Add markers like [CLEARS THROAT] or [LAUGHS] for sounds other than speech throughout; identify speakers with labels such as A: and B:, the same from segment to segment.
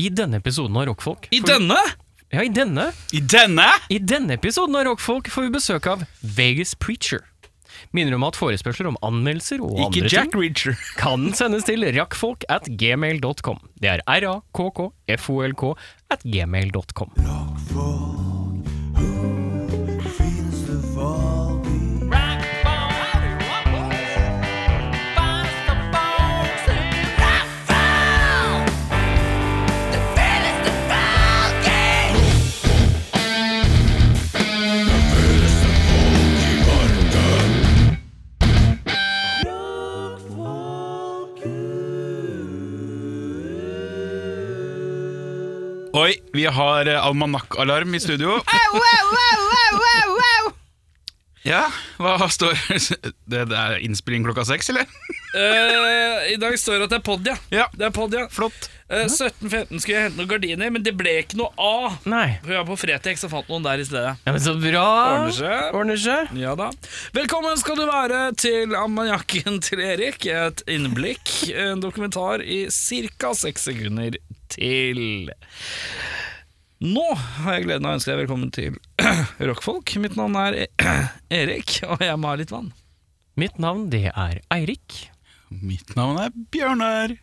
A: I denne episoden av Rockfolk
B: I
A: får-
B: denne?
A: Ja, i denne.
B: I denne?
A: I denne episoden av Rockfolk får vi besøk av Vegas Preacher. Minner om at forespørsler om anmeldelser og
B: Ikke
A: andre
B: Jack
A: ting
B: Reacher.
A: kan sendes til rakkfolk at gmail.com. Det er r-a-k-k-f-o-l-k at gmail.com.
B: Oi, vi har eh, almanakkalarm i studio. Ja, hva står [LAUGHS] Det, det er innspilling klokka seks, eller?
C: Eh, I dag står det at det er pod, ja.
B: Ja.
C: Det er pod, ja.
B: Flott. Mhm.
C: Eh, 17.15 skulle jeg hente noen gardiner, men det ble ikke noe av.
A: Nei.
C: For jeg var på Fretex og fant noen der i stedet.
A: Ja, men så bra!
C: Ordner seg.
A: Ordner seg.
C: Ja da. Velkommen skal du være til ammoniakken til Erik. Et innblikk, en dokumentar i ca. seks sekunder til. Nå har jeg gleden av å ønske deg velkommen til [CLEARS THROAT] Rockfolk. Mitt navn er [CLEARS THROAT] E- Erik, og jeg må ha litt vann.
A: Mitt navn det er Eirik.
B: Mitt navn er Bjørnar.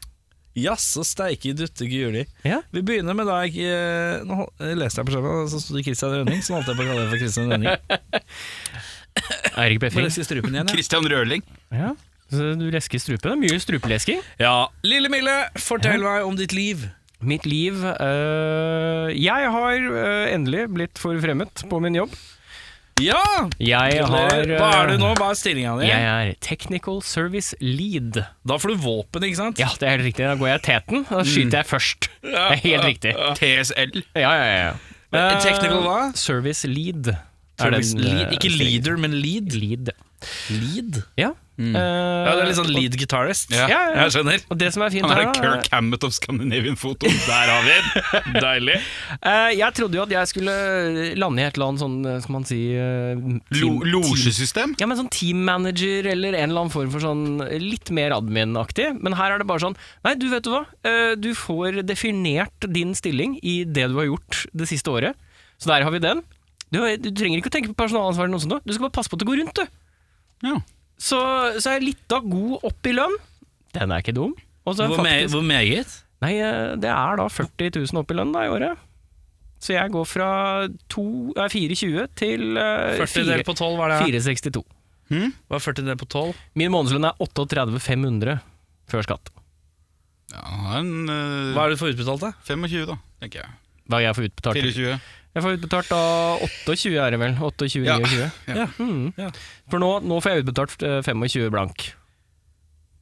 C: Jaså steike dutte guli.
A: Ja.
C: Vi begynner med da jeg eh, Nå hol- eh, leste jeg på skjermen, så sto det Christian Rønning. Så holdt jeg på å kalle det for Christian [LAUGHS] Rønning.
A: Eirik
C: Må
A: Befring.
C: leske strupen igjen, ja.
B: Christian Røling.
A: Ja. Så du lesker strupen. Det er mye strupelesking.
C: ja. Lille Mille, fortell meg om ditt liv.
A: Mitt liv øh, Jeg har øh, endelig blitt forfremmet på min jobb.
C: Ja!
A: Jeg har øh,
C: Hva er du nå? Hva eh, er stillinga di?
A: Jeg er Technical Service Lead.
C: Da får du våpen, ikke sant?
A: Ja, det er helt riktig. Da går jeg teten,
C: Mm.
A: og da skyter jeg først. Det er helt riktig.
B: TSL.
A: Ja, ja, ja. Eh,
C: Men Technical hva?
A: Service Lead. er
C: Service
A: den,
C: lead,
A: øh,
C: ikke
A: stillingen.
C: leader, men lead.
A: Lead.
C: Lead? Mm.
A: Ja.
C: Ja, det er litt sånn lead guitarist.
B: Ja.
A: Ja, ja.
C: Jeg skjønner.
A: Og det som er fint
B: Han
A: her,
B: er
A: da, er-
B: Kirk Hammett of Scandinavian Photo.
C: Der har vi den. Deilig.
A: Eh, jeg trodde jo at jeg skulle lande i et eller annet sånn, eh, skal man si eh,
B: Lo
A: team- team-
B: Losjesystem.
A: Ja, men sånn team manager eller en eller annen form for sånn litt mer admin-aktig. Men her er det bare sånn Nei, du vet du hva. Eh, Du får definert din stilling i det du har gjort det siste året. Så der har vi den. Du, du trenger ikke å tenke på personalansvar eller noe sånt. nå. Du skal bare passe på at det går rundt, du.
B: Ja.
A: Så, så er jeg litt da god opp i lønn. Den er ikke dum. Og så er
C: Hvor, me
A: faktisk-
C: hvor meget?
A: Nei, eh, det er da 40 000 opp i lønn da i året. Så jeg går fra to- eh, 4,20 til eh,
C: 40
A: fire-
C: delt på 12, hva er det?
A: 4,62.
B: Hm?
C: Hva er 40 delt på 12?
A: Min månedslønn er 38,500 før skatt.
B: Ja, han er en,
C: Hva er det du får utbetalt, da?
B: eh, 25, da, tenker jeg.
A: Hva jeg får utbetalt.
B: 24.
A: Jeg får utbetalt da 28, er det vel. 28,
B: Ja.
A: 29.
B: Ja.
A: Mm.
C: Ja.
A: For nå, nå får jeg utbetalt eh, 25 blank.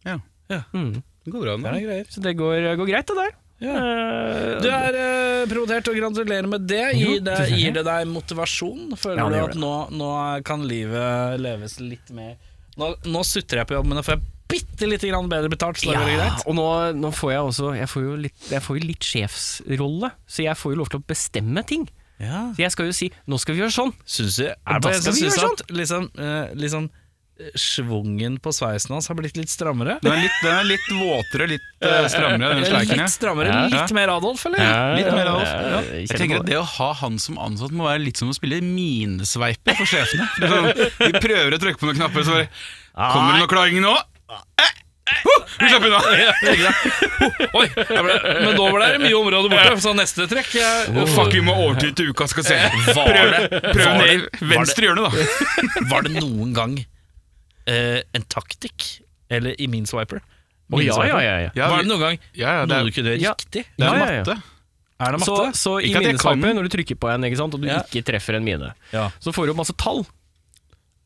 B: Ja.
C: Ja.
A: Mm.
B: Det går bra nå.
C: er greier.
A: Så det går, går greit, det der. Eh,
C: Du er eh, provotert, og gratulerer med det.
A: Jo,
C: Gir det,
A: tusen takk.
C: gir det deg motivasjon? Føler
A: Ja, det
C: du
A: gjør
C: at
A: det.
C: nå, nå kan livet leves litt mer Nå, nå sutrer jeg på jobb, men nå får jeg bitte lite grann bedre betalt, så det
A: ja,
C: går greit.
A: og nå, nå får jeg også Jeg får jo litt, jeg får jo litt sjefsrolle, så jeg får jo lov til å bestemme ting.
C: Ja.
A: Så jeg skal jo si 'nå skal vi gjøre sånn'.
C: Syns jeg,
A: Og
C: er
A: da
C: det, jeg
A: skal
C: som
A: vi
C: syns
A: gjøre
C: at liksom, eh, liksom eh, Svungen på sveisen hans har blitt litt strammere.
B: Den er litt, den er litt våtere, litt eh, strammere, den sleiken.
C: Litt
B: ja.
C: strammere,
A: Ja.
C: litt mer Adolf, eller?
B: Litt mer av
A: Ja,
B: oss. Jeg tenker at det å ha han som ansatt må være litt som å spille minesveiper for sjefene. Det er Sånn, vi prøver å trykke på noen knapper, så bare Kommer det noen klaring nå? Eh, eh, huh, Vi slapp unna!
C: Ja, ikke sant? Oi, jeg ble, men nå ble det mye område borte, så neste trekk jeg,
B: Oh, fuck, vi må overtid til uka, skal se. Prøv, prøv
C: var
B: ned
C: det-
B: i venstre hjørne, da.
C: Var det noen gang eh, en taktikk, eller i min swiper?
A: Å, ja,
C: Mineswiper.
A: ja, ja, ja.
B: Ja,
C: var
B: vi-
C: det noen gang
B: ja, ja, det
C: noe du
B: er,
C: kunne gjøre
A: Ja.
C: riktig?
B: det
A: Ja,
B: er
A: ja, ja.
B: matte.
C: Er det
A: Så,
C: matte?
A: så i
B: Ikke at jeg kan
A: minesveiper,
B: den.
A: når du trykker på en ikke sant, og du
C: Ja.
A: ikke treffer en mine,
C: Ja.
A: så får du opp masse tall.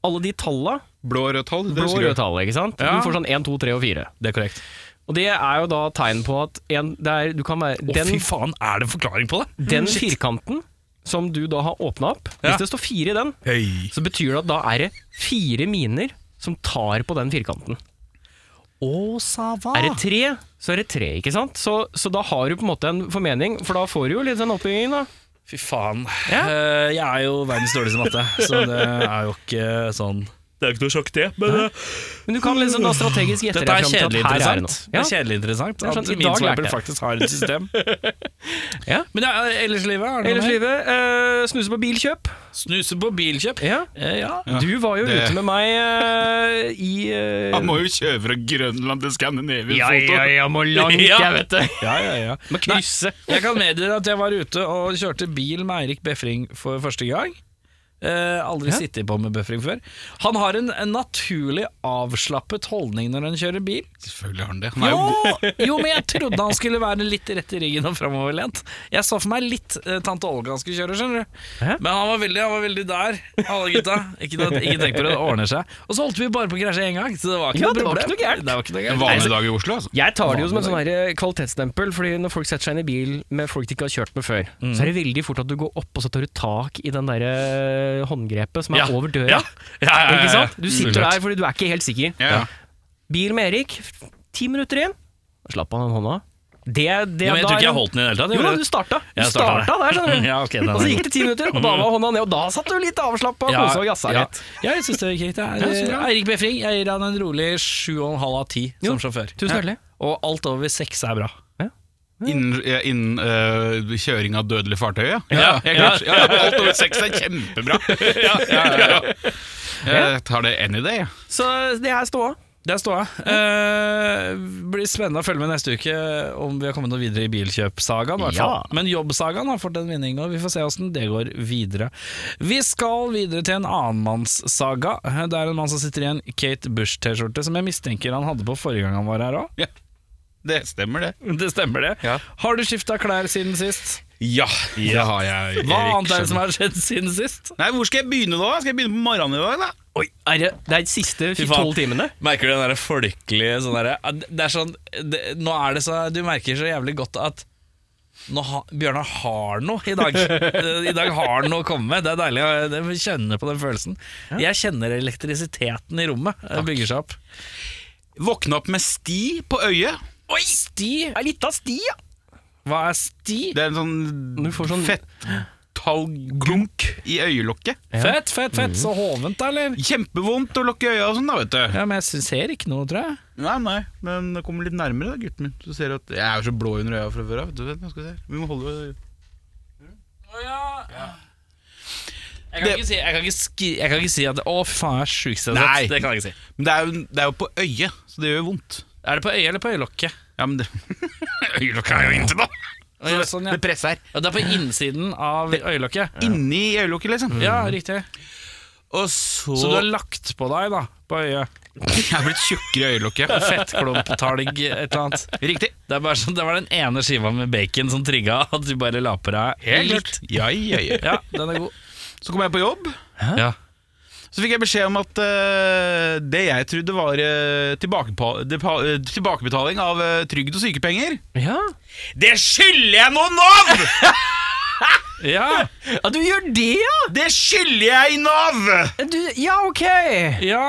A: Alle de talla,
B: Blå og rødt hold. det
A: blå og
B: husker
A: røde
B: jeg.
A: tall, ikke sant?
C: Ja.
A: Du får sånn 1, 2, 3 og 4.
C: Det er korrekt.
A: Og det er jo da tegn på at en, det er, du kan være
C: Å,
A: den,
C: fy faen, er det en forklaring på det?
A: den
C: Shit.
A: firkanten som du da har åpna opp,
C: Ja.
A: hvis det står 4 i den,
B: Hei.
A: så betyr det at da er det fire miner som tar på den firkanten.
C: Å, sa hva?
A: Er det tre, så er det tre, ikke sant? Så, så da har du på en måte en formening, for da får du jo litt den oppbyggingen, da.
C: Fy faen.
A: Ja.
C: Eh, jeg er jo verdens dårligste i matte, så det er jo ikke sånn
D: Det er jo ikke noe sjokk, det. Men eh,
A: Men du kan liksom da strategisk gjette deg
C: Dette er
A: fram til at her
C: kjedelig
A: er det
C: interessant.
A: noe.
C: Det
A: Ja.
C: er kjedelig interessant
A: er sånn,
C: At
A: i
C: min
A: dag lærte
C: swiper
A: jeg.
C: faktisk har et system.
A: Ja.
C: Men ja, ellers i livet? Er det noe
A: Ellers
C: mer?
A: livet, eh, snuse på bilkjøp.
C: Snuse på bilkjøp?
A: Ja.
C: Eh, ja.
B: Ja,
A: Du var jo
B: det-
A: ute med meg eh, i eh,
B: Han må jo kjøre fra Grønland til Scandinavian
A: Ja,
B: Photo.
A: ja, ja, må langt,
C: [LAUGHS] Ja.
A: jeg vet det.
C: ja, ja, ja.
A: Må krysse.
C: Jeg kan meddele at jeg var ute og kjørte bil med Eirik Befring for første gang. Eh, aldri sittet på med Befring før. Han har en, en naturlig avslappet holdning når han kjører bil.
B: Selvfølgelig har han det. Han er
C: Jo,
B: jo god.
C: [LAUGHS] jo, men jeg trodde han skulle være litt rett i ryggen og framoverlent. Jeg så for meg litt eh, tante Olga han skulle kjøre, skjønner du.
A: Hæ?
C: Men han var veldig, han var veldig der, alle gutta. Ikke, noe- ikke tenk på det, det ordner seg. Og så holdt vi bare på å krasje én gang, så det var ikke
A: Ja,
C: noe
A: det var
C: problem.
A: ikke noe gærent.
C: Det var ikke noe
B: En
C: gærent.
B: vanlig dag i Oslo, altså.
A: Jeg tar det jo som en sånn her kvalitetsstempel, fordi når folk setter seg inn i bil med folk de ikke har kjørt med før, så
C: Mm.
A: er det veldig fort at du går opp og så tar du tak i den der eh, håndgrepet som er
C: Ja.
A: over døra.
C: Ja. Ja, ja, ja, ja.
A: Ikke sant? Du sitter
C: Fullt.
A: der fordi du er ikke helt sikker.
B: Ja, ja.
A: Bil med Erik, ti minutter inn, slapp han den hånda. Det, det,
C: Ja, men jeg
A: da
C: tror
A: er
C: ikke jeg
A: den-
C: holdt den i det hele
A: Jo
C: tatt.
A: da,
C: gjorde
A: du
C: jeg.
A: starta. Du
C: Jeg starta
A: starta der, skjønner du.
C: [LAUGHS] Ja, ok, den
A: og så
C: er
A: gikk det ti minutter, og da var hånda ned, og da satt du litt avslappa og
C: Ja,
A: kosa og jassa
C: ja.
A: litt.
C: altså. Ja, jeg syns det gikk greit. jeg.
A: Ja, så bra.
C: Eirik Befring, jeg gir han en rolig 7,5 av 10
A: Jo,
C: som sjåfør.
A: tusen
C: Ja.
A: hjertelig.
C: Og alt over 6 er bra.
B: Innen, ja, innen øh, kjøring av dødelig fartøy, ja.
C: Ja,
B: helt klart. ja, ja. Alt over seks er
C: [LAUGHS]
B: kjempebra. Ja, ja, ja, ja. Jeg tar det any day, jeg.
A: Så det er ståa.
C: Der står jeg. Eh, blir spennende å følge med neste uke om vi har kommet noe videre i bilkjøpsagaen. i hvert fall.
A: Ja.
C: Men jobbsagaen har fått en vinning, og vi får se åssen det går videre. Vi skal videre til en annenmannssaga. Det er en mann som sitter i en Kate Bush-T-skjorte, som jeg mistenker han hadde på forrige gang han var her òg.
B: Ja. Det stemmer, det.
C: Det stemmer, det.
B: Ja.
C: Har du skifta klær siden sist?
B: Ja, det har jeg.
C: Hva
B: Erik,
C: annet er det som
B: skjønner.
C: har skjedd siden sist?
B: Nei, Hvor skal jeg begynne da? Skal jeg begynne på morgenen i dag, da?
A: Oi, er det, det er de siste
C: Fy faen.
A: tolv timene.
C: Merker du den der folkelige sånn derre Det er sånn det, Nå er det så Du merker så jævlig godt at nå ha, Bjørnar har noe i [LAUGHS] dag. I dag har han noe å komme med. Det er deilig å det- kjenne på den følelsen. Jeg kjenner elektrisiteten i rommet Det bygger seg opp.
B: Våkne opp med sti på øyet.
C: Oi! Sti?
A: Det er litt av sti, ja.
C: Hva er sti?
B: Det er en sånn
A: Du får sånn-
B: fettalglunk i øyelokket.
C: Fett, fett, fett. Så hovent, da, eller?
B: Kjempevondt å lukke øya og sånn, da, vet du.
C: Ja, men jeg ser ikke noe, tror jeg.
B: Nei, nei, men det kommer litt nærmere, da, gutten min. Så ser du at Jeg er jo så blå under øya fra før av. vet du, vet du hva jeg skal si. Vi må holde
C: Jeg kan,
B: Det-
C: ikke si, jeg, kan ikke skri, jeg kan ikke si at Å, fy faen, jeg er sjukt stressa.
B: Nei.
C: Det kan jeg ikke si.
B: Men det er, jo, det er jo på øyet, så det gjør jo vondt.
C: Er det på øyet eller på øyelokket?
B: Ja, men det [LAUGHS] Øyelokket er jo inntil, da!
C: Å, ja, sånn, ja.
B: Det presset her.
C: Ja, det er på innsiden av øyelokket.
B: Inni øyelokket, liksom.
C: Ja, riktig.
B: Og så,
C: Så du har lagt på deg, da, på øyet.
B: [LAUGHS] Jeg er blitt tjukkere i øyelokket.
C: Fettklumptalg, et eller annet.
B: Riktig.
C: Det, er bare sånn, det var den ene skiva med bacon som trigga at du bare la på deg litt.
B: Ja, ja, ja.
C: Ja, den er god.
B: Så kom jeg på jobb.
C: Ja.
B: Så fikk jeg beskjed om at eh, det jeg trodde var eh, tilbakepa- depa- eh, tilbakebetaling av eh, trygd og sykepenger
A: ja.
B: Det skylder jeg nå Nav!
C: ja.
A: Ja, du gjør det, ja!
B: [LAUGHS] Det skylder jeg i Nav!
A: Du, ja, ok! Eh,
C: ja.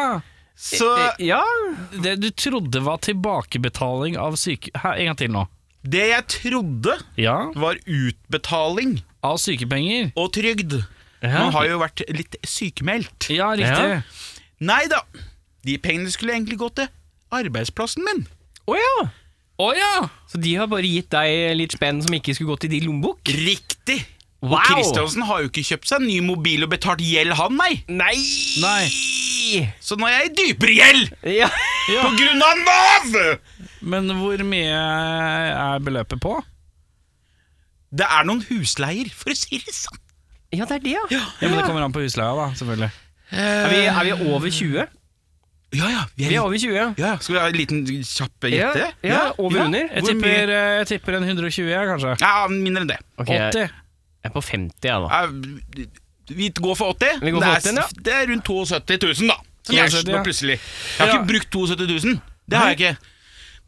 B: Så
C: Eh,
A: Ja,
C: Det du trodde var tilbakebetaling av syke... Hæ, en gang til nå.
B: det jeg trodde
C: Ja.
B: var utbetaling
C: Av sykepenger.
B: og trygd Man har jo vært litt sykemeldt.
C: Ja, riktig.
A: Ja.
B: Nei da, de pengene skulle egentlig gå til arbeidsplassen min.
A: Å ja!
C: Å ja!
A: Så de har bare gitt deg litt spenn som ikke skulle gått i din lommebok?
B: Riktig!
A: Wow!
B: Og Kristiansen har jo ikke kjøpt seg en ny mobil og betalt gjeld, han, nei.
A: Nei!
C: Nei.
B: Så nå er jeg i dypere gjeld
A: Ja. [LAUGHS]
B: på grunn av Nav!
C: Men hvor mye er beløpet på?
B: Det er noen husleier, for å si det sånn.
A: ja, det er det, ja.
C: Ja, men Det kommer an på husleia, da, selvfølgelig.
A: Er, vi, er vi over 20?
B: Ja ja, vi
A: Eh, Vi er
B: er, ja,
A: over 20.
B: ja. Skal vi ha en liten kjapp
A: Ja,
B: gjette?
A: ja, over under.
C: Jeg
B: Hvor mye?
C: tipper, eh, jeg tipper en 120, jeg, kanskje.
B: Ja, mindre enn det.
A: Ok, jeg
C: 80.
A: er på 50, jeg, da.
B: Ja, Eh, Vi går for 80.
A: Vi går for 80,
B: det,
A: ja.
B: er, det er rundt 72 000, da. Som jeg
C: 72,
B: slo
C: ja.
B: plutselig. Jeg har
C: Ja.
B: ikke brukt 72 000. Det har jeg ikke.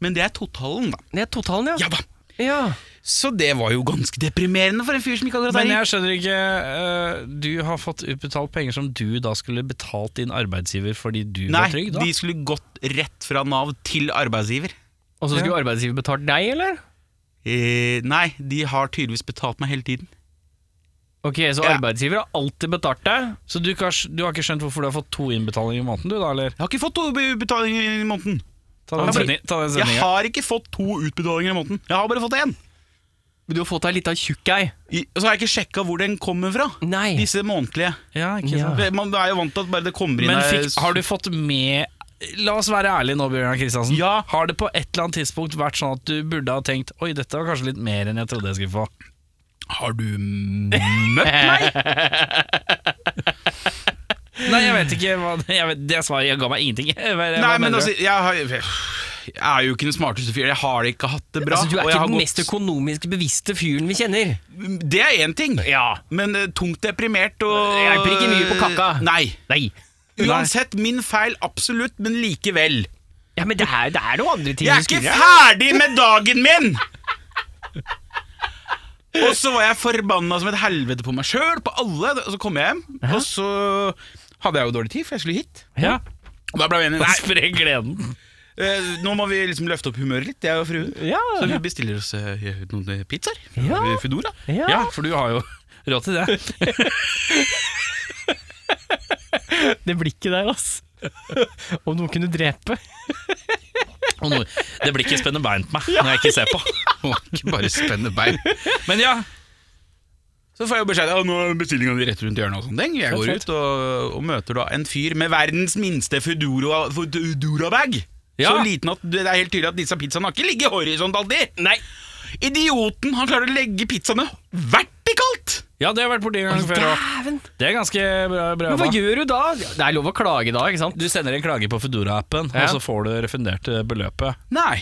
B: Men det er totalen, da.
A: Det er totalen, ja.
B: Ja da.
A: ja.
B: Så det var jo ganske deprimerende for en fyr som ikke akkurat
C: Men
B: er
C: jeg skjønner ikke eh, Du har fått utbetalt penger som du da skulle betalt din arbeidsgiver fordi du
B: Nei,
C: var trygg, da?
B: de skulle gått rett fra Nav til arbeidsgiver.
A: Og så skulle arbeidsgiver betalt deg, eller?
B: Eh, nei, de har tydeligvis betalt meg hele tiden.
A: Ok, Så
B: Ja.
A: arbeidsgiver har alltid betalt deg?
C: Så du, kan- du har ikke skjønt hvorfor du har fått to innbetalinger i måneden, du da, eller?
B: Jeg har ikke fått to utbetalinger i måneden.
C: Ta den,
A: Ja, fordi-
C: sending, ta den
B: Jeg
C: sendinga.
B: har ikke fått to utbetalinger i måneden. Jeg har bare fått én.
A: Men du har fått deg litt av tjukk ei?
B: I- Og så har jeg ikke sjekka hvor den kommer fra.
A: Nei.
B: Disse månedlige.
C: Ja, ikke
A: Ja.
C: sant?
B: Det- Man er jo vant til at bare det kommer inn
C: Men
B: der-
C: fikk, har du fått med La oss være ærlige nå, Bjørnar Kristiansen.
B: Ja.
C: Har det på et eller annet tidspunkt vært sånn at du burde ha tenkt Oi, dette var kanskje litt mer enn jeg trodde jeg skulle få?
B: Har du [LAUGHS] møtt
C: Nei, jeg vet ikke. Hva, [LAUGHS] jeg vet, det svaret jeg ga meg ingenting. [LAUGHS] Hva, hva
B: Nei, men
C: mener
B: altså,
C: du?
B: jeg, har, jeg er jo ikke den smarteste fyren. Jeg har ikke hatt det bra.
A: altså, du er
B: og jeg
A: ikke
B: har
A: den
B: gått-
A: mest økonomisk bevisste fyren vi kjenner.
B: Det er én ting,
A: Ja.
B: men eh, tungt deprimert og
A: Det hjelper ikke mye på kakka.
B: Nei.
A: Nei.
B: Uansett, min feil absolutt, men likevel.
A: Ja, Men det er, det er noen andre ting
B: Jeg er
A: du
B: ikke
A: skurrer her.
B: ferdig med dagen min! Og så var jeg forbanna som et helvete på meg sjøl, på alle. Og så kom jeg hjem, og så hadde jeg jo dårlig tid, for jeg skulle hit.
C: Ja.
B: Og da ble vi enige.
C: Nei.
B: Nei,
C: [LAUGHS] Spre gleden.
B: eh, nå må vi liksom løfte opp humøret litt, jeg og fruen.
A: Ja,
B: Så vi bestiller oss eh, noen eh, pizzaer.
A: Ja.
B: Eh, Foodora. [LAUGHS]
A: ja.
C: Ja, for du har jo [LAUGHS] råd til det.
A: Det blikket der, ass. [LAUGHS] Om noen kunne drepe.
C: Og noe, det blir ikke spennende bein på meg når jeg ikke ser på.
B: Må ikke bare spenne bein.
C: Men ja,
B: Så får jeg jo beskjed om at bestillinga di rett rundt hjørnet. og sånne ting Jeg går ut og, og møter da en fyr med verdens minste Foodora- Foodora-bag.
C: Ja.
B: Så liten at det er helt tydelig at disse pizzaene har ikke ligget horisontalt i.
A: Nei.
B: Idioten! Han klarer å legge pizzaene vertikalt!
C: ja det har jeg vært borti en gang før òg.
A: Dæven.
C: Det er ganske bra. bra
A: Men hva
C: jobba.
A: gjør du da? Det er lov å klage da, ikke sant?
C: du sender en klage på Foodora-appen,
A: Ja.
C: og så får du refundert eh, beløpet.
B: Nei.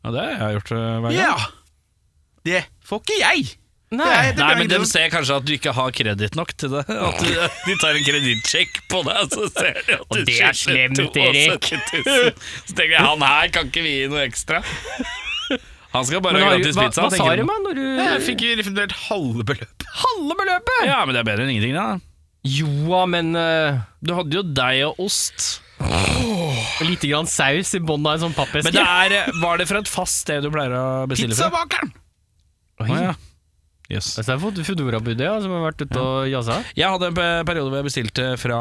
C: Ja, det har jeg gjort eh, hver gang.
B: Ja. Det får ikke jeg.
A: Nei.
B: Det er- det
C: Nei,
B: blir
C: men de
B: liksom-
C: ser kanskje at du ikke har kreditt nok til det. At du, de tar en kredittsjekk på deg, og så ser de at du
A: det er
C: skylder
A: slemt,
C: 72
A: Erik.
C: 000. Så tenker jeg, han her kan ikke vi gi noe ekstra. Han skal bare
A: Men
C: ha
A: har-
C: gratis
A: hva,
C: pizza.
A: hva sa du
C: tenker de.
A: med når du
B: Jeg fikk jo refundert halve beløpet.
A: halve beløpet?
C: Ja, men det er bedre enn ingenting, da.
A: Joa, men eh,
C: Du hadde jo deg og ost.
A: lite grann saus i bånn av en sånn pappeske.
C: Men det er, eh, var det fra et fast sted du pleier å bestille fra?
B: Pizzabakeren!
A: Oi.
C: Å, ja. Yes.
A: Altså, det er fod- Foodora-budet ja, som har vært ute og jazza.
C: Jeg hadde en pe- periode hvor jeg bestilte fra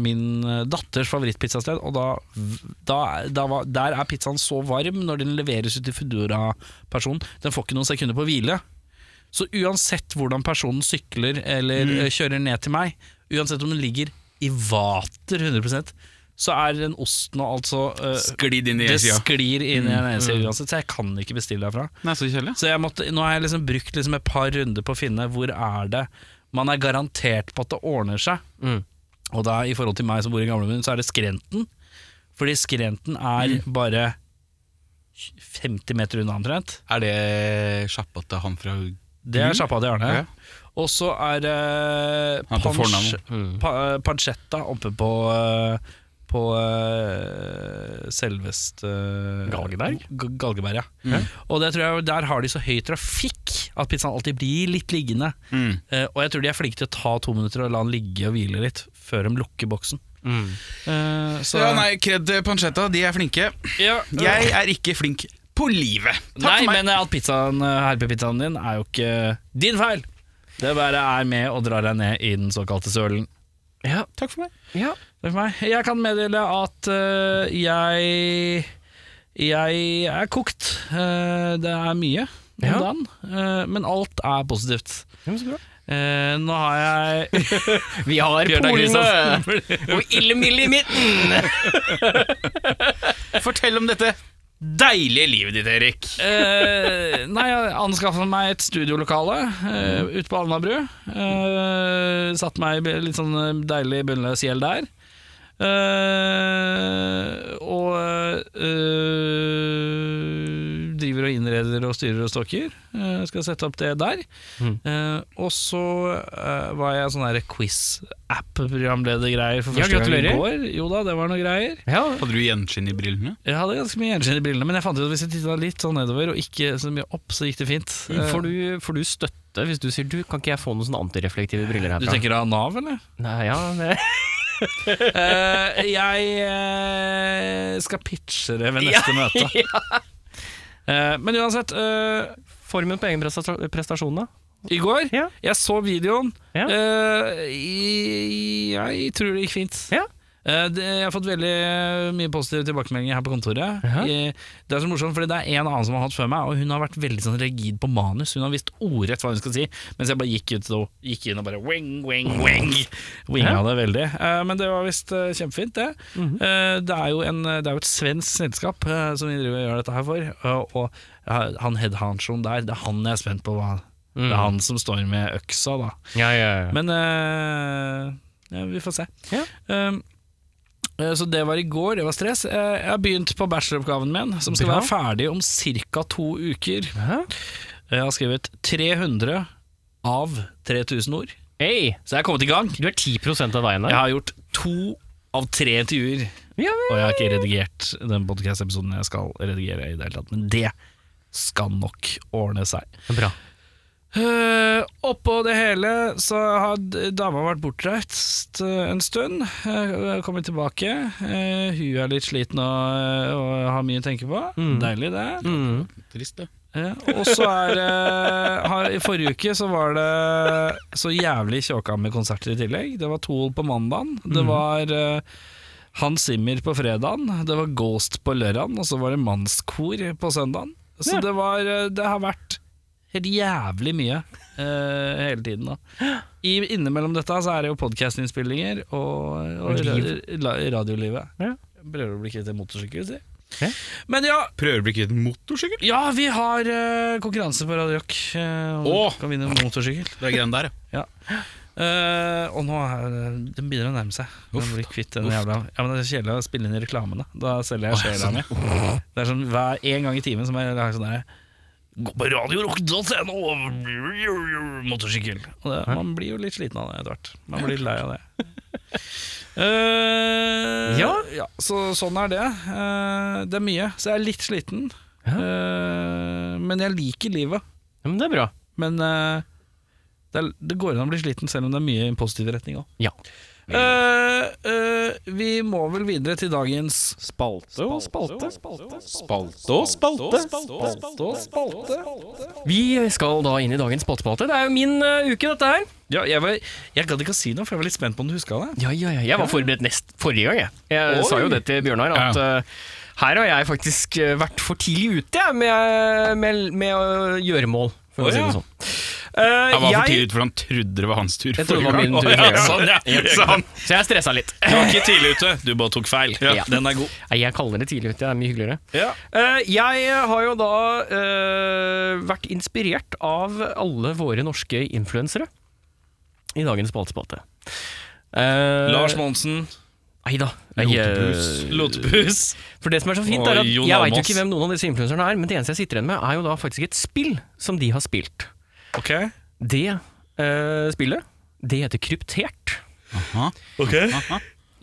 C: min datters favorittpizzasted, og da, da, da var, der er pizzaen så varm når den leveres ut til Foodora-personen. Den får ikke noen sekunder på hvile. Så uansett hvordan personen sykler eller eh, kjører ned til meg, uansett om den ligger i vater 100 så er den osten og alt så eh,
B: Sklidd inn i
C: Det
B: sida.
C: sklir inn i den ene
B: Mm.
C: sida uansett, så jeg kan ikke bestille derfra.
B: Nei, så kjedelig.
C: Så jeg måtte, nå har jeg liksom brukt liksom et par runder på å finne hvor er det man er garantert på at det ordner seg.
A: Mm.
C: Og da i forhold til meg som bor i Gamlebyen, så er det Skrenten. Fordi Skrenten er bare 50 meter unna omtrent.
B: Er det sjappa til han fra
C: Det er
B: Mm.
C: sjappa til Arne.
B: Ja.
C: Og så er
B: Han er
C: uh,
B: på
C: pansj,
A: Mm.
C: pa, eh, pancetta oppe på eh, På eh, selveste eh,
A: Galgeberg?
C: G Galgeberg, ja. Og det tror jeg, der har de så høy trafikk at pizzaen alltid blir litt liggende.
B: Mm.
C: Eh, og jeg tror de er flinke til å ta to minutter og la den ligge og hvile litt før de lukker boksen.
A: Mm.
C: Eh, så
B: Ja, nei, Kred Pancetta, de er flinke.
C: Ja,
B: Jeg er ikke flink på livet. Takk
C: Nei,
B: for meg.
C: men at pizzaen, eh, herpepizzaen din er jo ikke din feil. Det bare er med og drar deg ned i den såkalte sølen.
A: Ja.
B: Takk for meg.
A: ja.
C: Takk for meg. Jeg kan meddele at øh, jeg Jeg er kokt. Eh, det er mye om
A: Ja.
C: dagen, eh, men alt er positivt.
A: men så bra.
C: Eh, nå har jeg
A: Vi har
C: Bjørnar
A: polene
C: Kristiansen.
A: [LAUGHS] og ildmild i midten!
B: Fortell om dette deilige livet ditt, Erik.
C: Eh, nei, jeg anskaffet meg et studiolokale eh,
A: Mm.
C: ute på Alnabru. Eh, satt meg i litt sånn deilig bunnløs gjeld der. Eh, og eh, driver og innreder og styrer og stokker. Eh, skal sette opp det der.
A: Mm.
C: Eh, og så eh, var jeg sånn der quiz-app-programledergreier for
A: Ja,
C: første gang i
A: gratulerer.
C: går. Jo da, det var noe greier.
A: Ja.
B: Hadde du gjenskinn i brillene?
C: Jeg hadde ganske mye gjenskinn i brillene, men jeg fant ut at hvis jeg titta litt sånn nedover og ikke så mye opp, så gikk det fint. Eh,
A: Får, du, får du støtte hvis du sier du, kan ikke jeg få noen sånne antireflektive briller
C: du
A: herfra?
C: tenker da Nav, eller?
A: Nei, ja, det.
C: Eh, jeg eh, skal pitche det ved neste [LAUGHS] møte. Eh, men uansett eh,
A: Formen på egen presta- prestasjon, da?
C: i går.
A: Ja.
C: Jeg så videoen.
A: Ja.
C: Eh, i- jeg tror det gikk fint.
A: Ja.
C: Eh, det, jeg har fått veldig mye positive tilbakemeldinger her på kontoret.
A: Jaha.
C: Eh, det er så morsomt, fordi det er en annen som har hatt før meg, og hun har vært veldig sånn rigid på manus. Hun har visst ordrett hva hun skal si, mens jeg bare gikk, ut, og, gikk inn og bare wing, wing, wing. Winga det veldig. Eh, men det var visst eh, kjempefint, det.
A: Mhm.
C: Eh, det, er jo en, det er jo et svensk selskap eh, som vi driver og gjør dette her for, og, og eh, han headhunchoen der, det er han jeg er spent på hva Det er han som står med øksa, da.
A: Mm. Ja, ja, ja.
C: Men eh, ja, vi får se.
A: Ja.
C: Um, eh, så det var i går, det var stress. Eh, jeg har begynt på bacheloroppgaven min, som skal
A: Bra.
C: være ferdig om ca. to uker.
A: Hæ?
C: Jeg har skrevet 300 av 3000 ord,
A: Hei,
C: så jeg har kommet i gang.
A: du er 10 av veien
C: Jeg
A: der.
C: har gjort to av tre intervjuer,
A: Ja,
C: og jeg har ikke redigert den podcast-episoden jeg skal redigere i det hele tatt, men det skal nok ordne seg.
A: Bra.
C: Eh, oppå det hele så har d- dama vært bortreist eh, en stund. Uh, kommer tilbake. Eh, hun er litt sliten og, eh, og har mye å tenke på. Deilig, det.
A: Mm.
B: Trist, det.
C: Ja, og så er det har, I forrige uke så var det så jævlig kjåka med konserter i tillegg. Det var Tool på mandagen,
A: Mm.
C: det var eh, Hans Zimmer på fredagen, det var Ghost på lørdagen, og så var det mannskor på søndagen. Så
A: Ja.
C: det var eh, Det har vært helt jævlig mye eh, hele tiden, da. I, innimellom dette så er det jo podkastinnspillinger og, og
A: Liv.
C: ra- ra- radiolivet.
A: Ja.
C: Prøver å bli kvitt en motorsykkel, si.
A: Ja.
C: Men ja,
B: Prøver å bli kvitt en motorsykkel?
C: ja, vi har eh, konkurranse på Radio Rock. eh, og
B: Åh!
C: du Kan vinne en motorsykkel.
B: Det er greien der, ja.
C: Eh, og nå er det- den begynner å nærme seg. Den
B: Uff,
C: blir kvitt den
B: uff.
C: jævla Ja, men Det er kjedelig å spille inn i reklamene. Da selger jeg
B: Åh,
C: sjela mi. Det er sånn hver en gang i timen som jeg lager sånn der Gå på radiorock.no og motorsykkel. Og det, man blir jo litt sliten av det etter hvert. Man blir lei av det.
A: [LAUGHS]
C: Eh,
A: Ja.
C: så sånn er det. Eh, det er mye, så jeg er litt sliten.
A: Ja.
C: Eh, men jeg liker livet.
A: Ja, men det er bra.
C: Men eh, det, er, det går an å bli sliten selv om det er mye i en positiv retning òg.
A: Ja.
C: vi må vel videre til dagens
D: Spalte og spalte.
B: Spalte og spalte.
A: Vi skal da inn i dagens spaltespalte. Det er jo min eh, uke, dette her.
C: Ja, jeg, var, jeg gadd ikke å si noe, for jeg var litt spent på om du huska det.
A: Ja, ja, ja. Jeg var forberedt nest forrige gang, jeg. Jeg sa jo det til Bjørnar, at eh, her har jeg faktisk eh, vært for tidlig ute jeg, med, med, med å gjøre mål, for
B: Å,
A: å si
B: ja.
A: det sånn. Eh,
B: Jeg var for
A: jeg-
B: tidlig ute, for han trodde det var hans tur.
A: Jeg trodde det var
B: forrige
A: min tur
B: gang. Å, [LAUGHS] ja,
A: forrige
B: sånn, ja. Så han-
A: Så jeg stressa litt. [LAUGHS]
C: Du var ikke tidlig ute, du bare tok feil.
A: Ja.
C: Den er god.
A: Nei, jeg kaller det tidlig ute, det er mye hyggeligere.
C: Ja.
A: Eh, jeg har jo da eh, vært inspirert av alle våre norske influensere i dagens spaltespalte. Eh,
C: Lars Monsen,
A: Nei da. jeg, eh,
C: Lotepus.
A: For det som er så fint,
C: Og
A: er at
C: Jon
A: jeg veit jo
C: Almaas.
A: ikke hvem noen av disse influenserne er, men det eneste jeg sitter igjen med, er jo da faktisk et spill som de har spilt.
C: Ok.
A: Det eh, spillet, det heter Kryptert.
B: Aha. Aha.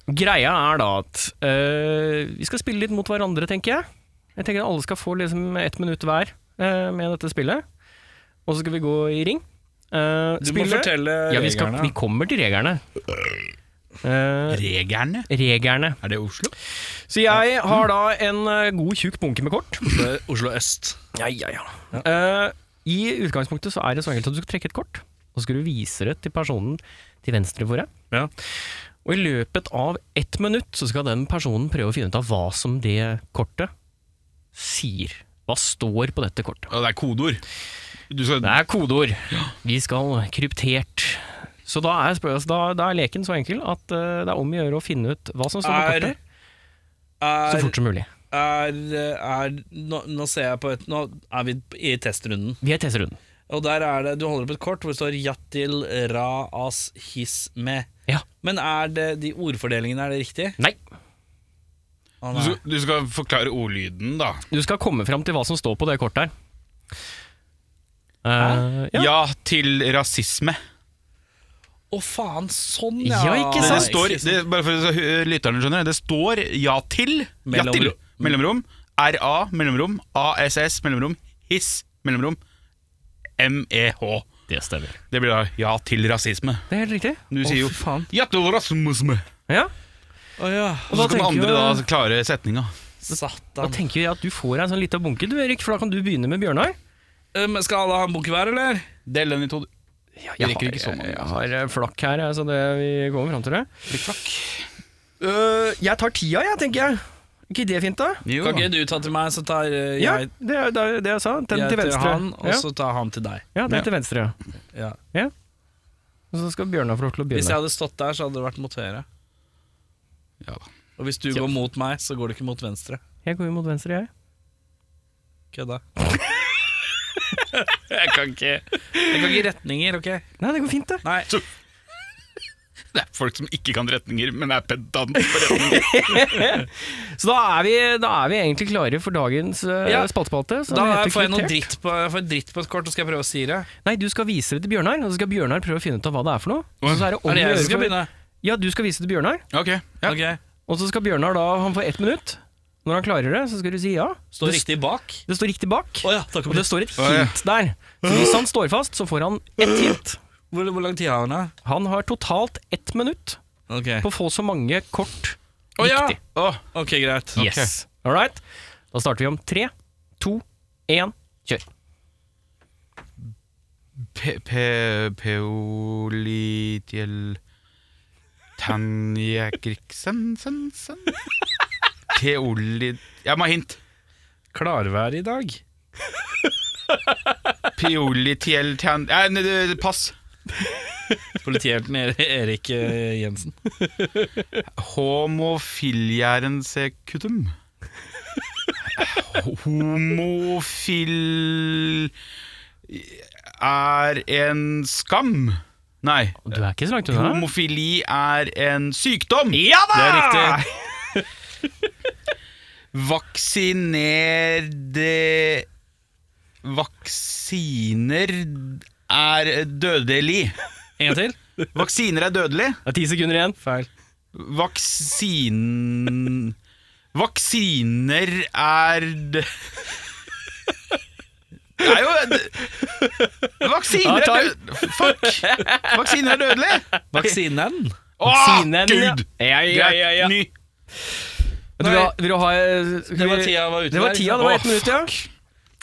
A: Greia er da at eh, vi skal spille litt mot hverandre, tenker jeg. Jeg tenker at alle skal få liksom ett minutt hver eh, med dette spillet. Og så skal vi gå i ring. Eh,
C: Du må
A: spillet-
C: fortelle
A: ja, vi, skal,
C: reglene.
A: vi kommer til reglene. Uh,
B: Regerne?
A: regerne.
B: Er det Oslo?
A: Så jeg har da en eh, god tjukk bunke med kort.
C: Oslo, Oslo øst.
A: Ja, ja, ja. Eh, I utgangspunktet så er det så enkelt at du skal trekke et kort, og så skal du vise det til personen til venstre for deg.
C: Ja.
A: Og i løpet av ett minutt så skal den personen prøve å finne ut av hva som det kortet sier. Hva står på dette kortet?
B: Ja, det er kodeord. Du skal
A: Det er kodeord. Vi skal kryptert. Så da er, spør- altså, da, da er leken så enkel at eh, det er om å gjøre å finne ut hva som står på
C: Er-
A: kortet, så
C: Er,
A: fort som mulig.
C: er, er nå, nå ser jeg på et Nå er vi i testrunden.
A: Vi er i testrunden.
C: Og der er det, Du holder opp et kort hvor det står 'Jatil ra as his me'.
A: Ja.
C: Men er det de ordfordelingene, er det riktig?
A: Nei.
B: Du
C: Å, nei.
B: skal, du skal forklare ordlyden, da.
A: Du skal komme fram til hva som står på det kortet her. Eh,
B: Ja, til rasisme.
C: Å, faen, sånn
A: Ja, ikke
B: Det, det
A: sant?
B: står, det, bare for at uh, lytterne skjønner, det står ja til. Ja
C: Mellomrom.
B: til. Mellomrom. RA, mellomrom. ASS, mellomrom. Hiss, mellomrom. MEH.
A: Det stemmer.
B: Det blir da ja til rasisme.
A: Det er helt riktig.
B: Du sier jo
C: fy faen.
B: ja til rasisme.
A: Ja.
C: Å ja.
B: Og så kan
A: tenker
B: andre
A: jo-
B: da altså klare setninga.
A: Da
C: Satan.
A: tenker jeg at du får deg en sånn lita bunke, du Erik, for da kan du begynne med Bjørnar.
C: Um, skal alle ha en bunke hver, eller?
B: Del den i to, du.
A: Jeg
B: rekker
A: har,
B: ikke så mange,
A: jeg har eh, flakk her, jeg, så det, vi kommer fram til det.
B: Litt flakk.
A: Øh, jeg tar tida, jeg, tenker jeg. Ikke det fint, da?
B: Jo.
C: Kan
B: [LAUGHS]
C: ikke du ta til meg, så tar eh,
A: Ja,
C: jeg,
A: det er det, er det jeg sa. Den
C: jeg
A: til
C: til
A: venstre.
C: han, og
A: ja.
C: så tar han til deg.
A: ja, den til venstre. ja.
C: Ja.
A: Og så skal Bjørnar få lov til å
C: Hvis jeg
A: begynne.
C: hadde stått der, så hadde det vært mot høyre.
B: Ja da.
C: Og hvis du går mot meg, så går du ikke mot venstre.
A: Jeg går jo mot venstre, jeg.
C: Kødda. jeg kan ikke Jeg kan ikke retninger, OK?
A: Nei, det går fint, det.
C: Nei.
B: Det er folk som ikke kan retninger, men er pedant på retninger.
A: Så da er vi, da er vi egentlig klare for dagens uh,
C: Ja.
A: spaltespalte. som
C: Da
A: heter
C: får jeg noe
A: Kryptert.
C: dritt på, jeg får dritt på et kort, og skal jeg prøve å si det.
A: Nei, du skal vise det til Bjørnar, og så skal Bjørnar prøve å finne ut av hva det er for noe. Og så er det om
C: Er det
A: å
C: jeg
A: gjøre
C: som skal
A: for-
C: begynne?
A: Ja, du skal vise det til Bjørnar,
B: Ok, ja.
C: Ok,
A: og så skal Bjørnar da Han får ett minutt. Når han klarer det, så skal du si ja.
C: Står
A: Det-
C: riktig bak?
A: Det står riktig bak,
C: Å ja, takk
A: og det står et
B: Å, ja.
A: hint der. Så hvis han står fast, så får han ett hint.
C: Hvor, hvor lang tid har han, da?
A: Han har totalt ett minutt
C: Ok,
A: på å få så mange kort
C: Å, ja.
A: riktig.
B: Åh,
C: Ok, greit.
A: Yes. All right. Da starter vi om tre, to, én, kjør.
B: pe- pe- Peolitiel Tanjekriksensensen Peolit... Jeg må ha hint.
C: Klarvær i dag.
B: Peolitiel tan... Nei, nei, det- pass.
C: Politihelten Er- Erik eh, Jensen.
B: Homofiljærensekuttum. Homofil... er en skam. Nei.
A: Du er ikke så langt unna.
B: Homofili er en sykdom!
A: Ja da!
B: Det er
A: Ah!
B: [LAUGHS] riktig. Vaksiner det Vaksiner er dødelig.
C: En gang til?
B: Vaksiner er dødelig.
A: Det er ti sekunder igjen.
C: Feil.
B: Vaksin... Vaksiner er d- Det er jo d- Vaksiner
A: Ja,
B: er død... Fuck! Vaksiner er dødelig!
C: Vaksinen?
B: Åh,
A: Vaksinen, ja.
B: Ah, Gud!
A: Ja, ja, ja, ja.
B: Ny.
A: Vil du ha, vil du ha skal
C: Det var
A: vi-
C: tida var ute
A: Det var
C: der,
A: tida,
C: ikke
A: det var
C: sant?
A: ett minutt, ja.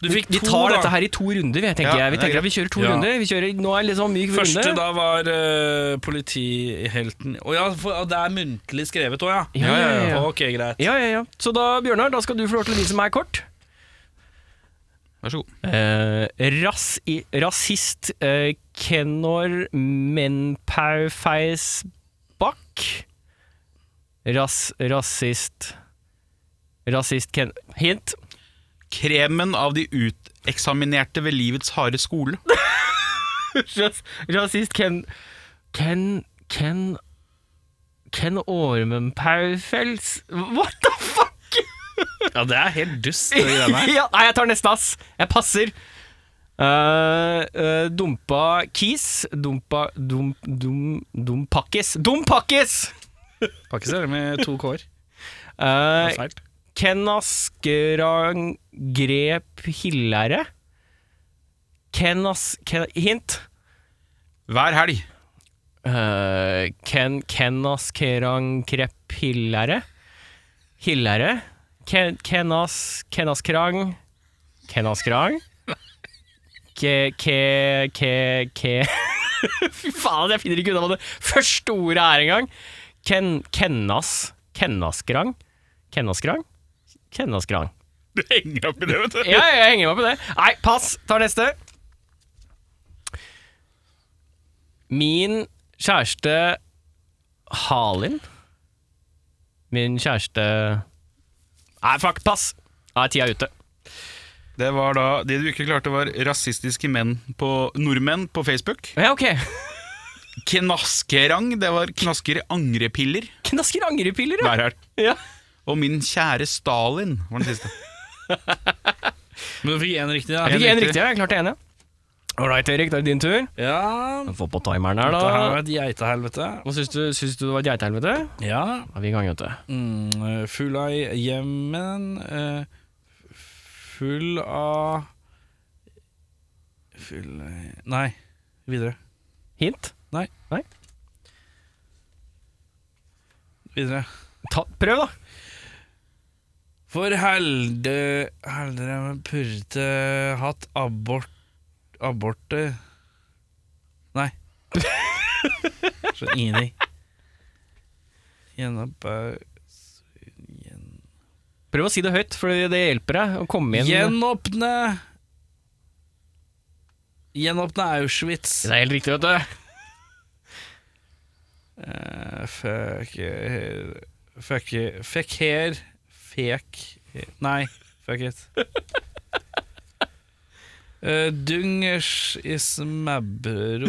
C: Du fikk
A: Vi
C: to,
A: tar
C: da.
A: dette her i to runder, vi, tenker
B: Ja,
A: jeg. Vi
B: det er
A: tenker at vi kjører to
C: Ja.
A: runder. Vi kjører, nå er det liksom myk
C: Første
A: runde.
C: da var eh, politihelten Å ja, for, ja, det er muntlig skrevet òg, ja.
A: Ja, ja, ja, ja.
C: Ok, greit.
A: Ja, ja, ja. Så da, Bjørnar, da skal du få lov til å vise meg kort.
B: Vær så god.
A: Eh, ras i, rasist eh, Kenor Menpaufeisbakk. Ras, rasist Rasist Ken... Hint.
B: Kremen av de uteksaminerte ved livets harde skole.
A: Ras, rasist Ken Ken Ken Ken Ormenpaufels What the fuck?
C: Ja, det er helt dust, det greiene her.
A: [LAUGHS] ja, nei, jeg tar neste, ass. Jeg passer. Eh, eh, dumpa Kis. Dumpa dum, dum, Dumpakkis. Dumpakkis!
C: Kan ikke se det med to k-er.
A: Uh,
C: Feil.
A: Ken Askerang grep Hillere. Ken As... Ken, hint.
B: Hver helg.
A: Eh, Ken, Ken Askerang grep Hillere. Hillere. Ken, Ken, As, Ken Askerang Ken Askerang? Ke... Ke... Ke... ke. [LAUGHS] Fy faen, jeg finner ikke unna hva det første ordet er engang. Ken... Kennas... Kennaskrang? Kennaskrang? Kennaskrang.
B: Du henger opp i det, vet du.
A: Ja, jeg henger meg på det. Nei, pass. Tar neste. Min kjæreste Halin. Min kjæreste Nei, fuck, pass. Da er tida ute.
B: Det var da, det du ikke klarte, var rasistiske menn på nordmenn på Facebook.
A: Ja, ok. [LAUGHS]
B: Knaskerang, det var knasker angrepiller.
A: Knasker angrepiller, ja.
B: Hver helg.
A: ja.
B: Og min kjære Stalin var den siste.
C: Men du fikk én riktig, da.
A: Jeg fikk én
B: En riktig.
A: riktig, ja. jeg klarte én, ja. All right, Erik, da er det din tur.
C: Ja
A: Få på timeren her,
C: Dette her
A: da.
C: var et geitehelvete.
A: Hva syns du, syns du det var et geitehelvete?
C: Ja.
A: Da er vi i gang, vet du.
C: Mm, eh, full av hjemmen eh, Full av Full av Nei, videre.
A: Hint?
C: Videre.
A: Ta, prøv, da.
C: For helde Heldere purte hatt abort abort eh, Nei. Skjønner ingenting. Gjenoppa-
A: Prøv å si det høyt, for det hjelper deg å komme inn.
C: Gjenåpne Gjenåpne Auschwitz.
A: Det er helt riktig, vet du.
C: Eh, fuck eh, Fuck eh, Fuck her Fek Nei, fuck it Eh, Dungers i smabberor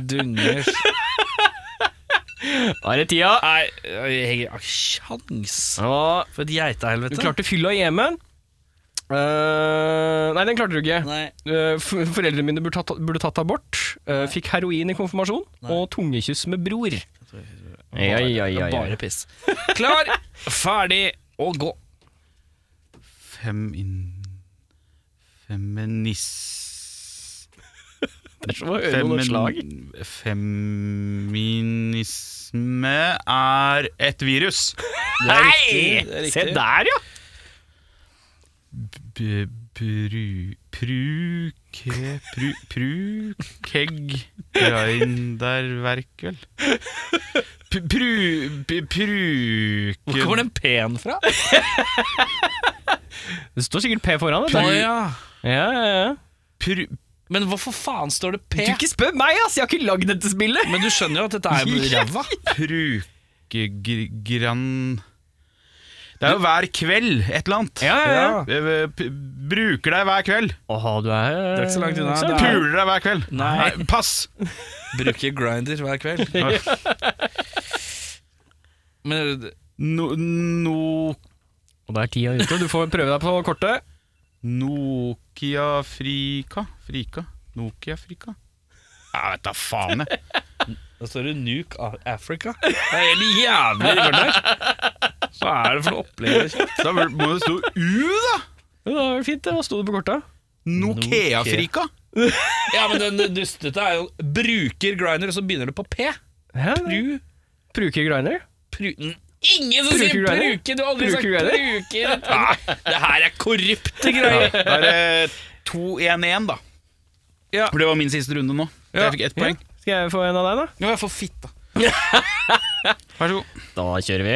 C: Dungers
A: Da er det tida.
C: Nei, jeg har ikke kjans
A: Og
C: For et geitehelvete
A: du klarte fylla i Jemen. Eh, nei, den klarte du ikke.
C: Nei
A: Eh, f- foreldrene mine burde tatt, burde tatt abort. eh, fikk heroin i konfirmasjon. Og tungekyss med [LAUGHS] bror. Ja, ja, ja, ja.
C: Bare piss Klar, ferdig og gå
B: Femin... Feminis...
A: Det er som å høre noen slag.
B: Feminisme er et virus.
A: Nei!
C: riktig, det er riktig.
A: Se der, ja!
B: B bru... Pruke... Pru... Prukegg... Grinderverk, vel? P pru... p-
C: Hvor kommer
B: Pruke...
C: den pen fra?
A: Det står sikkert P foran. vet du.
C: Åja
A: Ja, ja, ja.
B: Pru...
C: Men hvorfor faen står det
A: Du
C: P?
A: ikke spør meg, ass! Jeg har ikke lagd dette spillet!
C: Men du skjønner jo at dette
A: [LAUGHS]
C: er jo ræva.
B: Prukegrann Det er jo hver kveld et eller annet.
A: Ja, ja, ja.
B: Eh, p- Bruker deg hver kveld.
A: Åh, du er
C: er ikke så langt unna.
A: Så-
C: Det er-
B: Puler deg hver kveld.
C: Nei.
B: pass!
C: Bruker grinder hver [LAUGHS] kveld. Men
B: No... no
A: Og da er tida ute. Du får prøve deg på kortet.
B: Nokia Frika? Frika? Nokia Frika? Jeg vet da faen, jeg.
C: da står det Nuke of Africa. Det er helt jævlig gjort der. Hva er det for noe opplegg?
B: Da må det stå U, da!
A: Jo, det var fint, det. Hva sto det på kortet?
B: Nokia Frika.
C: Ja, men den dustete er jo Bruker grinder, og så begynner det på P.
A: Pru.
C: Pru,
A: Pruker grinder.
C: pru n- Ingen som
A: Bruker
C: sier
A: grinder?
C: bruke! Du har aldri
A: Bruker
C: sagt
A: grinder?
C: bruker. Nei, det her er korrupte greier.
B: Da er det 2-1-1, da.
C: Ja.
B: For det var min siste runde nå.
C: Ja.
B: Jeg fikk ett poeng.
A: Skal jeg få en av deg, da?
C: Nå er jeg for fitta.
B: Vær så god.
A: Da kjører vi.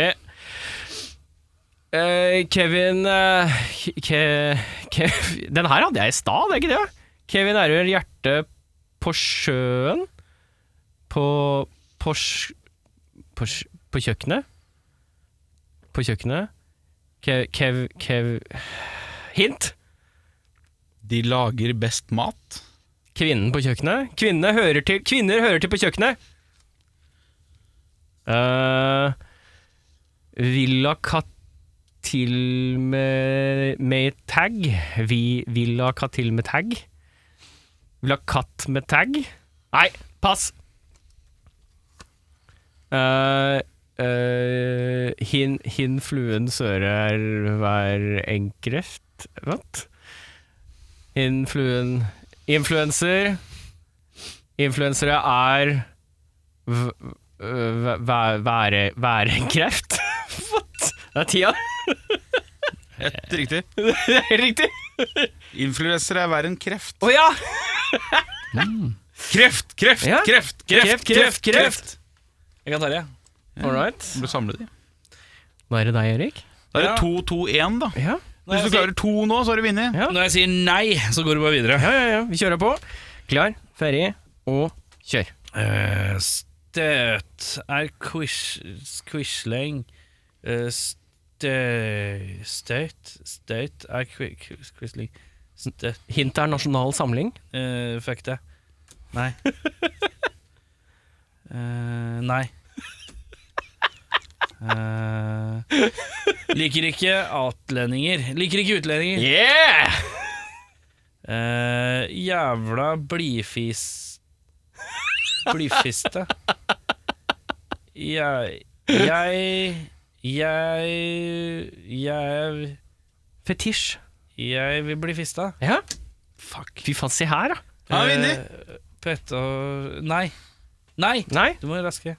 A: Eh, Kevin eh, ke, ke, Den her hadde jeg i stad, det er ikke det? Kevin Erør, hjerte på sjøen. På på, sj- på, sj- på kjøkkenet. På kjøkkenet. Kev, kev, kev Hint!
B: De lager best mat.
A: Kvinnen på kjøkkenet. Kvinnene hører til, kvinner hører til på kjøkkenet. Uh, Villa Katil med, med tag. Vi, Villa Katil med tag. Villa Katt med tag. Nei, pass! Eh, eh, hin, hin fluen sører hver enkreft What? Hin fluen Influenser Influensere er v- v- væ- være, være en kreft. [LAUGHS] What? Det er tida. [LAUGHS]
B: Ett riktig.
A: Det er helt riktig.
B: Influensere er verre enn kreft. Mm.
A: Å ja!
B: Kreft, kreft,
A: Ja.
B: kreft, kreft,
A: Kreft, kreft, kreft.
C: Jeg kan ta det.
A: All right.
B: Du samler de.
A: Da er det deg, Erik.
B: Da er det
C: Ja.
B: 2-2-1, da.
A: Ja.
B: Hvis du klarer to nå, så har du vunnet.
A: Ja.
C: Når jeg sier nei, så går du bare videre.
A: ja, ja, ja. Vi kjører på. Klar, ferdig og kjør.
C: Eh, støt er quish, quisling Eh, stø, Støt Støt er qui- qui- quisling Støt
A: Hint er nasjonal samling.
C: eh, Fuck det Nei Eh, Nei Eh, Liker ikke atlendinger Liker ikke utlendinger
A: Yeah!
C: Eh, jævla blifis... Blifiste. Jeg Jeg Jeg Jeg
A: Fetisj.
C: Jeg vil bli fista.
A: Ja. Fuck. Fy faen, se her, da.
B: Ja, Vinni.
C: Eh, Petter Nei. Nei!
A: Nei.
C: Du må raske.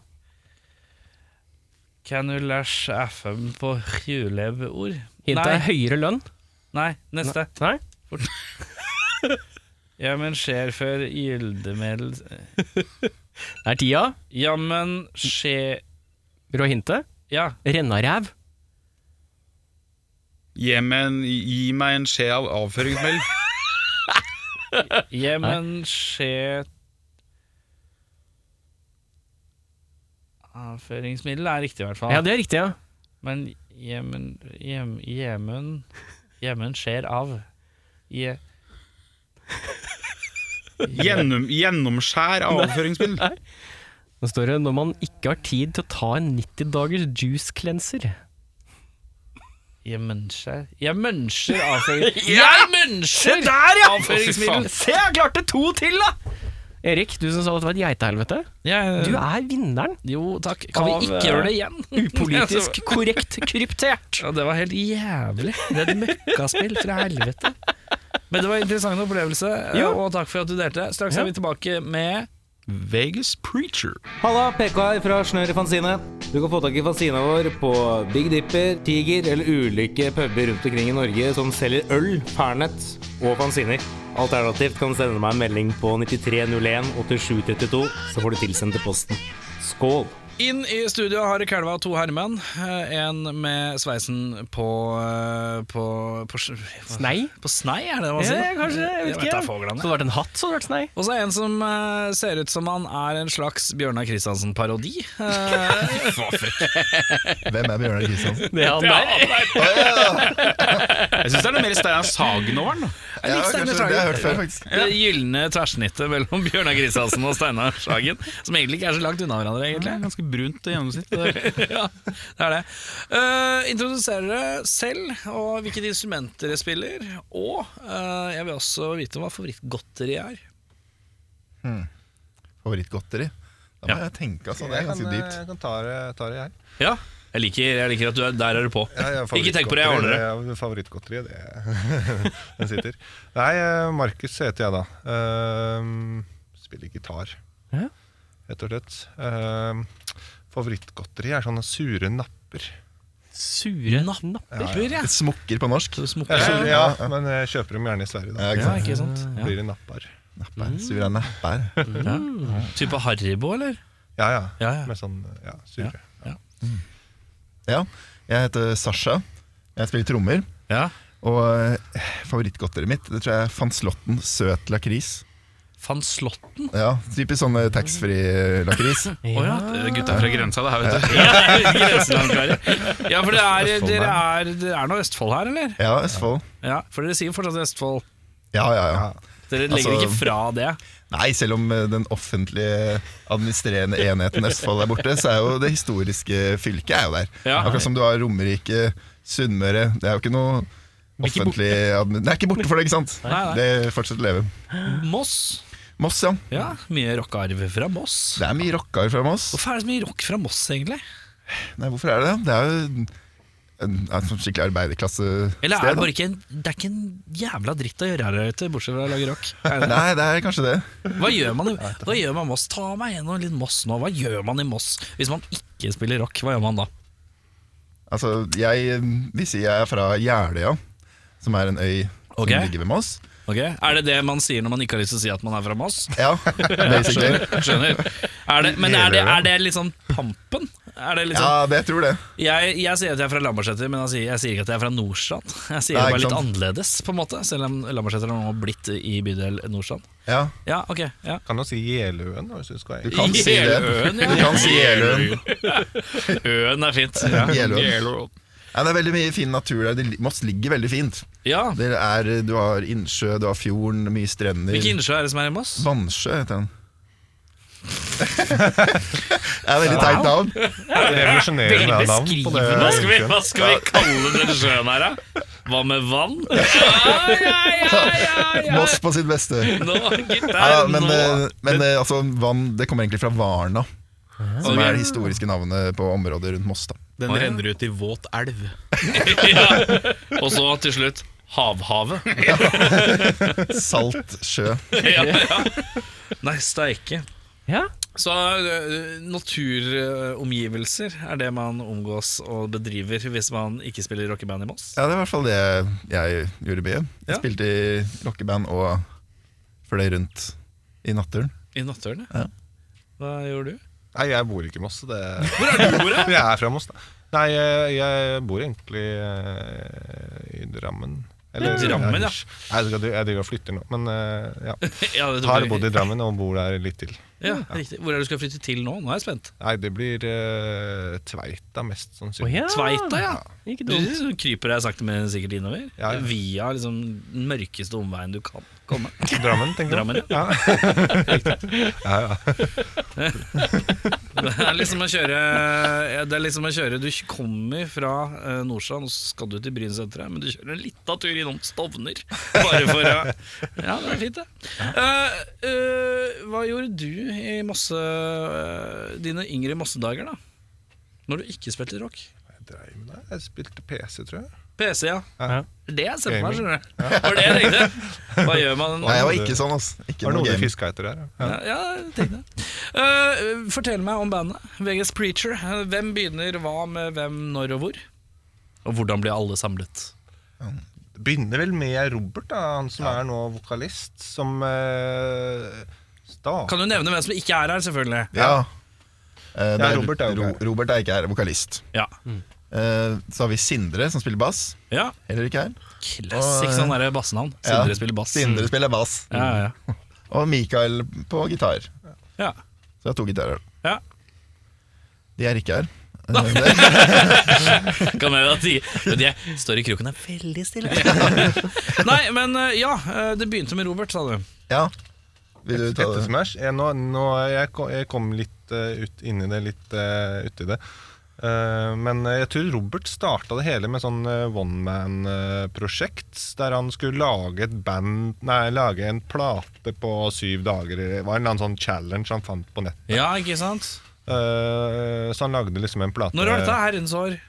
C: Kan du læsj FM på juleveord?
A: Hint
C: Nei.
A: er høyere lønn.
C: Nei. Neste.
A: Nei.
C: Jammen skjer før gildemedel
A: Det er tida.
C: Jammen skje...
A: Vil du ha hintet?
C: Ja.
A: Rennaræv.
B: Gi meg en, gi meg en skje av avføringsmel.
C: Jammen skje... Avføringsmiddel er riktig, i hvert fall.
A: Ja, det er riktig, ja.
C: Men Jemen jem, Jemen Jemen skjer av Je,
B: Gjennom, gjennomskjær av avføringsmel.
A: Nå står det 'når man ikke har tid til å ta en 90 dagers juice cleanser'.
C: Jemenskjær Jeg mønsker
A: [LAUGHS]
C: avføring
A: Ja!
C: Jeg mønsker
A: der,
C: avføringsmiddel
A: Se, jeg klarte to til, da! Erik, du som sa at det var et geitehelvete.
C: Jeg-
A: Du er
C: [LAUGHS]
A: vinneren.
C: Jo takk Kan
A: Av,
C: vi ikke
A: eh,
C: gjøre det
A: [LAUGHS]
C: igjen?
A: Politisk korrekt kryptert.
C: ja, Det var helt jævlig Det er et møkkaspill fra helvete Men det var en interessant opplevelse eh,
A: Ja.
C: Og takk for at du delte Straks
A: Ja.
C: er vi tilbake med
B: Vegas Preacher.
D: Halla, PK her fra Snør i Fanzine. Du kan få tak i fanzina vår på Big Dipper, Tiger eller ulike puber rundt omkring i Norge som selger øl, Fernet og fanziner. Alternativt kan du sende meg en melding på 9301 8732, så får du tilsendt til posten. Skål!
C: Inn i studio har Kalva to herremenn Eh, En med sveisen på eh, På, på, på
A: Snei?
C: På snei, er det det man sier?
A: Ja, Eh, kanskje. Jeg vet ikke.
C: da,
A: Så
C: foglene.
A: det vært en hatt, så hadde det vært
C: [LAUGHS]
A: snei.
C: Og så er det en som eh, ser ut som han er en slags Bjørnar Kristiansen-parodi. [LAUGHS] Eh,
E: Hvem er Bjørnar Kristiansen?
A: Det er han der.
B: Jeg syns det er noe mer Steinar Sagen over den. da.
E: Ja,
C: litt Steinar
E: kanskje, det har jeg hørt før, faktisk.
C: det gylne tverrsnittet mellom Bjørnar Kristiansen og Steinar Sagen, som egentlig ikke er så langt unna hverandre,
B: Det
C: egentlig.
B: er Ganske brunt i gjennomsnitt.
C: [LAUGHS] ja, det er det. Eh, introduserer dere selv, og hvilket instrument dere spiller. Og eh, jeg vil også vite hva favorittgodteri er.
E: Favorittgodteri. Da må jeg tenke, altså. Det er ganske dypt.
F: eh, Jeg kan ta det, ta det jeg.
C: Ja, jeg liker, jeg liker at du er der er du på.
F: Jeg har
C: Ikke tenk på det, jeg ordner det.
F: favorittgodteri, Favorittgodteriet, det [LAUGHS] Den sitter. Nei, eh, Markus heter jeg da. Ehm, spiller gitar,
A: Ja.
F: rett og slett. Ehm, favorittgodteri er sånne sure napper.
A: Sure napper.
E: Smokker på norsk.
F: Ja, sure, ja, men jeg kjøper dem gjerne i Sverige. Da
E: Ja, ikke
C: Ja,
E: sant?
C: ikke sant? Ja.
F: blir det napper.
E: Napper. Sura napper.
C: Type Haribo, eller?
F: Ja, ja.
C: Ja, ja.
F: Med sånn ja, sure.
E: Ja, jeg heter Sasha. Jeg spiller trommer.
C: Ja.
E: Og eh, favorittgodteriet mitt Det tror jeg er Van Slotten søt lakris.
C: Van Slotten?
E: Ja, Typisk sånn
C: [LAUGHS]
E: taxfree-lakris.
C: Å ja,
B: Gutta fra grensa, det her, vet du.
E: [LAUGHS]
C: Grenselandkarer. Ja, for det er,
E: Østfold,
C: dere er, det er noe Østfold her, eller?
E: Ja, Østfold.
C: Ja, For dere sier fortsatt Østfold.
E: Ja, ja, ja.
C: Dere legger
E: Altså-
C: ikke fra det.
E: Nei, selv om eh, den offentlige administrerende enheten Østfold er borte, så er jo det historiske fylket er jo der.
C: Ja.
E: Akkurat som du har Romerike, Sunnmøre. Det er jo ikke noe
A: ikke
E: offentlig admin... Det er ikke borte for det, ikke sant?
C: Nei, nei.
E: Det fortsetter å leve.
C: Moss.
E: Moss, ja.
C: Ja, Mye rockearv fra Moss.
E: Det er mye rockere fra Moss.
C: Hvorfor er det så mye rock fra Moss, egentlig?
E: Nei, hvorfor er det det? Det er jo en, en, et sånt skikkelig arbeiderklassested.
C: Eller er det
E: da.
C: bare ikke en, det er ikke en jævla dritt å gjøre her ute, bortsett fra å lage rock? Er det-
E: [LAUGHS] Nei, det er kanskje det.
C: Hva gjør man i hva gjør man i Moss? Ta meg gjennom litt Moss nå. Hva gjør man i Moss hvis man ikke spiller rock? Hva gjør man da?
E: Altså, jeg eh, vil si jeg er fra Jeløya, som er en øy
C: Ok.
E: som ligger ved Moss.
C: Ok, Er det det man sier når man ikke har lyst til å si at man er fra Moss?
E: Ja, basically.
C: [LAUGHS] Skjønner. Er det, men er det, er det litt sånn pampen? Er det litt sånn
E: Ja, det jeg tror det.
C: Jeg, jeg sier at jeg er fra Lambertseter, men jeg sier, jeg sier ikke at jeg er fra Nordstrand. Jeg sier
E: Nei,
C: bare
E: ikke
C: litt
E: sant.
C: annerledes, på en måte, selv om Lambertseter nå har blitt i bydel Nordstrand.
E: Ja,
C: Ja, ok. Ja.
F: Kan jo si Jeløen, da, hvis du skal
E: du kan si det.
C: Jeløen, ja.
E: Du kan si Jeløen.
C: Øen er fint. Ja.
E: Jeløen.
B: Yellow.
E: Ja, det er veldig mye fin natur der. Det li- Moss ligger veldig fint.
C: ja.
E: Det er, du har innsjø, du har fjorden, mye strender.
C: Hvilken innsjø er det som er i Moss?
E: Vannsjø heter den. [LAUGHS] det er veldig teit navn.
F: Revolusjonerende navn på det.
C: Hva skal, vi,
F: yrket.
C: hva skal vi kalle den sjøen her, da? Hva med vann? Ai, ai, ai, ai, ai.
E: Moss på sitt beste.
C: Nå,
E: Ja,
C: gitar,
E: ja, men
C: nå.
E: eh, men eh, altså, vann det kommer egentlig fra Varna, som
C: Ah. Ok.
E: er det historiske navnet på området rundt Moss. da
B: Den renner ut i våt elv.
C: Ja. Og så til slutt Havhavet.
E: Salt sjø.
C: Ja, ja. Nei, steike.
A: Ja.
C: Så eh, naturomgivelser er det man omgås og bedriver hvis man ikke spiller rockeband i Moss?
E: Ja, det er i hvert fall det jeg gjorde mye. Jeg
C: Ja.
E: spilte i rockeband og fløy rundt i naturen.
C: I Natthølen?
E: Ja.
C: Hva gjorde du?
F: Nei, jeg bor ikke i Moss. så Det...
C: Hvor er du, Bora?
F: [LAUGHS] Jeg er fra Moss, da. Nei, jeg, jeg bor egentlig eh, i Drammen. Eller,
C: Ja, Drammen, ja.
F: Nei, jeg, jeg driver og flytter nå, men eh,
C: [LAUGHS]
F: ja.
C: [LAUGHS] ja, du
F: Har
C: bor-
F: bodd i Drammen og bor der litt til.
C: ja, riktig. Hvor er det du skal flytte til nå? Nå er jeg spent.
F: Nei, det blir eh, Tveita mest
A: Å
F: sannsynlig.
A: ja,
C: Tveita, Ah, ja.
A: Ikke
C: Du
A: dumt.
C: kryper deg sakte, men sikkert innover.
F: Ja, ja.
C: Via liksom den mørkeste omveien du kan komme.
F: Drammen, tenker
C: Drammen,
F: du?
C: [LAUGHS]
F: Ja. ja, ja.
C: Det er liksom å kjøre, ja, det er liksom å kjøre Du kommer fra eh, Nordstrand, og så skal du til Bryn senteret, men du kjører en lita tur innom Stovner. Bare for å Ja, det er fint, det. Eh, eh, hva gjorde du i Mosse eh, dine yngre Mossedager, da? Når du ikke spilte rock?
F: Jeg dreiv med det. Jeg spilte PC, tror jeg.
C: PC, ja.
A: Ja.
C: Det jeg ser for meg, skjønner du. Var det jeg tenkte. Hva gjør man
E: Nei, jeg var ikke sånn, altså. Ikke
F: Var
E: noe
F: det noe du
E: game.
F: fiska etter der? Ja.
C: Ja, ja jeg tenkte det. Eh, fortell meg om bandet. Vegas Preacher. Eh, Hvem begynner hva med hvem, når og hvor? Og hvordan blir alle samlet?
F: Det begynner vel med Robert, da, han som er nå vokalist, som uh, starta
C: Kan du nevne hvem som ikke er her, selvfølgelig?
E: Ja. Eh, det
F: Ja, Robert er jo
E: Ro-
F: ikke
E: Robert er ikke her, vokalist.
C: Ja.
E: Eh, Så har vi Sindre, som spiller bass.
C: ja.
E: Heller ikke her.
C: Classic sånn derre bassenavn.
E: Ja.
C: Sindre spiller bass.
E: Sindre spiller bass.
C: Ja, ja.
E: Og Mikael på gitar.
C: [LAUGHS] ja.
E: Så jeg har to gitarer.
C: ja.
E: De
C: [LAUGHS]
E: er ikke her. Eh, det-
C: Kan hende at de, men de står i kroken og er veldig stille. Nei, men eh, ja. [LAUGHS] eh, Det begynte med Robert, sa du.
E: Ja. Vil du ta
F: etter
E: det?
F: Smash. Jeg, nå, nå, jeg, kom, jeg kom litt eh, ut inn i det, litt eh, uti det. Eh, men jeg tror Robert starta det hele med sånn eh, one man-prosjekt. der han skulle lage et band Nei, lage en plate på syv dager. Det var en eller annen sånn challenge han fant på nett.
C: Ja, ikke sant?
F: Eh, så han lagde liksom en plate
C: Når var dette? Herrens år?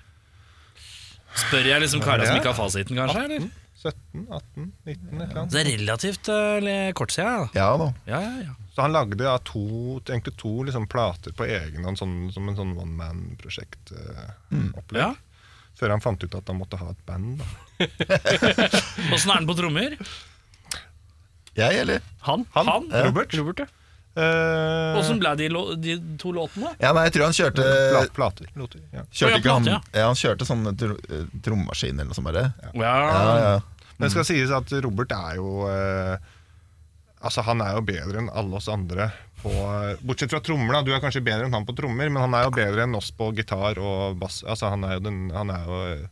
C: Spør jeg liksom kara som ikke har fasiten, kanskje? Eller?
F: 17, 18, 19, et eller annet.
C: Det er relativt eh, le- kort siden, ja.
E: Ja da.
C: Ja, ja, ja.
F: Så han lagde da to, egentlig to liksom plater på egen hånd, sånn, som en sånn eh, one
E: Mm.
F: man-prosjekt-opplegg.
C: ja.
F: Før han fant ut at han måtte ha et band. Da.
C: Åssen er den på trommer?
E: Jeg, eller?
A: Han?
F: Han?
C: Mm.
A: Robert? Robert, ja.
F: Eh,
C: Åssen ble de, lo- de to låtene?
E: Ja, nei, jeg tror han kjørte
F: Pla- Eh, plater. Mm. Loter, ja.
E: Kjørte
C: Ja,
E: ikke han,
C: plate,
E: ja, han kjørte sånn tr trommaskin eller noe sånt bare. Ja,
C: Ja.
E: ja.
F: Men det skal sies at Robert er jo eh, Altså Han er jo bedre enn alle oss andre. På, eh, bortsett fra trommer, da. Du er kanskje bedre enn han på trommer, men han er jo bedre enn oss på gitar og bass. Altså Han er jo, den, han er jo eh,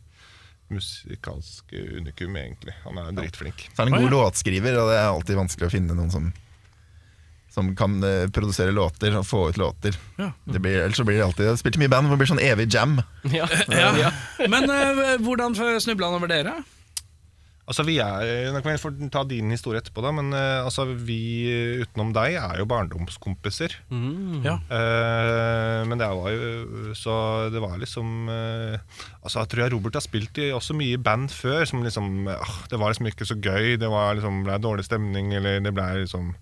F: musikalsk unikum, egentlig. Han er jo dritflink.
E: Så er han en god låtskriver, og det er alltid vanskelig å finne noen som som kan eh, produsere låter og få ut låter.
C: Ja.
E: Det blir, ellers så blir det alltid Jeg har spilt mye band, hvor det blir sånn evig jam.
A: ja.
C: Ja. Men eh, hvordan snubla han over dere?
F: Altså vi er, Nå kan vi få ta din historie etterpå, da, men eh, altså vi utenom deg er jo barndomskompiser.
C: Ja.
F: Eh, men det var jo Så det var liksom eh, Altså Jeg tror jeg Robert har spilt i også mye i band før. Som liksom ah, Det var liksom ikke så gøy. Det var liksom ble dårlig stemning, eller det ble liksom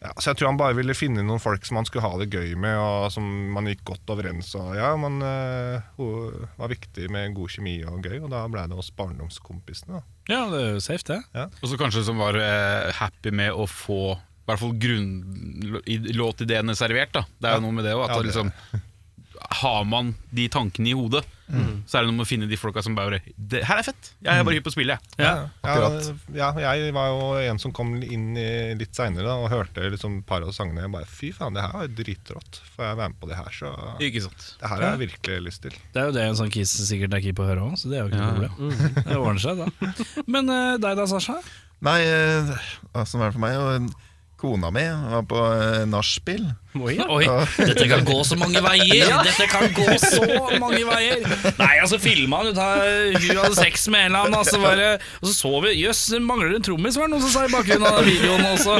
F: ja, Så jeg tror han bare ville finne noen folk som han skulle ha det gøy med, og som man gikk godt overens og Ja, man eh, ho- var viktig med god kjemi og gøy, og da ble det oss barndomskompisene. da
C: ja, det er jo safe, det.
B: Og så kanskje som var eh, happy med å få i hvert fall grunnlåtideene servert. Da. Det er jo noe med det òg.
F: Ja,
B: at
F: det-
B: liksom, har man de tankene i hodet, så er det noe med å finne de folka som bare det, 'Her er fett! Jeg er bare hypp på spillet, jeg.'
C: Ja.
E: Akkurat.
F: Ja, ja, jeg var jo en som kom inn i litt seinere og hørte liksom et par av sangene. Jeg bare fy faen, det her var jo dritrått. Får jeg være med på det her, så
B: Ikke sant?
F: Det her har jeg virkelig lyst til.
C: Det er jo det en sånn kis sikkert er keen på å høre òg, så det er jo ikke noe problem. Det ordner seg, da. Mm. Men eh, deg da, Sasha?
E: Nei, eh, hva som er det for meg? Og kona mi var på eh, nachspiel.
A: Oi, ja.
C: Oi, dette kan gå så mange veier! Dette kan gå så mange veier! Nei, altså filma han ut her, hun hadde sex med en eller annen, altså bare, og så så vi Jøss, mangler det en trommis, var det noen som sa i bakgrunnen av den videoen. Og så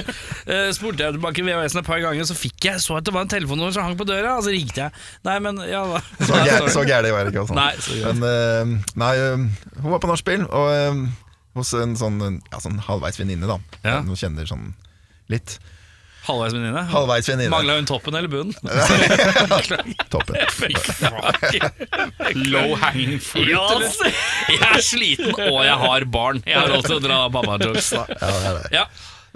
C: eh, spurte jeg tilbake VHS-en et par ganger, så fikk jeg så at det var en telefonnummer som hang på døra, og så ringte jeg. Nei, men ja da.
E: Så
C: [LAUGHS]
E: gæ- så gæren var det ikke. Altså.
C: Nei, så gærent.
E: Men, eh, nei, eh, hun var på nachspiel, og eh, hos en sånn, ja, sånn halvveis venninne, da.
C: Ja.
E: Hun kjenner sånn litt.
C: Halvveis venninne.
E: Halvveis venninne.
C: Mangla hun toppen eller bunnen? [LAUGHS]
E: Toppen.
B: Low hanging fruit.
C: Ja, altså, jeg er sliten, og jeg har barn. Jeg har råd til å dra mamma-jokes. da.
E: [LAUGHS] Ja, det er det.
C: Ja.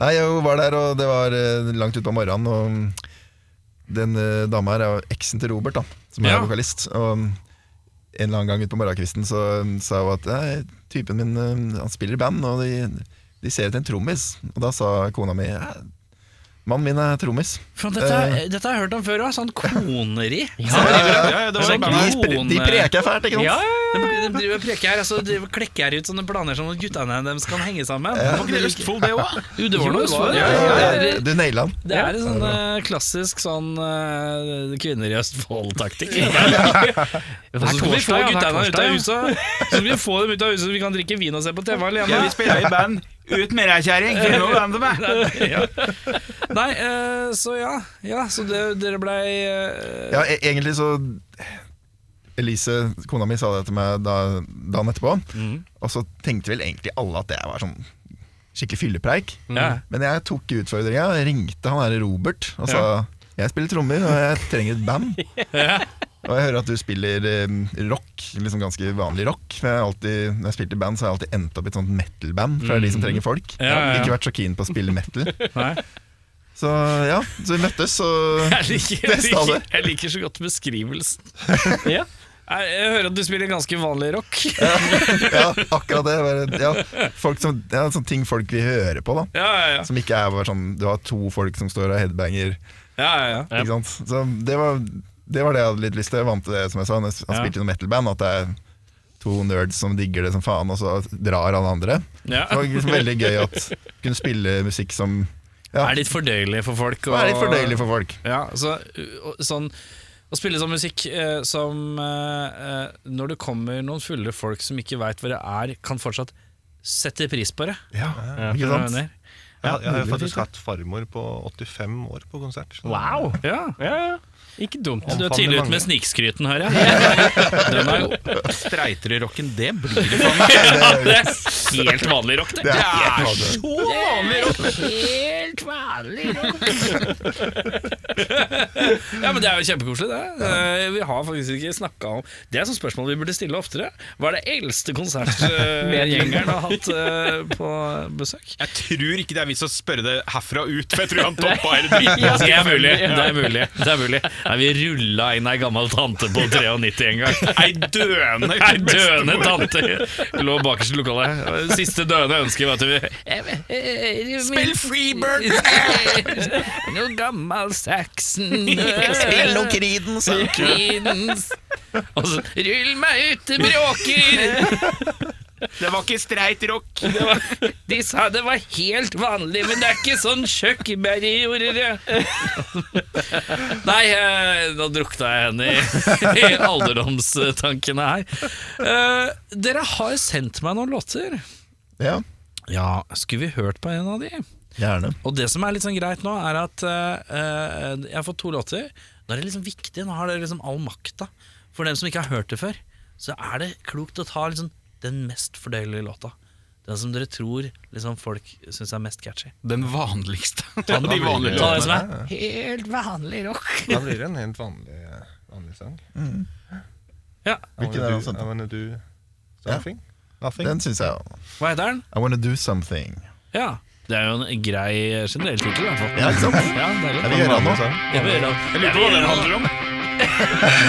E: Nei, jeg var der, og det var eh, langt utpå morgenen. Og mm, den eh, dama her er jo eksen til Robert, da, som er
C: Ja.
E: vokalist. Og mm, en eller annen gang utpå morgenkvisten så mm, sa hun at Nei, typen min eh, han spiller i band, og de, de ser etter en trommis. Og da sa kona mi «Ja, mannen min er trommis.
C: Faen, Dette, dette har jeg hørt om før. ja. Sånn koneri.
B: Ja, ja, det var
C: Sånn
B: band.
E: De, pre de
C: kone-
E: preker fælt, ikke sant?
A: Ja, ja,
C: De, de driver og preker her, altså, de klekker her ut sånne planer som at guttene dem skal henge sammen.
B: Var ikke det Østfold, det òg?
C: Jo, det var noe
A: var
C: Østfold.
A: det.
C: Ja,
E: Ja,
C: ja,
E: ja,
C: ja.
E: Du naila den.
C: Det er en sånn eh, klassisk sånn eh, kvinner i Østfold-taktikk. [LAUGHS] Og så skal vi få
A: torsdag, ja, hver
C: guttene ut
A: torsdag,
C: av
A: ja.
C: huset, så skal vi få dem ut av huset så vi kan drikke vin og se på TV alene.
B: Ja, vi spiller i band. Ut med deg, kjerring! Finn noe band med
C: Nei, eh, så ja. ja så det, dere blei eh,
E: Ja, e egentlig så Elise, kona mi, sa det til meg da, dagen etterpå.
C: Mhm.
E: Og så tenkte vel egentlig alle at jeg var sånn skikkelig fyllepreik.
A: Mm.
C: ja.
E: Men jeg tok utfordringa, ringte han her Robert og sa jeg spiller trommer og jeg trenger et
C: [LAUGHS]
E: band. Og jeg hører at du spiller eh, rock, liksom ganske vanlig rock. For jeg har alltid, når jeg spilte i band, så har jeg alltid endt opp i et sånt metal-band, for det er de som trenger folk.
C: Mm. Ja, ja, ja.
E: Ikke vært så keen på å spille metal.
C: Nei.
E: Så ja, så vi møttes,
C: Jeg
E: og
C: liker, jeg,
E: Best
C: liker,
E: av det.
C: Altså, jeg liker så godt beskrivelsen.
A: [LAUGHS] ja.
C: Nei, Jeg hører at du spiller ganske vanlig rock.
E: ja, akkurat det. Bare, ja, folk som, ja, sånne ting folk vil høre på, da.
C: [LAUGHS] Ja, ja, ja.
E: Som ikke er bare sånn Du har to folk som står og headbanger.
C: ja, ja, ja.
E: Ikke sant? Så det var, det var det jeg hadde litt lyst til. Jeg vant til det, som jeg sa. når jeg s- Han
C: Ja.
E: spilte i noe metalband. At det er to nerds som digger det som faen, og så drar alle andre.
C: Ja.
E: Det var liksom veldig gøy at kunne spille musikk som ja,
C: Er litt fordøyelig for folk.
E: det er litt fordøyelig for folk.
C: Ja, så, uh, og sånn å spille sånn musikk eh, som eh, eh, Når det kommer noen fulle folk som ikke veit hva det er, kan fortsatt sette pris på det.
E: Ja,
C: Er
E: ikke
C: du
E: sant?
C: enig?
F: Jeg, jeg har faktisk hatt farmor på 85 år på konsert. så-
A: Wow!
C: Ja.
A: Ja, ja. Ikke dumt.
C: Du er
F: Omfavner
C: tidlig
F: mange.
C: ute med snikskryten,
E: [LAUGHS]
C: hører jeg. Den er jo
B: Streiter i rocken, det blir det faen
C: ja, det er helt vanlig rock, det.
E: Det er
B: meg.
E: helt vanlig.
B: Så vanlig rock!
C: Helt vanlig rock. [LAUGHS] ja, men det er jo kjempekoselig, det. Eh, Vi har faktisk ikke snakka om Det er sånn spørsmål vi burde stille oftere. Hva er det eldste konsertgjengeren har hatt eh, på besøk?
B: Jeg tror ikke det er vits å spørre det herfra ut, for jeg tror han toppa hele driten.
C: Det er mulig. det er mulig, det er mulig Nei, Vi rulla inn ei gammel tante på 93 en gang.
B: Ei døende
C: Ei døende tante lå bakerst i lokalet. Siste døende ønske, vet du.
B: Spill Freebird!
C: [LAUGHS] Noe gammel Saxon Hello Creedence Og så Rull meg ut, det bråker
B: Det var ikke streit rock.
C: det var, De sa det var helt vanlig Men det er ikke sånn kjøkkberg gjorde det Nei, eh, nå drukta jeg henne i, i alderdomstankene her Eh, Dere har sendt meg noen låter
E: Ja,
C: Ja, skulle vi hørt på en av de?
E: gjerne.
C: Og det som er litt sånn greit nå, er at eh, eh, jeg har fått to låter. Nå er det liksom viktig, nå har dere liksom all makta. For dem som ikke har hørt det før, så er det klokt å ta liksom den mest fordøyelige låta. Den som dere tror liksom folk syns er mest catchy.
B: Den vanligste.
C: Ta den,
B: De vanlige
C: ta
B: låtene.
C: den som er helt vanlig rock.
F: Da blir det en helt vanlig, vanlig sang.
C: Ja,
F: I
E: Hvilken er
F: wanna
E: den
F: do,
E: sant?
F: I wanna do something? Nothing?
E: Den syns jeg òg.
C: Hva heter den?
E: I wanna do something.
C: Ja. Det er jo en grei generell tittel, i hvert fall.
E: Ja, ikke sant?
C: Ja,
E: Jeg
C: deilig.
E: vil gjøre noe.
C: Jeg vil gjøre det.
B: Jeg lurer på hva den handler om.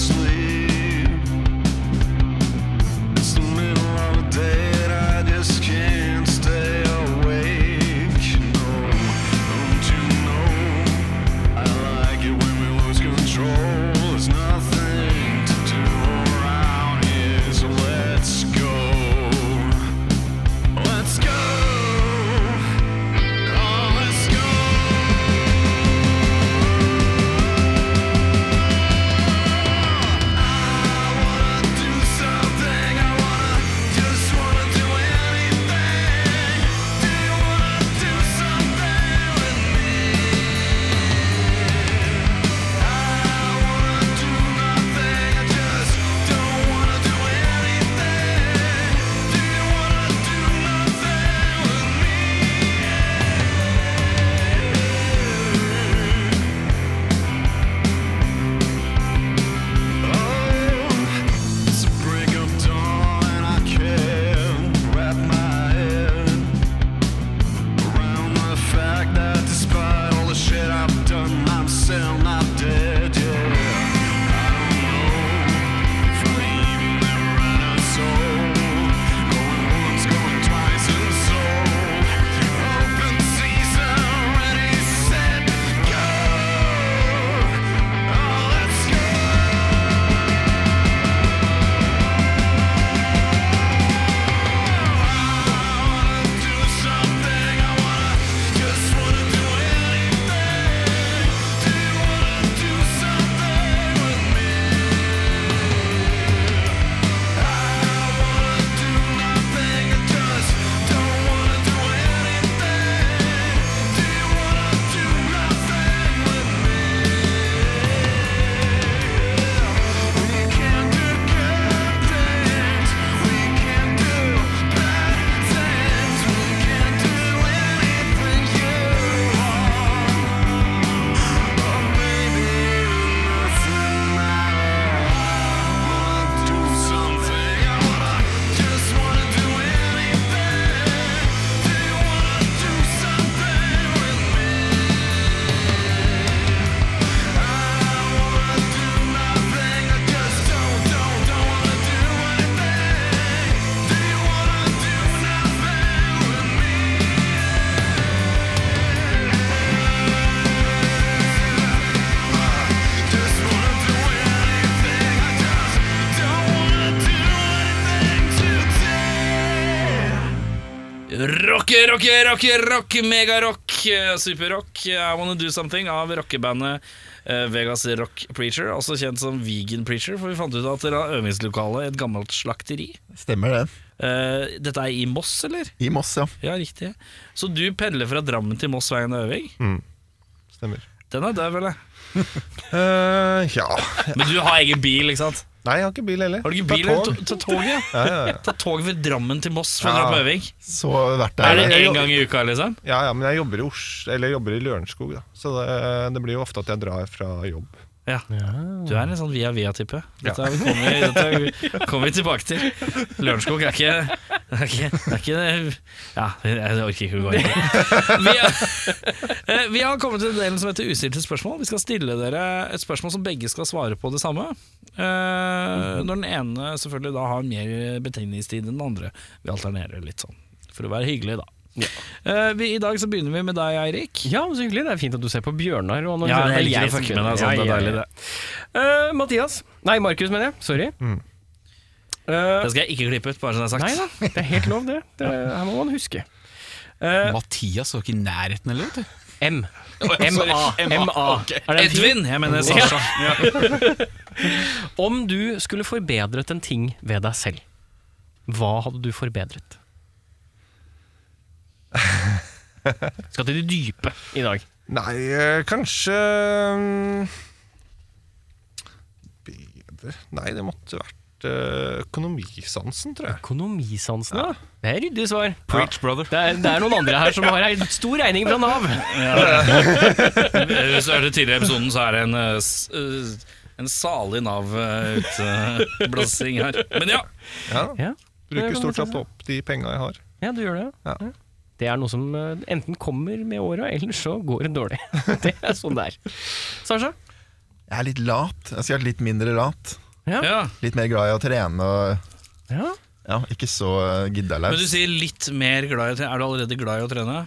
G: It's the middle of the day and I just can't stay awake.
C: Rock, rock, rock, rock, megarock, eh, superrock. I Wanna Do Something av rockebandet eh, Vegas Rock Preacher, også kjent som Vegan Preacher, for vi fant ut at dere har øvingslokale i et gammelt slakteri.
E: Stemmer det.
C: Eh, dette er i Moss, eller?
E: I Moss, ja.
C: Ja, riktig. Så du pendler fra Drammen til Moss hver gang det er øving?
F: Mm. Stemmer.
C: Den er død, vel? det?
F: Eh, ja
C: Men du har egen bil, ikke sant?
F: Nei, jeg har ikke bil heller.
C: Har du ikke
F: Ta
C: bil? eller?
F: tog.
C: Ta ta toget?
F: Ja, ja, ja.
C: Ta toget fra Drammen til Moss for å dra
F: Ja.
C: på øving?
E: Så vært
C: Er
E: der.
C: det
F: jeg-
C: én gang i uka, liksom?
F: Ja, ja, men jeg jobber i, Oslo, eller jeg jobber i Lørenskog, da. så det, det blir jo ofte at jeg drar fra jobb.
C: Ja. Du er en sånn via via-type. Dette er- kommer vi, [LAUGHS] dette kommer vi tilbake til. Lørenskog er ikke det er ikke, det er ikke Ja, jeg orker ikke å gå inn i det. Vi, er- eh, vi har kommet til delen som heter ustilte spørsmål. Vi skal stille dere et spørsmål som begge skal svare på det samme. Eh, når den ene selvfølgelig da har mer betegningstid enn den andre. Vi alternerer litt sånn, for å være hyggelig, da. Eh, vi, I dag så begynner vi med deg, Eirik.
A: Ja, så hyggelig. Det er fint at du ser på Bjørnar. Og
C: Ja,
A: analyserer.
C: jeg
A: Det er
C: liker
A: jeg
C: å
A: som
C: fucke med
A: begynner.
C: deg
A: Ja,
C: sånn, det er
A: ja,
C: deilig
A: ja.
C: det. Mm.
A: Eh, Mathias. Nei, Markus, mener jeg. Sorry. Eh,
C: Det skal jeg ikke klippe ut, bare så det er sagt.
A: nei da, det er helt lov, det. det her må man huske. Eh,
B: Mathias var ikke i nærheten heller, vet du.
A: M.
B: sorry.
A: MA.
B: MA,
A: MA.
B: ok.
A: Er det en fin?
C: Edvin! Jeg mener Sasha.
A: Om du skulle forbedret en ting ved deg selv, hva hadde du
C: [LAUGHS]
A: forbedret? Skal til de dype i dag.
F: Nei, eh, kanskje mm, Bedre Nei, det måtte vært eh, økonomisansen, tror jeg.
A: Økonomisansene, da. Det er ryddig svar.
B: Preach, brother.
A: Det er, det er noen andre her som har ei stor regning fra Nav.
C: Eh, Hvis du hørte tidligere i episoden, så er det en, eh, s- eh, en salig eh, Nav-utblassing her. Men ja,
F: Ja,
A: Ja,
F: Bruker stort sett opp de penga jeg har.
A: ja du gjør det.
F: Ja.
A: Ja. Det er noe som eh, enten kommer med åra, eller så går det dårlig. [LAUGHS] Det er sånn det er. Sasha?
E: Jeg er litt lat. Jeg skulle vært litt mindre lat.
C: ja.
E: Litt mer glad i å trene og
A: Ja.
E: ja, ikke så eh,
C: Men du
E: giddalaus.
C: sier litt mer glad i å trene. Er du allerede glad i å trene?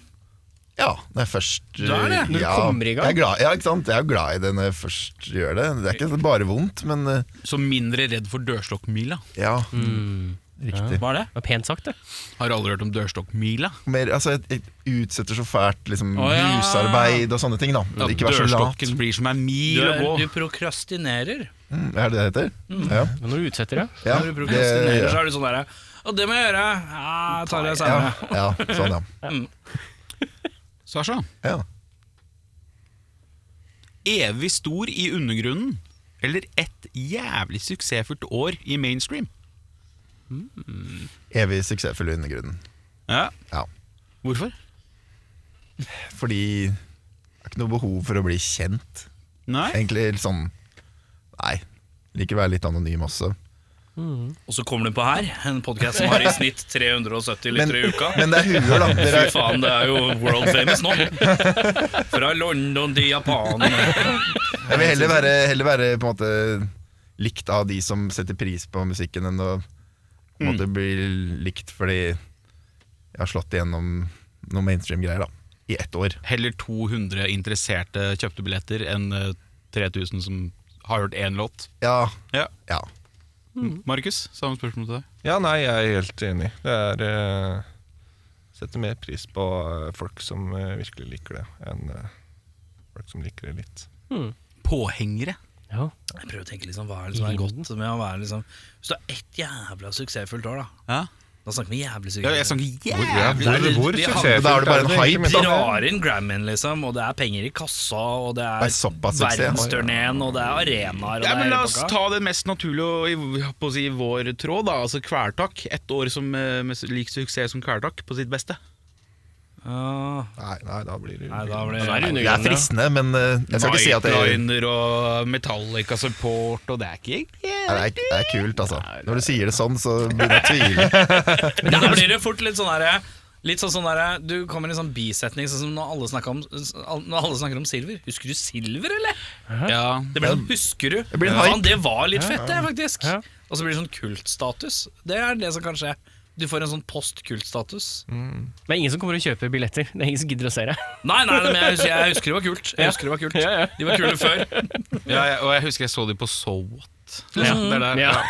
E: Ja, når jeg først
A: Du er det, når du
E: ja,
A: kommer i gang.
E: Jeg er glad, ja, ikke sant? Jeg er jo glad i det når jeg først gjør det. Det er ikke bare vondt, men eh,
B: Så mindre redd for dørstokkmila.
E: ja. Riktig.
C: Hva er det?
A: Det var pent sagt, det.
B: Har alle hørt om dørstokkmila?
E: Mer, altså, jeg, jeg utsetter så fælt liksom,
C: Å, ja.
E: husarbeid og sånne ting. da
B: At
E: Ikke vær så lat.
B: dørstokken blir som en mil
C: Du,
B: å
C: er,
B: gå.
C: du prokrastinerer.
E: Mm, er det det heter? Ja.
A: Men når du utsetter det
E: ja.
C: Når du
E: Det,
C: prokrastinerer, så
E: ja.
C: er du sånn derre Å, det må jeg gjøre. Ja, jeg tar det
E: Ja,
C: senere.
E: ja, sånn, ja.
B: Sasha,
E: ja.
B: evig stor i undergrunnen, eller ett jævlig suksessfullt år i mainstream?
E: Evig suksessfull i undergrunnen.
B: Ja.
E: Ja.
B: Hvorfor?
E: Fordi det er ikke noe behov for å bli kjent.
B: Nei.
E: Egentlig litt sånn Nei. Liker å være litt anonym også.
C: Og så kommer du på her, en podkast som har i snitt 370 lyttere i uka.
E: Men det er [LAUGHS] huer, da. Dere
C: Fy
E: er,
C: faen, det er jo world famous nå. Fra London til Japan.
E: jeg vil heller være, heller være på en måte likt av de som setter pris på musikken, enn å på en måte bli likt fordi jeg har slått igjennom noen mainstream-greier da i ett år.
B: Heller 200 interesserte kjøpte billetter enn eh, 3000 som har hørt én låt.
E: Ja.
B: Ja.
E: ja.
B: Markus, samme spørsmål til deg.
F: Ja, nei, jeg er helt enig. Det er eh, Setter mer pris på eh, folk som eh, virkelig liker det, enn eh, folk som liker det litt.
B: Påhengere.
A: Ja.
C: Jeg prøver å tenke liksom, hva er det som
A: Mhm.
C: er godt med å være liksom Hvis du har ett jævla suksessfullt år, da.
B: Ja.
C: Da snakker vi jævlig
B: Ja, Jeg
C: suksess.
B: snakker
F: Ja,
B: jævlig
F: hvor,
C: det er-
F: hvor
C: det er-
F: suksessfullt
E: da er det bare en
F: egentlig,
E: hype,
F: men-
E: da.
C: De drar inn Grammyen, liksom, og det er penger i kassa, og det
E: Det
C: er,
E: er såpass suksess.
C: verdensturneen, og det er arenaer, og
B: Ja,
C: det
B: men
C: er
B: La
C: hele
B: oss
C: pakka.
B: ta det mest naturlige og i- jeg holdt på å si, vår tråd, da. Altså Kvelertak. Ett år som, eh, med lik suksess som Kvelertak, på sitt beste.
C: Ja,
F: Nei, nei, da blir det
C: nei, da blir
A: Da er det
E: Det er fristende, men eh, jeg skal ikke si at det er,
B: Nightliner og Metallica Support, og det er ikke
E: Nei, det er, det er kult, altså. Når du sier det sånn, så begynner jeg å tvile.
C: Men da
A: altså-
C: blir det fort litt sånn derre Litt sånn sånn derre Du kommer i en sånn bisetning, sånn som når alle snakker om, når alle snakker om silver. Husker du silver, eller?
B: Ja,
C: Det blir sånn, husker du?
E: blir en
C: Faen,
E: hype.
C: det var litt fett, det, faktisk.
A: Ja.
C: Og så blir det sånn kultstatus. Det er det som kan skje. Du får en sånn post-kultstatus.
A: Mm. Det er ingen som kommer og kjøper billetter. Det er ingen som gidder å se det.
C: Nei, nei, men jeg husker, jeg husker det var kult. Jeg husker det var kult.
A: [LAUGHS] Ja, ja. [LAUGHS]
C: De var kule før.
B: ja, jeg- og jeg husker jeg så de på So What. Liksom, det er der.
A: Ja.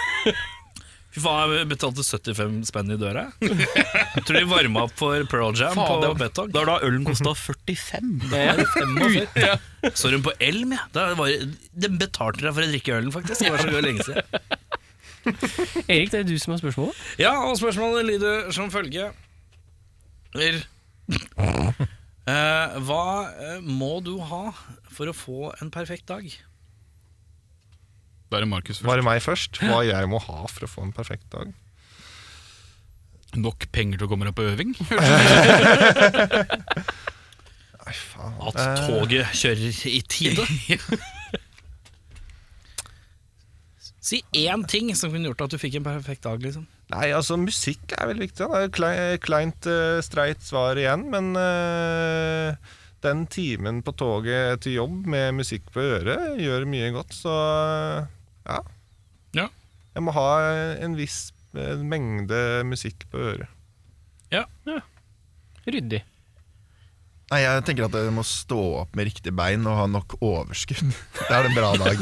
C: Fy faen, jeg betalte 75 spenn i døra. Jeg tror de varma opp for Pearl Jam på Betog.
B: Da ølen kosta 45.
C: Ja. Så hun på Elm, ja. Da var, de betalte deg for å drikke ølen, faktisk. Det var så lenge siden.
A: Erik, det er du som har spørsmålet.
C: Ja, og spørsmålet lyder som følge Er- Eh, Hva eh, må du ha for å få en perfekt dag?
B: Da er det Markus først.
F: Var det meg først? Hva jeg må ha for å få en perfekt dag?
B: Nok penger til å komme deg på øving?
F: Nei, faen.
C: At toget kjører i tide? [LAUGHS] Si én ting som kunne gjort at du fikk en perfekt dag. liksom
F: Nei, altså musikk er veldig viktig. da. Det er klei- kleint, eh, streit svar igjen, men eh, den timen på toget til jobb med musikk på øret gjør mye godt, så eh, ja.
C: Ja.
F: Jeg må ha en viss eh, mengde musikk på øret.
A: Ryddig.
E: Nei, jeg tenker at jeg må stå opp med riktig bein og ha nok overskudd. Da er det en bra dag.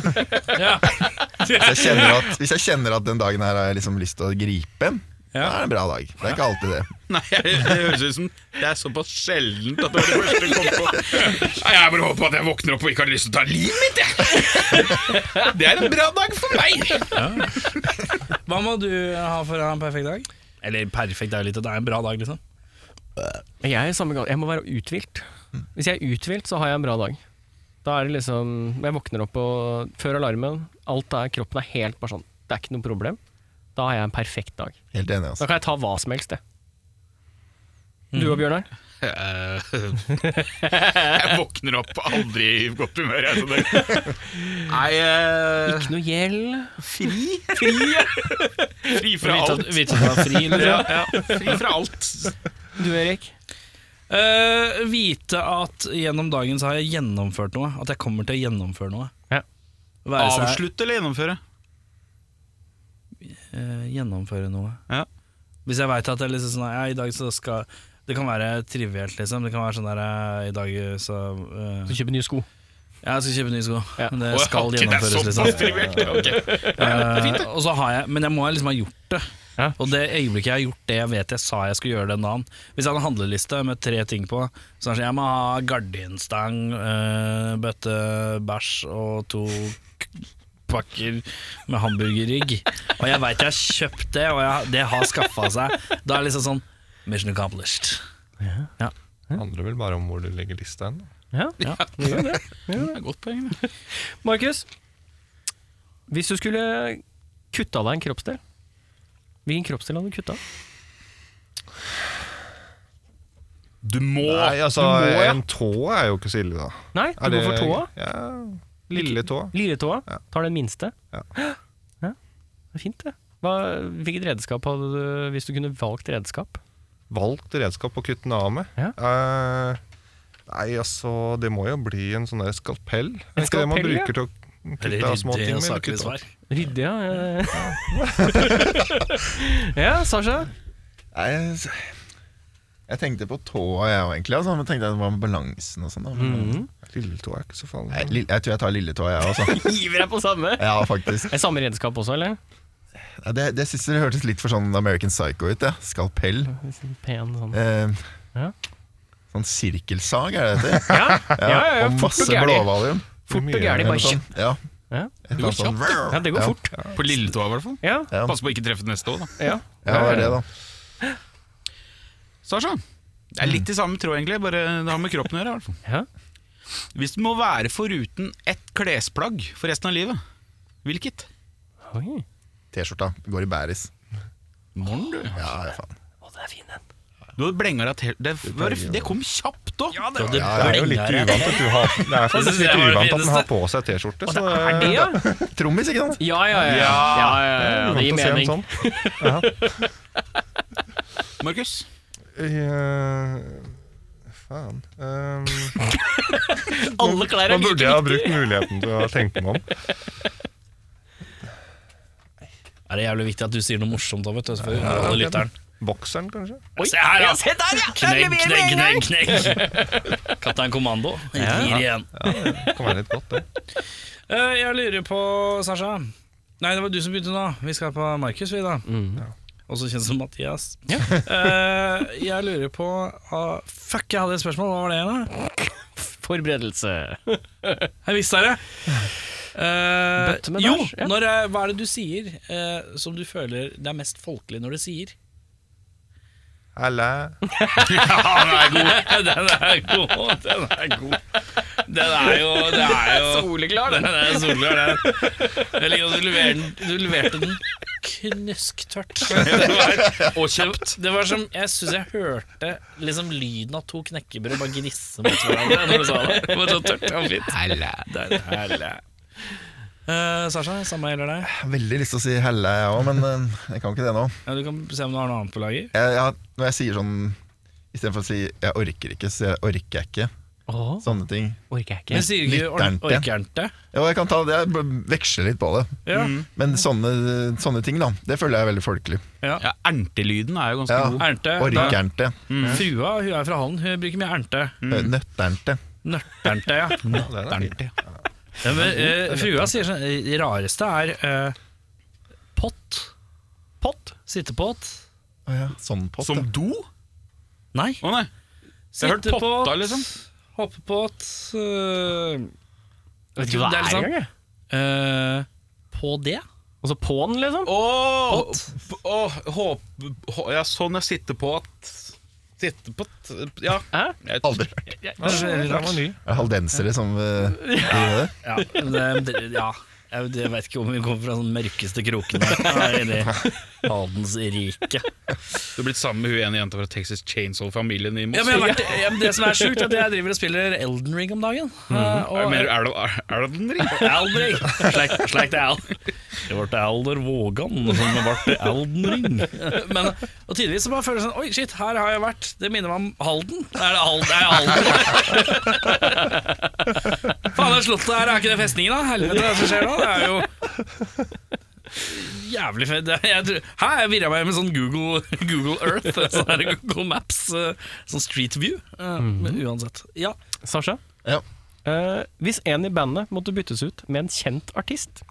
E: Hvis jeg kjenner at, hvis jeg kjenner at den dagen her har jeg liksom lyst til å gripe en, da er det en bra dag. Det er ikke alltid det.
B: [LAUGHS] Nei, det høres ut som det er såpass sjeldent at det var det første jeg kom på. Nei, jeg bare håper at jeg våkner opp og ikke har lyst til å ta livet mitt, jeg. Det er en bra dag for meg.
C: Hva må du ha for å ha en perfekt dag? Eller perfekt er jo litt at det er en bra dag, liksom.
A: Jeg er i samme gal- Jeg må være uthvilt.
F: Mm.
A: Hvis jeg er uthvilt, så har jeg en bra dag. Da er det liksom Jeg våkner opp og før alarmen, alt er kroppen er helt bare sånn Det er ikke noe problem. Da har jeg en perfekt dag.
E: Helt enig,
A: Da
E: altså.
A: kan jeg ta hva som helst, det. Du
F: Mm.
A: og Bjørnar?
B: Eh, [LAUGHS] Jeg våkner opp aldri i godt humør, jeg. Så det. Nei, eh,
A: Ikke noe gjeld.
B: fri.
A: Fri.
B: Fri fra
C: Vite at-
B: alt.
C: vite at du er fri, liksom.
B: Ja, ja, fri fra alt.
A: Du, Erik?
C: Eh, vite at gjennom dagen så har jeg gjennomført noe. At jeg kommer til å gjennomføre noe.
A: Ja.
C: Være seg-
B: Avslutte eller gjennomføre?
C: eh, gjennomføre noe.
B: Ja.
C: Hvis jeg veit at det er liksom sånn ja, i dag så skal Det kan være trivielt, liksom. Det kan være sånn der eh, I dag så eh,
A: Du kjøper nye sko.
C: Ja, jeg skal kjøpe nye sko.
A: Ja.
C: Men det
B: Å,
C: skal
B: ok,
C: gjennomføres,
B: Det er
C: liksom.
B: såpass trivielt. ja, ok.
C: Eh, og så har jeg, men jeg må liksom ha gjort det.
A: Ja.
C: Og det øyeblikket jeg har gjort det jeg vet jeg sa jeg skulle gjøre den dagen Hvis jeg hadde en handleliste med tre ting på, så er det sånn jeg må ha gardinstang, eh, bøtte bæsj og to k- pakker med hamburgerrygg. Og jeg veit jeg har kjøpt det, og jeg, det har skaffa seg. Da er det liksom sånn Mission accomplished.
F: Det handler vel bare om hvor du legger lista hen. da.
A: Ja.
B: Det er et godt poeng, det.
A: Markus? Hvis du skulle kutta deg en kroppsdel, hvilken kroppsdel hadde du kutta?
B: Du må
F: Nei, altså,
B: Du må, ja.
F: en tå er jo ikke så ille, da.
A: Nei,
F: Er
A: du går for tåa.
F: Ja, lille tå.
A: Liretåa.
F: Ja.
A: Tar den minste.
F: Ja.
A: Ja, Det er fint, det. Hva, hvilket redskap hadde du hvis du kunne valgt redskap?
F: valgt redskap å kutte den av med.
A: Ja.
F: Eh, nei, altså, det må jo bli en sånn der skalpell. Er
A: En
F: ikke det man
A: skalpell, ja.
F: bruker til å kutte av små
C: ryddig
F: ting
C: og
F: med? eller
C: saklig
F: kutte av?
C: svar.
A: Ryddig, ja. Ja, [LAUGHS] ja Sasha?
E: Nei, jeg, jeg tenkte på tåa, jeg òg, egentlig. Altså. Men tenkte jeg, Hva med balansen og sånn? da? Men-
F: Lilletå er ikke så farlig.
E: Nei, lill- Jeg tror jeg tar lilletåa, jeg
A: [LAUGHS]
E: også.
A: Hiver deg på samme?
E: Ja, faktisk.
A: Er det samme redskap også, eller?
E: Nei, Det, det synes jeg hørtes litt for sånn American Psycho ut. Ja. Skalpell.
A: Pen sånn.
E: Eh,
A: Ja.
E: Sånn sirkelsag, er det det
A: Ja,
E: heter?
A: ja, ja, ja
E: og
A: fort
E: masse
A: og gærlig.
E: blåvalium.
A: Fort og
F: Mye.
A: gærlig,
E: Eller
A: bare
E: noe
A: kjapt.
E: sånt. Ja.
A: Ja.
E: Et eller annet
B: Det går
E: sånn-
A: Ja, det går fort.
B: På lilletåa, i hvert fall.
A: Ja,
E: Ja.
B: Pass på å ikke treffe den neste år, da.
A: ja.
E: Ja, det er det, da.
B: Sasha, det er litt i samme tråd, egentlig. Bare det har med kroppen å gjøre. i hvert fall.
A: ja.
B: Hvis du må være foruten ett klesplagg for resten av livet, hvilket?
A: Oi.
E: T-skjorta går i bæris.
B: Morgen, du.
E: Ja, ja, faen.
A: Å, det er fin den.
B: Du hadde blenga deg til det, var, det kom kjapt òg!
C: Ja, det
F: Det er jo litt
C: blenger,
F: uvant at du har
A: [LAUGHS]
F: Det er
C: Jeg synes
F: faktisk
C: det var
F: litt
C: det
F: uvant at den
C: fineste.
F: har på seg T-skjorte.
A: Å,
F: Så
A: det er
F: [LAUGHS]
A: det, ja?
E: Trommis, ikke sant?
A: Ja, ja, ja. ja, ja, ja, ja. Det gir
F: uvant å se en
A: mening.
F: sånn.
B: Markus,
F: Eh,
A: [LAUGHS]
F: faen um,
A: Alle klær
F: Da
A: er
F: burde
A: like
F: jeg ha brukt muligheten til å tenke meg om.
C: Er det jævlig viktig at du sier noe morsomt òg, vet du. For å underholde lytteren.
F: Bokseren, kanskje?
A: Oi,
C: Se her, ja!
A: ja, se der, ja! Der
C: Knegg,
A: leverer vi
C: knegg,
A: en gang.
C: knegg, knegg.
A: [LAUGHS]
C: Kaptein Kommando. Jeg Gir igjen.
F: Kan være litt godt, det.
C: Eh, jeg lurer på, Sasha Nei, det var du som begynte nå. Vi skal på Markus, vi, da.
A: Mm.
C: Også kjent som Mathias. [LAUGHS] Eh, jeg lurer på ah, Fuck, jeg hadde et spørsmål. Hva var det igjen, da?
A: Forberedelse.
C: Jeg visste det! Eh,
A: Bøtte med
C: jo,
A: bæsj, ja.
C: når, eh, hva er det du sier eh, som du føler det er mest folkelig når du sier?
F: Eller
C: [LAUGHS] den er god, den er god. Den er jo, det er jo
A: Soleklar,
C: [LAUGHS] Den er solklar, den. Jeg liker at du leverer den- du leverte den [LAUGHS] knusktørt. Og kjapt. Det var som, Jeg syns jeg hørte liksom lyden av to knekkebrød bare gnisse mot hverandre når du sa [LAUGHS] det. Det var sånn. så tørt og fint. Der, herlig. Eh, Sasha, samme gjelder deg.
E: Jeg har veldig lyst til å si helle, jeg òg, men eh, jeg kan ikke det nå.
C: Ja, du kan se om du har noe annet på lager.
E: Jeg, jeg, har- når jeg sier sånn Istedenfor å si 'jeg orker ikke', så sier jeg 'orker jeg ikke'.
A: Åh,
E: Sånne ting.
A: orker jeg
C: Men
A: ikke.
C: sier ikke
E: Lytteren til.
C: orker det?
E: Jo, jeg kan ta det, jeg b- veksler litt på det.
C: Ja.
E: Men sånne, sånne ting, da. Det føler jeg er veldig folkelig.
B: Ja, Erntelyden er jo ganske
E: Ja.
B: god.
C: Ernte. da-
E: Orkernte.
C: Frua hun er fra Hallen, hun bruker mye ernte.
E: eh, Nøtternte.
C: Nørternte, ja.
F: det er fint.
C: ja men, eh, frua sier sånn eh, Det rareste er eh, pott. Pott? Sittepott?
E: Å ja. Sånn pott,
B: Som
E: ja.
B: do?
C: Nei.
B: Å nei. Jeg har hørt potta, liksom.
C: Hoppepott eh,
A: Vet ikke hva det er
C: sånn.
A: engang, jeg.
C: eh, På det?
A: Og så på'n, liksom.
B: Åh, p- åh, håp, hå, ja, sånn jeg sitter på at Sitter på at Ja.
A: Hæ?
B: Jeg-
E: Aldri vært.
F: Ja, den var ny.
E: Er det haldensere som eh, driver med det?
C: Ja. [LAUGHS] men Det, det- ja. Jeg, jeg vet ikke om vi kommer fra den mørkeste kroken her i det adelsriket.
B: Du er blitt sammen med hun ene jenta fra Texas Chainsaw-familien i
C: Ja,
B: Moss.
C: men jeg har vært, ja, men det som er sjukt, er at jeg driver og spiller Elden Ring om dagen. eh,
B: Er det
C: og
B: mer Erl- Er- Erlenring?
C: Aldring! Slik, slik det er. Det ble Alder Vågan som ble Eldenring. Men og tidligvis så bare føler jeg sånn Oi, shit, her har jeg vært. Det minner meg om Halden. Er det Halden? Er jeg Halden? Faen, det slottet her, er ikke det festningen, da? Helvete, hva er det som skjer nå? Det er jo Jævlig fett. Det- Jeg, tror- hæ, jeg virra meg med sånn Google, Google Earth, sånn her Google Maps, eh, sånn Street View. Eh, Men uansett. Ja.
A: Sasha.
E: Ja.
A: Eh, hvis en i bandet måtte byttes ut med en kjent artist,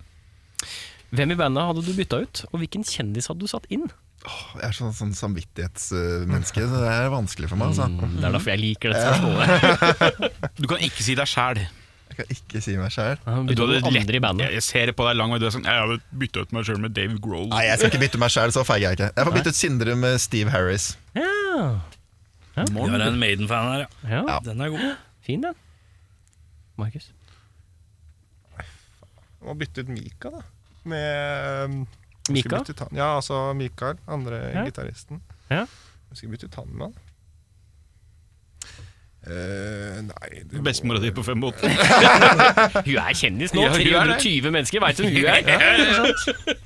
A: hvem i bandet hadde du bytta ut, og hvilken kjendis hadde du satt inn?
E: Åh, Jeg er sånn, sånn samvittighetsmenneske, så det er vanskelig for meg. Altså.
A: Det er derfor jeg liker dette spørsmålet. [LAUGHS]
B: Du kan ikke si deg sjæl.
E: Jeg kan ikke si meg sjæl.
A: Bytte ut noen andre i bandet.
B: Jeg ser det på deg lang vei. Du er sånn Jeg hadde bytta ut meg sjøl med Dave Grohl.
E: Nei, jeg skal ikke bytte meg sjæl, så feig er jeg ikke. Jeg får bytte ut Sindre med Steve Harris.
A: Ja,
C: Du er en Maiden-fan her, ja.
A: ja,
C: Den er god.
A: Fin den. Markus.
F: Må bytte ut Mika, da. Med um, jeg
A: Mika?
F: skulle bytte ut han- Ja, altså Mikael, andre
A: Ja.
F: gitaristen.
A: Ja.
F: Jeg skulle bytte ut han med han. Eh, nei det
B: Bestemora di på fem måter.
A: Hun er kjendis nå.
B: Ja, hun er det.
A: 320 mennesker veit hvem hun [LAUGHS] er.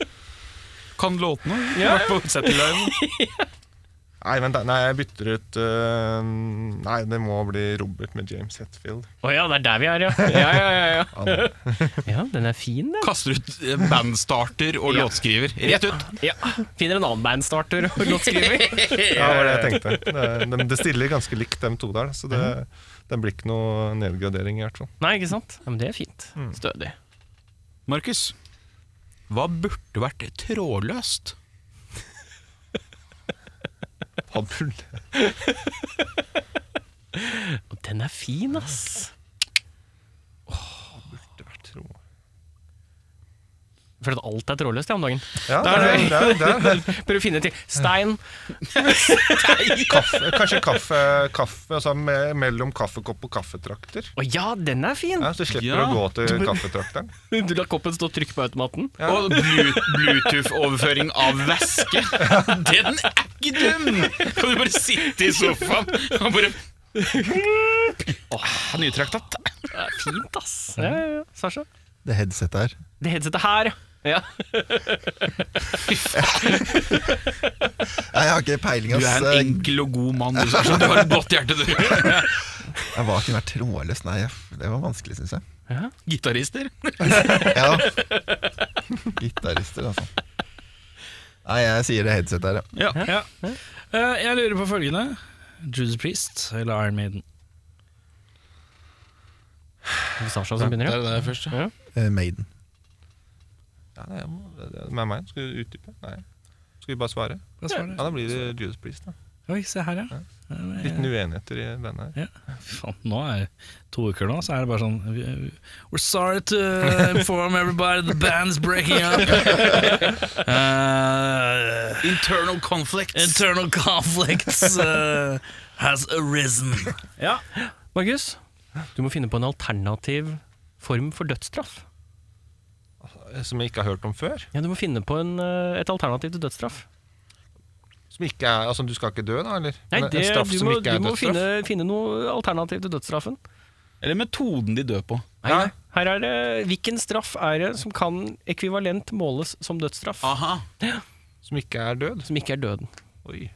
B: Kan låtene.
A: Ja.
B: Vært på Satellite.
F: Nei, vent, da. Nei, jeg bytter ut eh, Nei, det må bli Robert med James Hetfield.
A: Å ja, det er der vi er, ja. Ja, ja, ja, ja. [LAUGHS] ja den er fin, den.
B: Kaster ut eh, bandstarter og låtskriver. Rett ut.
A: Ja. Finner en annen bandstarter og [LAUGHS] låtskriver.
F: Ja, det var det jeg
A: [LAUGHS]
F: tenkte. Det, de, det stiller ganske likt, dem to der. Så det,
A: Mhm.
F: det blir ikke noe nedgradering, i hvert fall.
A: Nei, ikke sant? Ja, men det er fint. Stødig.
B: Markus, hva burde vært trådløst?
A: Og den er fin, ass.
F: Det var tro.
A: Jeg føler at alt er trådløst ja, om dagen.
F: Ja, der, der, der,
A: Prøv å finne til Stein.
F: Kaffe, kanskje kaffe, kaffe altså me, mellom kaffekopp og kaffetrakter.
A: Å ja, den er fin!
F: Ja, så slipper
B: Ja.
F: du å gå til kaffetrakteren.
A: [LAUGHS] Du lar koppen stå og trykke på automaten.
B: Og blu- Bluetooth-overføring av væske. Den er ikke dum! Kan du bare sitte i sofaen og bare Åh, Nytraktat.
A: Det er fint, ass. Ja, ja, ja. Sasha?
E: Det headsetet her.
A: Det headsetet her, ja.
E: Nei, Jeg har ikke peiling,
B: Du
E: ass.
B: er en
E: Jeg,
B: enkel og god mann. Du, Sasha. du har et godt hjerte, du.
E: jeg var ikke vært trådløs, nei. jeg- Det var vanskelig, syns jeg.
B: Gitarister.
E: Ja. [LAUGHS] Gitarister, altså. Nei, jeg sier det headsetet her, ja.
C: Ja. Eh, jeg lurer på følgende. Judas Priest eller Iron Maiden?
A: Det er Sasha som begynner, ja.
B: det først.
E: Eh, Maiden.
F: Ja, nei, jeg må- det- det- Med meg? Skal du utdype? Nei. Skal vi bare svare?
C: Hva svarer
F: Ja,
C: du?
F: Da blir det Judas Priest. da
C: Oi, se her, ja.
F: Liten uenigheter i bandet her.
C: Fy faen, nå er to uker nå, så er det bare sånn "We- We're sorry to inform everybody the band's breaking [LAUGHS] up. Eh, Uh,
B: Internal conflicts.
C: internal conflicts uh, has arisen.
A: Markus, du må finne på en alternativ form for dødsstraff.
F: Eh, Som jeg ikke har hørt om før.
A: Ja, Du må finne på en, eh, et alternativ til dødsstraff.
F: Som ikke er, altså Du skal ikke dø, da? eller?
A: Nei,
F: En-
A: det,
F: en straff
A: du
F: som
A: må,
F: ikke er
A: du må
F: dødsstraff?
A: finne, finne noe alternativ til dødsstraffen.
B: Eller metoden de dør på.
A: Nei, nei. Her er det Hvilken straff er det som kan ekvivalent måles som dødsstraff?
B: Aha.
F: Som ikke er død?
A: Som ikke er døden.
F: Oi.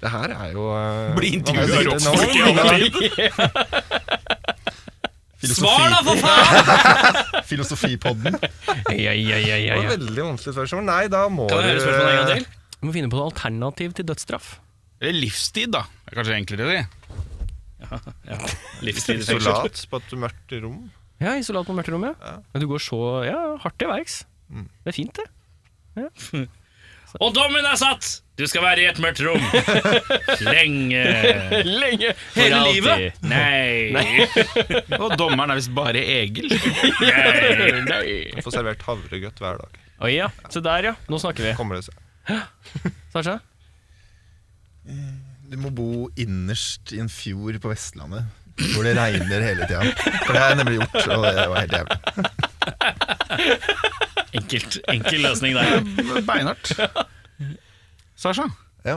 F: Det her er jo eh,
B: Bli intervjuet
F: hva
B: av
F: heter det nå?
B: Rolf
C: Svar, da, for faen!
E: Filosofipodden.
A: Ja, ja, ja, ja,
F: Det var
A: ja.
F: et veldig vanskelig spørsmål. Nei, da må
C: Kan jeg høre spørsmålet en gang til?
A: Du må finne på noe alternativ til dødsstraff.
B: Eller livstid, da. Det er kanskje enklere, det. [LAUGHS]
F: [LAUGHS]
C: Livstid i fengsel.
F: Isolat på et mørkt rom.
A: Ja, Isolat på mørkerommet. Ja. Mm. Men du går så ja, hardt til verks. Det er fint, det.
C: Og dommen er satt! Du skal være i et mørkt rom. Lenge.
A: [LAUGHS] Lenge!
C: For alltid. Nei.
B: Og dommeren er visst bare Egil.
F: Jeg får servert havregrøt hver dag.
A: Oi, ja. Se der, ja. Nå snakker vi.
F: Kommer det seg.
A: Sasha?
E: Du må bo innerst i en fjord på Vestlandet. Hvor det regner hele tida. For det har jeg nemlig gjort, og det var helt jævlig.
C: Enkelt, enkel løsning der.
B: Beinhardt. Sasha,
E: Ja.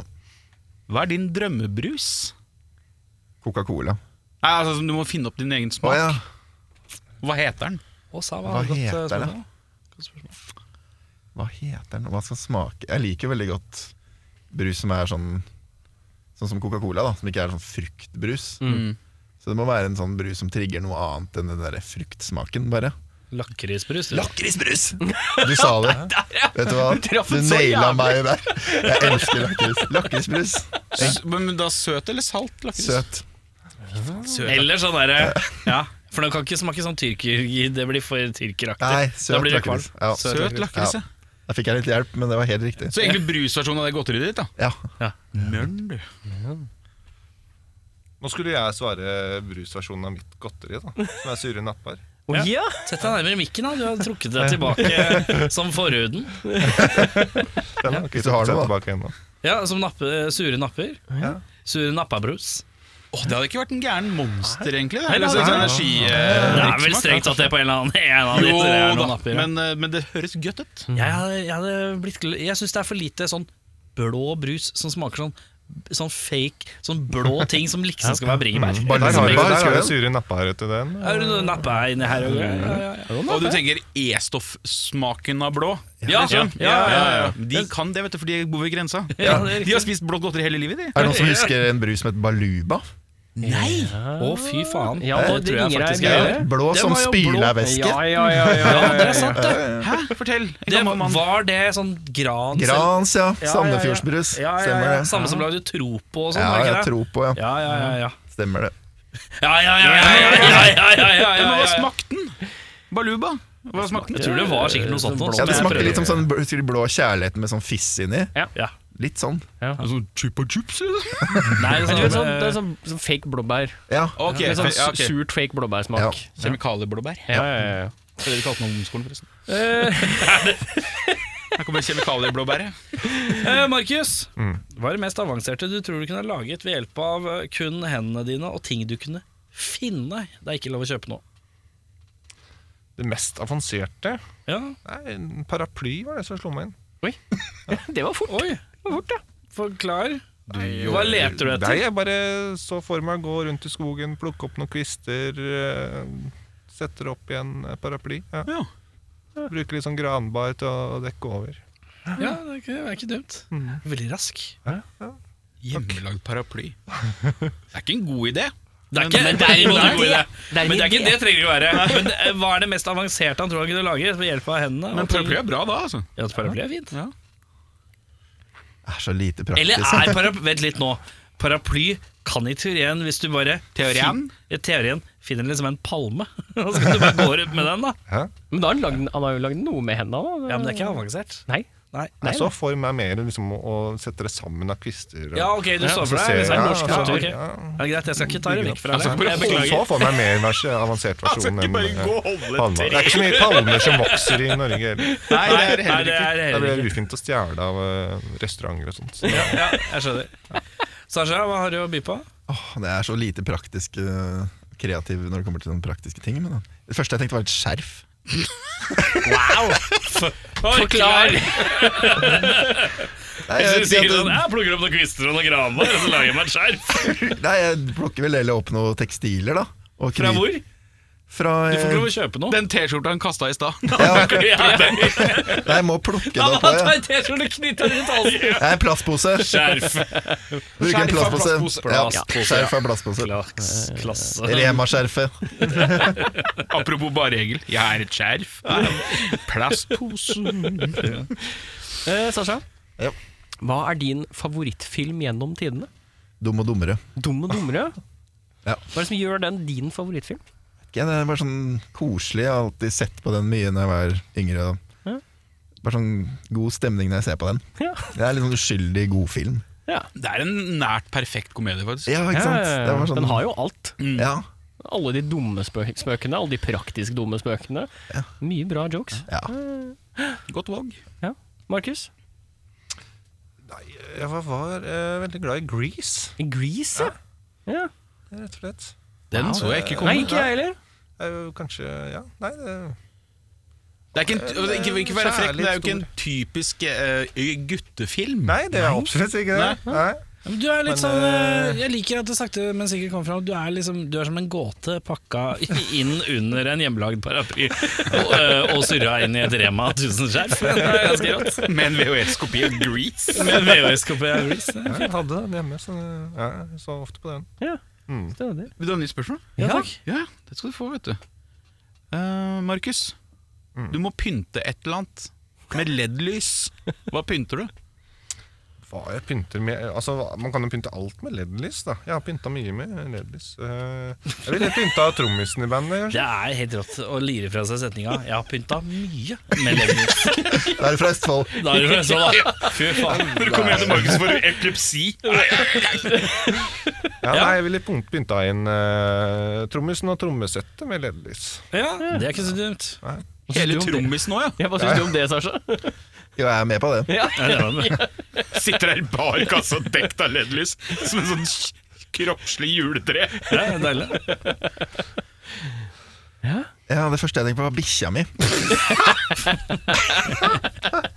B: hva er din drømmebrus?
E: Coca-Cola.
B: Nei, altså, Du må finne opp din egen
E: Å
B: smak.
E: ja.
B: Hva heter den?
C: Og sa
E: Hva heter det? Hva heter den? og Hva skal smake? Jeg liker jo veldig godt brus som er sånn Sånn som Coca-Cola, da som ikke er sånn fruktbrus. Så det må være en sånn brus som trigger noe annet enn den der fruktsmaken, bare.
C: Lakrisbrus.
E: Lakrisbrus! Du sa det. Vet du hva?
A: traff
E: Du
A: den så
E: naila
A: jævlig.
E: meg der. Jeg elsker lakris. Lakrisbrus.
B: S- Men men da Søt eller salt? lakris?
E: Søt.
C: Eller sånn derre ja. For den kan ikke smake sånn tyrker, det blir for
E: Nei,
C: tyrkeraktig. Da
E: søt
C: blir det kvalm.
E: lakris. Ja.
B: Søt lakris, ja.
E: Ja. Der fikk jeg litt hjelp, men det var helt riktig.
B: Så egentlig brusversjonen av det godteriet ditt, da.
E: Ja.
B: Mørn, du.
F: Nå skulle jeg svare brusversjonen av mitt godteri, da som er sure nappar.
A: Å ja.
C: Sett deg nærmere mikken, da. Du har trukket deg tilbake som forhuden.
F: Den har ikke
E: Hvis du har
F: tatt
E: noe,
F: seg
E: da.
F: tilbake ennå.
C: Ja, Som nappe, sure napper. Sure nappabrus.
B: Åh, det hadde ikke vært en gæren monster, egentlig. Det,
A: Nei, det
B: Eller
A: hadde
B: sånn
A: ikke
B: energi...
C: Det
B: eh,
C: er vel
B: drikkesmak,
C: strengt
B: da.
C: tatt det på en eller annen, en av de
B: Jo
C: tre er noen
B: da,
C: napper. ja.
B: men, eh, men det høres godt ut.
C: Jeg, hadde, jeg, hadde blitt, gl- jeg syns det er for lite sånn blå brus som smaker sånn Sånn fake, sånn blå ting som liksom skal være bringebær.
E: Bare
F: Der har vi,
E: liksom-
F: der har
E: Bare
F: vi
E: skjøn.
F: sure nappar etter den. eh,
C: Er det noe nappe inni her? og- Ja, ja, ja.
B: Og du tenker E-stoffsmaken av blå?
C: Ja,
B: liksom.
C: ja, ja, ja, ja.
B: De kan det, vet du, for de bor ved grensa.
C: Ja, det er
B: De har spist blått godteri hele livet, de.
E: Er det noen som husker en brus som het Baluba?
B: Nei!
C: Å, fy faen.
A: Ja, nå
C: tror jeg
A: ringer
C: faktisk
A: jeg
C: jeg
A: en bjelle.
E: Blå
C: Det
E: som
C: var jo blå.
E: spylervæske.
A: Ja, ja, ja, ja, ja,
C: det
A: ja,
C: er sant, det.
B: Hæ? Fortell. En
C: det
B: gammel mann.
C: var det sånn gran,
E: Grans, ja.
A: ja, ja.
E: Sandefjordsbrus.
A: Ja, ja, ja.
E: Stemmer det.
C: Samme som lagde Tropo og sånn,
E: Ja,
C: var
E: jeg
C: ikke det?
E: tror på, ja.
C: Ja, ja, ja. ja.
E: Stemmer det.
C: Ja, ja, ja, ja, ja, ja, ja, ja, ja,
B: Men hva
C: ja, ja.
B: smakte den? Baluba? Hva smakte
C: Jeg
B: den?
C: tror det var sikkert noe sånt. nå,
E: Ja,
C: som
E: Det
C: jeg
E: smaker
C: prøvde.
E: litt som sånn bl- sikkert blå kjærlighet med sånn fiss inni.
C: Ja.
E: Litt sånn.
B: Sånn chupa chups, liksom?
C: Nei, [LAUGHS]
A: Du vet, sånn,
C: sånn,
A: det er sånn, sånn fake blåbær.
E: Ja.
B: Ok,
A: Det er sånn
B: fe- ja, ok.
A: Surt fake blåbærsmak.
B: Kjemikalieblåbær.
A: Ja, ja, ja, ja.
B: Det er det de kalte den ungdomsskolen, forresten.
A: Eh,
B: Eh. [LAUGHS] Her kommer kjemikalieblåbæret.
C: Eh, Markus,
E: Mm.
C: hva er det mest avanserte du tror du kunne ha laget ved hjelp av eh, kun hendene dine og ting du kunne finne? Det er ikke lov å kjøpe nå.
F: Det mest avanserte
C: Ja.
F: Nei, en paraply var det som slo meg inn.
A: det var fort.
C: Oi,
A: Det var fort ja.
C: forklar. Hva leter du
F: Nei,
C: etter?
F: jeg bare så for meg å gå rundt i skogen, plukke opp noen kvister, eh, setter opp igjen eh, paraply. Ja.
B: Ja.
F: Bruker litt sånn granbar til å dekke over.
C: Ja, det er ikke, det er ikke dumt. Veldig rask.
B: Hjemmelagd paraply. Det er ikke en god idé.
C: Det er ikke, men, det er
A: jo
C: en
A: en
C: god
A: idé.
C: idé.
A: Det er en
C: Men det er ikke
A: idé.
C: det trenger det å være. Men eh, hva er det mest avanserte han tror han kunne lage ved hjelp av hendene?
B: Men
C: og ting?
B: paraply er bra da, altså.
C: Ja, paraply er fint.
E: Det er så lite
C: Eller
E: praktisk.
C: er paraply Vent litt nå. Paraply kan i teorien, hvis du bare
B: Teorien?
C: Fin- I teorien finner liksom en palme, [LAUGHS] og så kan du bare gå rundt med den, da.
A: Men da har han, lagd, han har jo lagd noe med henda, da.
C: Ja, men det er ikke avansert.
A: Nei.
C: Nei.
A: Nei,
F: Også for meg mer liksom, å å sette det sammen av kvister. og-
C: Ja, ok, du står for
F: så
C: deg.
F: ser
C: Hvis det er
F: jeg-
C: norsk
F: ja,
C: kultur.
F: ja,
C: Ja,
F: ja.
C: det er greit, jeg skal ikke ta det vekk fra deg. Jeg
F: Så
C: beklager. Altså,
F: så får man mer vers, eh, avansert versjon. enn, eh, palmer. Det er ikke så mye palmer som vokser i Norge
B: Nei,
F: heller.
B: det er
C: Nei,
B: heller
C: det
B: ikke
C: er
F: Da
C: heller
F: blir
C: ikke.
F: det ufint å stjele av eh, restauranter og sånt. Så.
C: Ja, ja, jeg skjønner. Sasha, hva har du å by på?
E: Åh, det er så lite praktisk eh, kreativ når det kommer til sånne praktiske ting. Men da. det første jeg tenkte, var et skjerf.
A: Forklar!
E: Nei, jeg, vet ikke at-
C: jeg plukker opp noen kvister og noen graner, og så lager jeg meg et skjerf.
E: nei, jeg plukker vel heller opp noe tekstiler, da. og
C: Fra
E: kniv-
C: hvor?
E: Fra,
C: Du får ikke lov
E: eh,
C: å kjøpe noe.
B: Den T-skjorta han kasta i stad. [LAUGHS]
C: [LAUGHS] Ja, det-
E: nei, jeg må plukke det
C: Han [LAUGHS]
E: opp.
C: har
E: Ja.
C: en T-skjorte knytta rundt halsen.
E: Jeg er en plastpose.
C: Skjerf.
E: Bruker en plastpose. Ja,
C: Plastpose,
E: skjerf er plastpose.
C: Klaks, klasse.
E: Eh, Rema-skjerfet.
B: Apropos bareegel. Jeg er et skjerf. Plastpose.
A: [LAUGHS] Eh, Sasha,
E: Ja.
A: hva er din favorittfilm gjennom tidene?
E: [LAUGHS] Dum og dummere.
A: Dum og dummere?
E: [LAUGHS] Ja.
A: Hva er det som gjør den din favorittfilm?
E: Ikke, det er bare sånn koselig. Jeg har alltid sett på den mye når jeg var yngre. Da.
A: Ja.
E: Bare sånn god stemning når jeg ser på den.
A: Ja.
E: Det er litt sånn uskyldig god film.
A: Ja.
B: Det er en nært perfekt komedie, faktisk.
E: Ja, [LAUGHS] ikke sant? Det er bare sånn,
A: Den har jo alt.
E: ja,
A: Alle de dumme spø- spøkene, alle de praktisk dumme spøkene. Mye bra jokes.
E: ja.
B: Godt valg.
A: Ja. Markus?
F: Jeg var, var eh, veldig glad i Grease,
A: Grease, ja. ja.
F: rett og slett.
B: Den så jeg ikke komme.
A: Nei, ikke jeg heller.
F: Eh, kanskje Ja, nei, det
B: Det er ikke, en, det er ikke, ikke være frekk, men det er jo ikke en typisk eh, guttefilm.
F: Nei, det er absolutt ikke det. Nei.
C: Ja, men Du er litt sånn, eh, jeg liker at det sakte, men sikkert kommer fram. Du er, liksom, du er som en gåte pakka inn under en hjemmelagd paraply og, eh, og surra inn i et Rema 1000-skjerf. [LAUGHS] Det er ganske rått.
B: Med en VHS-kopi av Grease.
C: Med en VHS-kopi av Grease.
F: Ja, jeg hadde den hjemme, så ja, jeg så ofte på den.
A: Ja.
F: Mm.
A: Stødig.
B: Vil du ha nytt spørsmål?
A: Ja, takk.
B: Ja, det skal du få, vet du. Eh, Markus, du må pynte et eller annet med LED-lys. Hva pynter du?
F: Hva jeg pynter med Altså, hva- Man kan jo pynte alt med LED-lys. da Jeg har pynta mye med LED-lys. Eh, jeg ville pynta trommisen i bandet. kanskje.
C: Det er helt rått å lire fra seg setninga 'Jeg har pynta mye med levermus'.
E: Da er det fra Østfold.
C: Da er det sånn, da. Fy faen.
B: Når du kommer hjem til Markus, får du epilepsi.
F: Ja, nei, jeg ville pyn- pynta inn eh, trommisen og trommesettet med LED-lys.
C: Ja, det er ikke så dumt.
B: Hele
A: du om det?
B: trommisen nå, ja.
A: Ja, hva syns du om det, Sasha?
E: Jo, jeg er med på det.
C: Ja, det var det.
B: Sitter der i bar kasse og dekt av LED-lys som en sånn kj- kroppslig juletre.
C: Ja, det er deilig.
E: Ja, Det første jeg tenkte på, var bikkja [LAUGHS] mi.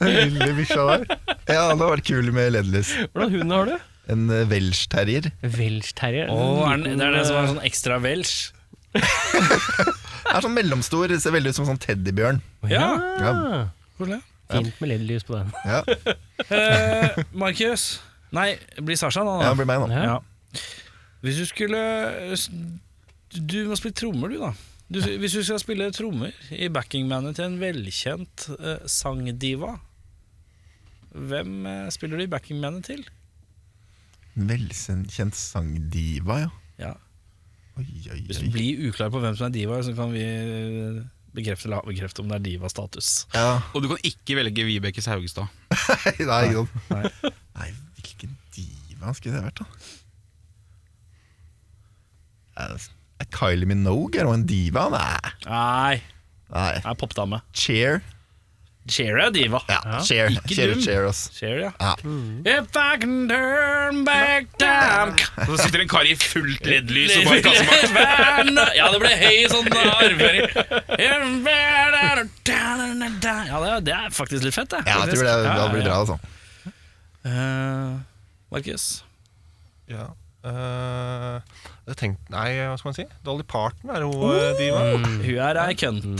F: Den lille bikkja der.
E: Ja, Det hadde vært kul med LED-lys.
A: Hvordan hund har du?
E: En eh, welsh-terrier.
A: Welsh-terrier.
C: Å, er den- det er det som er sånn ekstra welsh.
E: Er sånn mellomstor, ser veldig ut som en sånn teddybjørn.
C: Ja,
E: Ja.
C: hvordan?
A: Fint med LED-lys på den.
E: Ja,
C: Eh, Markus Nei, det blir Sasha nå,
E: ja
C: da.
E: det blir meg nå.
A: Ja.
C: Ja. Hvis du skulle Du må spille trommer, du, da. Du, hvis du skal spille trommer i backingbandet til en velkjent eh, sangdiva, hvem eh, spiller du i backingbandet til?
E: En Velkjent sangdiva, ja.
C: Ja.
E: Oi, oi,
C: Hvis du
E: oi.
C: blir uklar på hvem som er diva, så kan vi eh, bekrefte eller avbekrefte om det er divastatus.
E: Ja, [LAUGHS]
B: Og du kan ikke velge Vibekes Haugestad.
E: Nei, ikke sant. Nei, hvilken diva skulle det vært, da? Er det- Er Kylie Minogue er hun en diva? Nei.
C: Nei,
E: Nei.
C: jeg er popdame.
E: Cheer.
C: Cher er diva.
E: Ja, Cheer.
B: Ikke
E: Cheer,
B: dum.
E: cheer ass.
C: Cher, ja.
E: Ja.
C: If I can turn back time
B: Så sitter en kar i fullt LED-lys
C: [LAUGHS]
B: og bar kasse
C: Ja, det ble høy sånn arvføring. Ja, det er, det er faktisk litt fett, det.
E: Ja, jeg tror det hadde blitt bra, altså.
C: Eh, Markus.
F: Ja. eh, jeg tenkte, nei, hva skal man si? Dolly Parton er hun eh, diva.
C: Hun er ei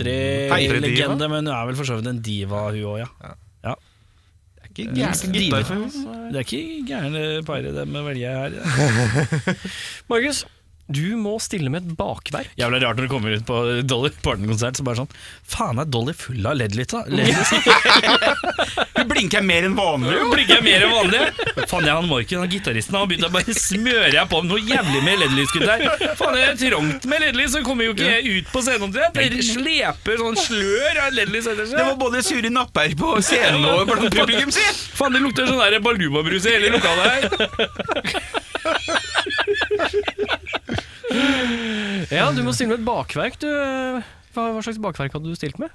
E: Mm.
F: Country-diva?
C: country-legende, men hun er vel for så vidt en diva, hun òg, ja.
B: Gitar for
C: eh, Det er ikke gærne paret de velger her.
A: Markus, Du må stille med et bakverk.
C: Jævla rart når du kommer ut på Dolly Parton-konsert, så bare sånn Faen, er Dolly full av led litt, da? Led litt,
B: Du blinker mer enn vanlig.
C: så blinker jeg mer enn vanlig. Faen, jeg han Morken, han gitaristen, han begynte å bare smøre jeg på med noe jævlig med LED-lyskudd der. Faen, det er trangt med LED-lys, så kommer jo ikke jeg ut på scenen omtrent. Jeg sleper sånn slør av LED-lys etter
B: Det
C: seg.
B: var både sure napper på scenen og blant publikum, si!
C: Faen, det lukter sånn der balubabrus i hele lokalet her.
A: Ja, du må stille med et bakverk, du. Hva, hva slags bakverk hadde du stilt med?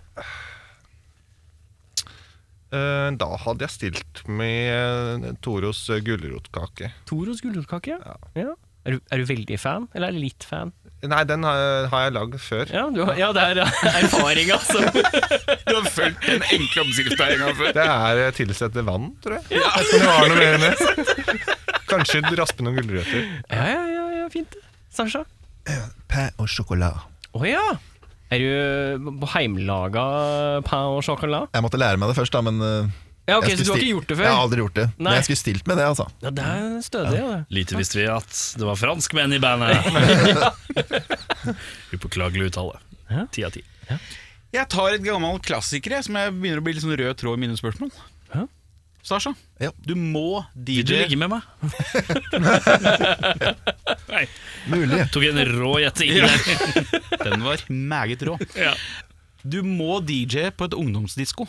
F: Eh, Da hadde jeg stilt med eh, Toros eh, gulrotkake.
A: Toros gulrotkake, ja. ja. Er, du, er du veldig fan, eller er du litt fan?
F: Nei, den har har jeg lagd før.
A: Ja, du, har- ja det [LAUGHS] er erfaring, altså.
B: Du har fulgt den enkle oppskrifta en gang før.
F: Det er eh, tilsette vann, tror jeg. Det var noe
C: [LAUGHS]
F: mer enn det. Kanskje raspe noen gulrøtter.
A: Ja, ja, ja, ja fint. Sasha?
E: Pain og sjokolade.
A: Å ja! Er du på heimlaga pain og sjokolade?
E: Jeg måtte lære meg det først, da, men eh,
A: Ja, ok, Så
E: jeg
A: du
E: skulle
A: har
E: sti-
A: ikke gjort det
E: Jeg har
A: før?
E: aldri gjort det.
A: Nei.
E: Men jeg skulle stilt med det, altså.
A: Ja, Det er stødig, ja. det.
C: Lite visste vi at det var franskmenn i bandet. Upåklagelig uttale. Ti av ti.
B: Jeg tar et gammel klassiker jeg, som jeg begynner å bli litt sånn rød tråd i mine spørsmål.
A: Ja.
B: Sasha,
E: Ja.
B: du må
C: Vil du
B: DJ.
C: ligge med meg? Nei,
E: Mulig.
C: tok en rå gjetting
B: Ja.
C: der.
B: Den var [LAUGHS] meget rå.
C: Ja.
B: Du må DJ på et ungdomsdisko.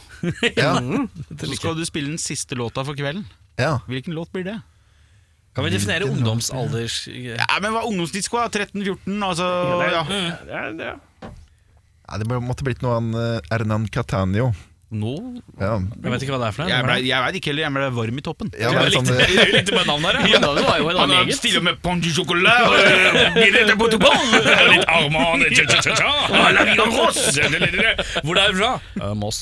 E: Ja.
A: [LAUGHS]
B: Så skal du spille den siste låta for kvelden.
E: ja.
B: Hvilken låt blir det?
C: Kan vi definere ungdomsalders...
B: Ja, men hva ungdomsdisko er 13-14, altså ja.
E: Ja, det måtte blitt noe av eh, Hernan Catania.
B: Nå
E: Ja.
C: Jeg vet ikke hva det er for
B: Jeg,
C: noe.
B: ble, jeg veit ikke heller, jeg ble varm i toppen.
E: Ja, det er sånn, eh,
C: Jeg likte bare navnet [LAUGHS] her.
A: Ja, det var jo en annen eget.
B: stiller med ponge chocolat
C: [LAUGHS] Litt Armani Hvor er du fra? Eh, Moss.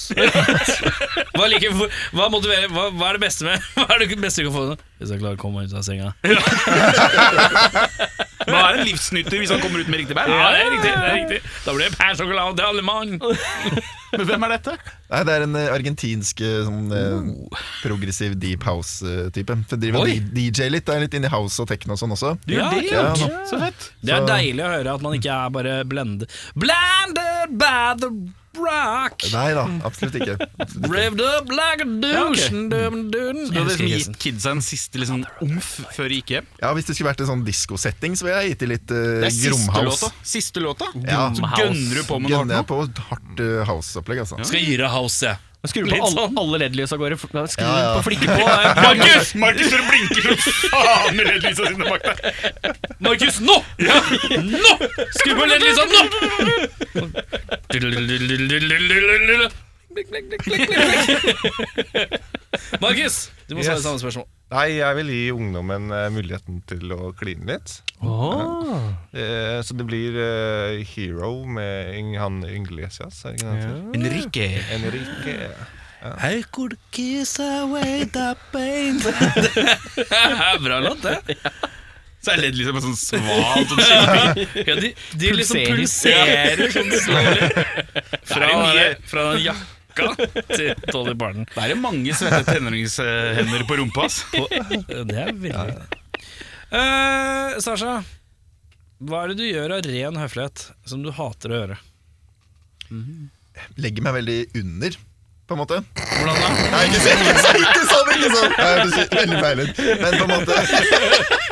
C: [LAUGHS] Hva, liker, hva, motiverer, hva, hva er det beste med [LAUGHS] Hva er det beste du kan få? Hvis jeg klarer å komme meg ut av senga.
B: Nå er det en livsnytter hvis han kommer ut med riktig bær.
C: Ja, det er riktig. det er riktig Da blir det pære sjokolade til alle mann.
B: Men hvem er dette?
E: Nei, det er en eh, argentinsk eh, sånn, eh, progressiv deep house-type. Så driver og
B: Oh. Oi.
E: di- DJ litt. Det er litt inni house og techno og sånn også.
C: Ja, altså.
B: det,
E: ja.
B: Så fett.
C: Det er
E: Så-
C: deilig å høre at man ikke er bare blende Blended by the rock
E: Nei da, absolutt ikke. Absolutt ikke.
C: Revved up like a douche dun, dun.
B: Du hadde liksom
C: Jeg husker
B: gitt kidsa en siste liksom, omf før de gikk hjem.
E: Ja, Hvis det skulle vært en sånn diskosetting, så ville jeg gitt det litt uh,
B: Det er siste låta.
E: gromhouse.
B: Siste låta.
E: Ja,
B: Så gønner du på med noe
E: Gønner jeg på hardt eh, house-opplegg, altså.
C: Skal jeg gi deg house, jeg
A: Skru på
C: Litt
A: alle,
C: sånn.
A: alle LED-lys av gårde. Skru
E: Ja, ja.
A: på flikke
E: [LAUGHS]
A: på. eh,
B: Markus! Markus står og blinker som faen med ledlysa sine bak der.
C: Markus, nå! Nå! Skru på liksom. litt liksom, nå! Markus, du må svare
F: Yes.
C: samme spørsmål
F: Nei, jeg vil gi ungdommen eh, muligheten til å kline litt.
A: Åh.
F: Eh, Så det blir eh, Hero med Ing- han Inglesias. Er det ikke det han heter?
B: Enrique.
F: Enrique.
C: I could kiss away the pain Bra låt, det
B: Så er ledlysa bare sånn svalt og skikkelig.
C: Ja, de, de liksom
A: Pulserer.
C: pulserer sånn slowly. Fra,
B: mye.
C: fra den jakka til Dolly Barton.
B: Da er det mange svette tenåringshender på rumpa. ass.
C: Det er veldig Eh, Sasha, hva er det du gjør av ren høflighet som du hater å gjøre?
E: Legger meg veldig under, på en måte.
B: Hvordan da?
E: Nei, ikke sånn! Ikke sånn! Ikke sånn, ikke sånn. Nei, jeg hørtes veldig feil ut. Men på
B: [LAUGHS]
E: en måte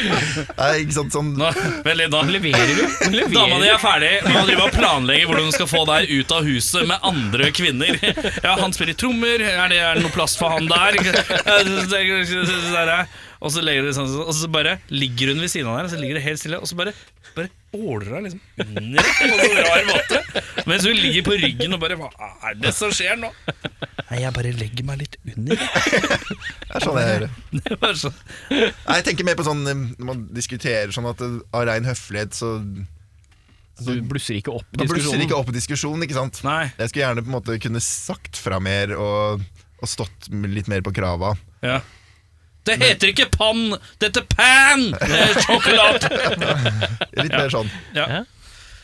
E: Nei, ikke sant, sånn
C: Nå, vent litt, nå
A: Leverer du? [LAUGHS] Leverer
C: Dama
A: du?
C: di er ferdig og han driver og planlegger hvordan hun skal få deg ut av huset med andre kvinner. Ja, Han spiller trommer, er det, er det noe plass for han der? [LAUGHS] Og så, legger du sånn, og så bare ligger hun ved siden av der, og så ligger det helt stille, og så bare, bare åler hun liksom under på en sånn rar måte. Mens hun ligger på ryggen og bare Hva er det som skjer nå? Nei, jeg bare legger meg litt [LAUGHS] under.
E: Det er sånn jeg gjør det.
C: Det var sånn.
E: Nei, jeg tenker mer på sånn eh, Når man diskuterer sånn at eh, av rein høflighet så
A: Du blusser ikke opp
E: Man blusser
A: diskusjonen.
E: ikke opp i diskusjonen, ikke sant?
C: Nei.
E: Jeg skulle gjerne på en måte kunne sagt fra mer og, og stått m- litt mer på krava.
C: Ja. Det heter ikke pann, det heter pan! Det er sjokolade!
E: Litt mer sånn.
B: Ja,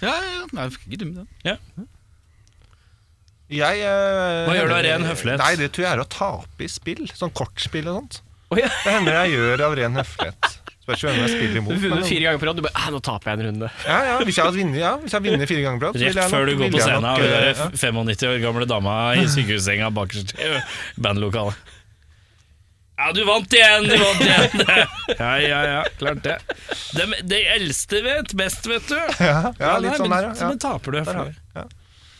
B: ja, ja. Nei, ikke dum, den.
F: Jeg, eh,
C: Hva gjør du av ren høflighet?
F: Nei, Det tror jeg er å tape i spill. Sånn kortspill og sånt.
A: Å, ja.
F: Det hender jeg gjør av ren høflighet. Spørs jo hvem jeg spiller
A: Du
F: imot.
A: har vunnet
F: men-
A: fire ganger på rad, du bare «Ah, 'nå taper jeg en runde'.
F: Ja, ja, hvis jeg hadde vunnet ja, hvis jeg hadde vunnet fire ganger på rad, så ville
C: Rett
F: jeg
C: før du
F: nok-
C: går på
F: ville jeg
C: scenen
F: nok,
C: og hun
F: eh,
C: der
F: ja.
C: 95 år gamle dama i sykehussenga bakerst i bandlokalet. Ja, du vant igjen! Du vant igjen! ja, ja, ja, klart det. De, de eldste vet best, vet du.
F: Ja, ja, litt
C: nei,
F: sånn
C: men,
F: der, ja.
C: Men taper du.
F: Der har
C: For,
F: vi, ja.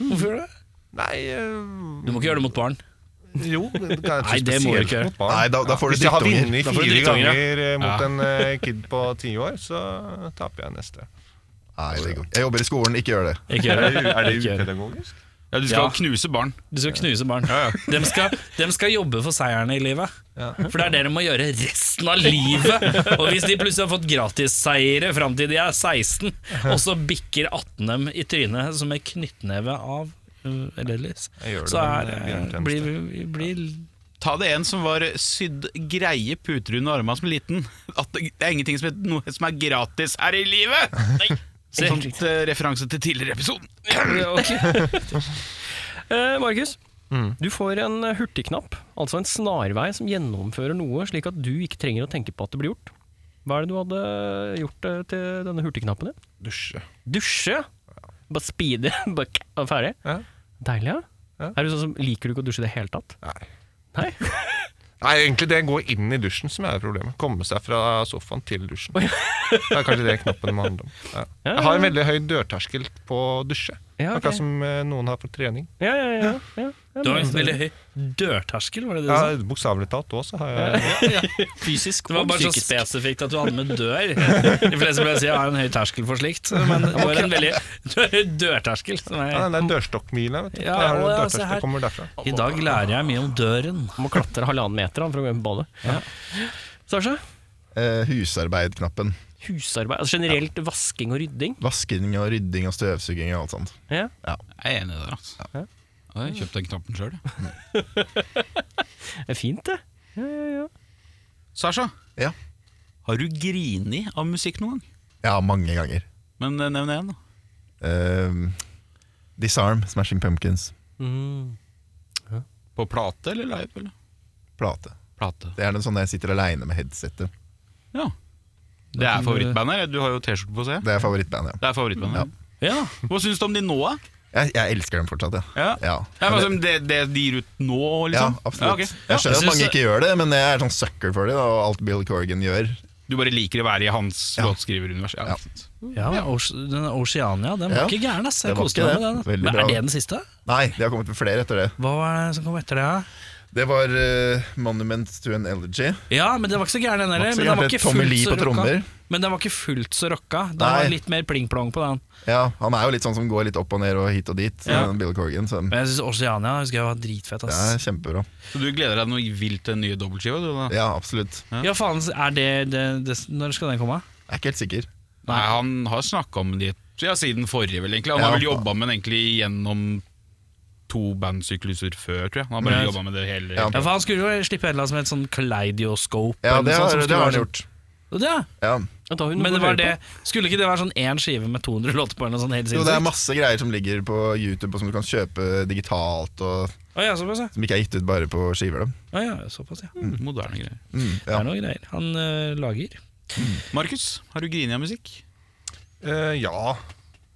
C: hvorfor gjør du det?
F: Nei
C: Du må ikke gjøre det mot barn.
F: eh, Jo, det kan jeg
C: Nei, det må du
F: spesielt
C: ikke.
F: mot barn.
E: Nei, da- da
F: Ja,
E: får du
F: Hvis jeg har
E: drittunger.
F: vunnet
C: Da får du
F: fire
C: drittunger, ja.
F: ganger eh, mot
C: Ja.
F: en eh, kid på ti år, så taper jeg neste.
E: Nei, det går ikke. Jeg jobber i skolen, ikke gjør det.
C: Ikke
F: Er
C: gjør
F: det,
C: det.
F: u- er det
C: Ikke gjør det.
F: upedagogisk?
B: Ja, du skal
C: Ja.
B: knuse barn.
C: Du skal knuse barn. De, skal, dem skal jobbe for seierne i livet.
F: Ja.
C: For det er det de må gjøre resten av livet. Og hvis de plutselig har fått gratisseiere fram til de er 16, og så bikker 18 dem i trynet som en knyttneve av uh, Lillis,
F: Jeg gjør det,
C: så er,
F: men, eh,
C: eh, blir, blir
B: Ta det en som var sydd greie puter under armene som liten. At det er ingenting som er, noe som er gratis her i livet! Nei.
F: Sånn
B: Sånt eh, referanse til tidligere episoden.
A: Eh, Markus, du får en eh, hurtigknapp, altså en snarvei som gjennomfører noe, slik at du ikke trenger å tenke på at det blir gjort. Hva er det du hadde gjort eh, til denne hurtigknappen din?
F: Dusje.
A: Dusje! Bare speede, [LAUGHS] bare k- og ferdig.
F: Ja.
A: Deilig, ja.
F: Ja.
A: Er du sånn som Liker du ikke å dusje i det hele tatt?
F: Nei.
A: Nei?
F: Nei, egentlig det går inn i dusjen som er problemet. Komme seg fra sofaen til dusjen. Det er kanskje det knappen må handle om. Ja.
A: Ja,
F: Jeg har en veldig høy dørterskel på å dusje.
A: Ja, ok.
F: Akkurat som eh, noen har på trening.
A: Ja, ja, ja. ja, ja.
C: Du har en veldig høy dørterskel, var det det du
F: Ja,
C: sa?
F: Bokstavelig talt òg, så har jeg
A: Fysisk
C: Det var bare så spesifikt at du hadde med dør. De fleste vil si jeg har en høy terskel for slikt, men du har en veldig du har en dørterskel. Som
F: ja,
C: er,
F: Den der dørstokkmila, vet du.
C: Ja,
F: Der har du
C: å, ja, se her.
F: dørterskel, kommer derfra.
C: I dag lærer jeg mye om døren.
A: Må klatre halvannen meter han, for å gå inn på badet. Ja. Sasha?
E: Eh, Husarbeid-knappen.
A: Husarbeid, altså generelt vasking og rydding.
E: Vasking og rydding og støvsuging og alt sånt.
A: Ja.
B: Jeg er enig i det. altså. Ja. Jeg kjøpte den knappen sjøl.
A: Det er fint, det. Ja, ja, ja.
B: Sasha,
E: Ja.
B: har du grini av musikk noen gang?
E: Ja, mange ganger.
B: Men eh, nevn én, da.
E: Eh, Disarm, Smashing Pumpkins.
B: På plate eller live? eller?
E: Plate.
B: Plate.
E: Det er den sånne jeg sitter aleine med headsetet.
B: Ja. Det er favorittbandet her. Du har jo T-skjorte på, ser jeg.
E: Det er favorittbandet, ja.
B: Det er favorittbandet.
C: Ja,
B: Hva syns du om de nå, da?
E: Jeg, jeg elsker dem fortsatt, ja.
B: Ja.
E: Ja,
B: Ja, men, altså, det, det de gir ut nå,
E: ja
B: liksom?
E: absolutt.
B: ok.
E: Jeg skjønner at
B: synes
E: mange ikke gjør det, men jeg er sånn sucker for det, da, og alt Bill Corgan gjør.
B: Du bare liker å være i hans
E: Ja.
B: låtskriverunivers. Ja.
E: Ja.
C: ja Oce- den Oceania, den var
E: Ja.
C: ikke gæren, ass. Jeg
E: Det var
C: koste
E: ikke
C: meg
E: det.
C: med den.
E: Veldig
C: Men
E: bra.
C: er det den siste?
E: Nei, det har kommet flere etter det.
C: Hva var det som kom etter det? da?
E: Det var eh, Monument to an Elegy.
C: Ja, men det var ikke så gæren den
E: Var
C: heller.
E: ikke så
C: Men den
E: gæren,
C: var ikke
E: Tommy
C: fullt
E: Lee
C: så
E: på
C: rocka.
E: trommer.
C: Men den var ikke fullt så rocka. Den
E: Nei.
C: var litt mer pling-plong på den.
E: Ja, han er jo litt sånn som går litt opp og ned og hit og dit,
C: Ja.
E: eh, Bill Corgan. Så det
C: Men jeg syns Oceania husker jeg var dritfett, ass.
E: er kjempebra.
B: Så du gleder deg noe vilt til den nye dobbeltskiva? du, da?
E: Ja, absolutt. Jeg
C: Ja, faen, er det, det, det Når skal den komme?
E: er ikke helt sikker.
B: Nei, han har snakka om det ja, siden forrige, vel egentlig. Han har
E: Ja.
B: vel jobba med den egentlig gjennom to bandsykluser før, tror jeg. Han har bare
C: Ja.
B: jobbet med det hele
E: Ja.
C: Ja, for Han skulle jo slippe et eller annet som het sånn Kaleidoskop.
E: Ja,
C: eller noe
E: det
C: sånt,
E: har,
C: som
E: det
C: skulle
E: har
C: være
E: han
C: sånn-
E: gjort.
C: Ja,
E: Ja.
A: Da har hun
C: men
A: noe
C: det
A: å
C: var
A: høre
C: det, skulle ikke det være sånn én skive med 200 låter på? Eller noe sånt helt
E: Jo, det er
C: sinnssykt?
E: masse greier som ligger på YouTube, og som du kan kjøpe digitalt, og
C: Å ja, såpass, ja.
E: som ikke er gitt ut bare på skiver. da.
C: Å ja, såpass, ja.
B: Mm, Moderne greier.
E: Mm,
C: Det
E: ja.
C: er noe greier. Han øh, lager.
B: Markus, har du grini av musikk?
F: Eh, ja.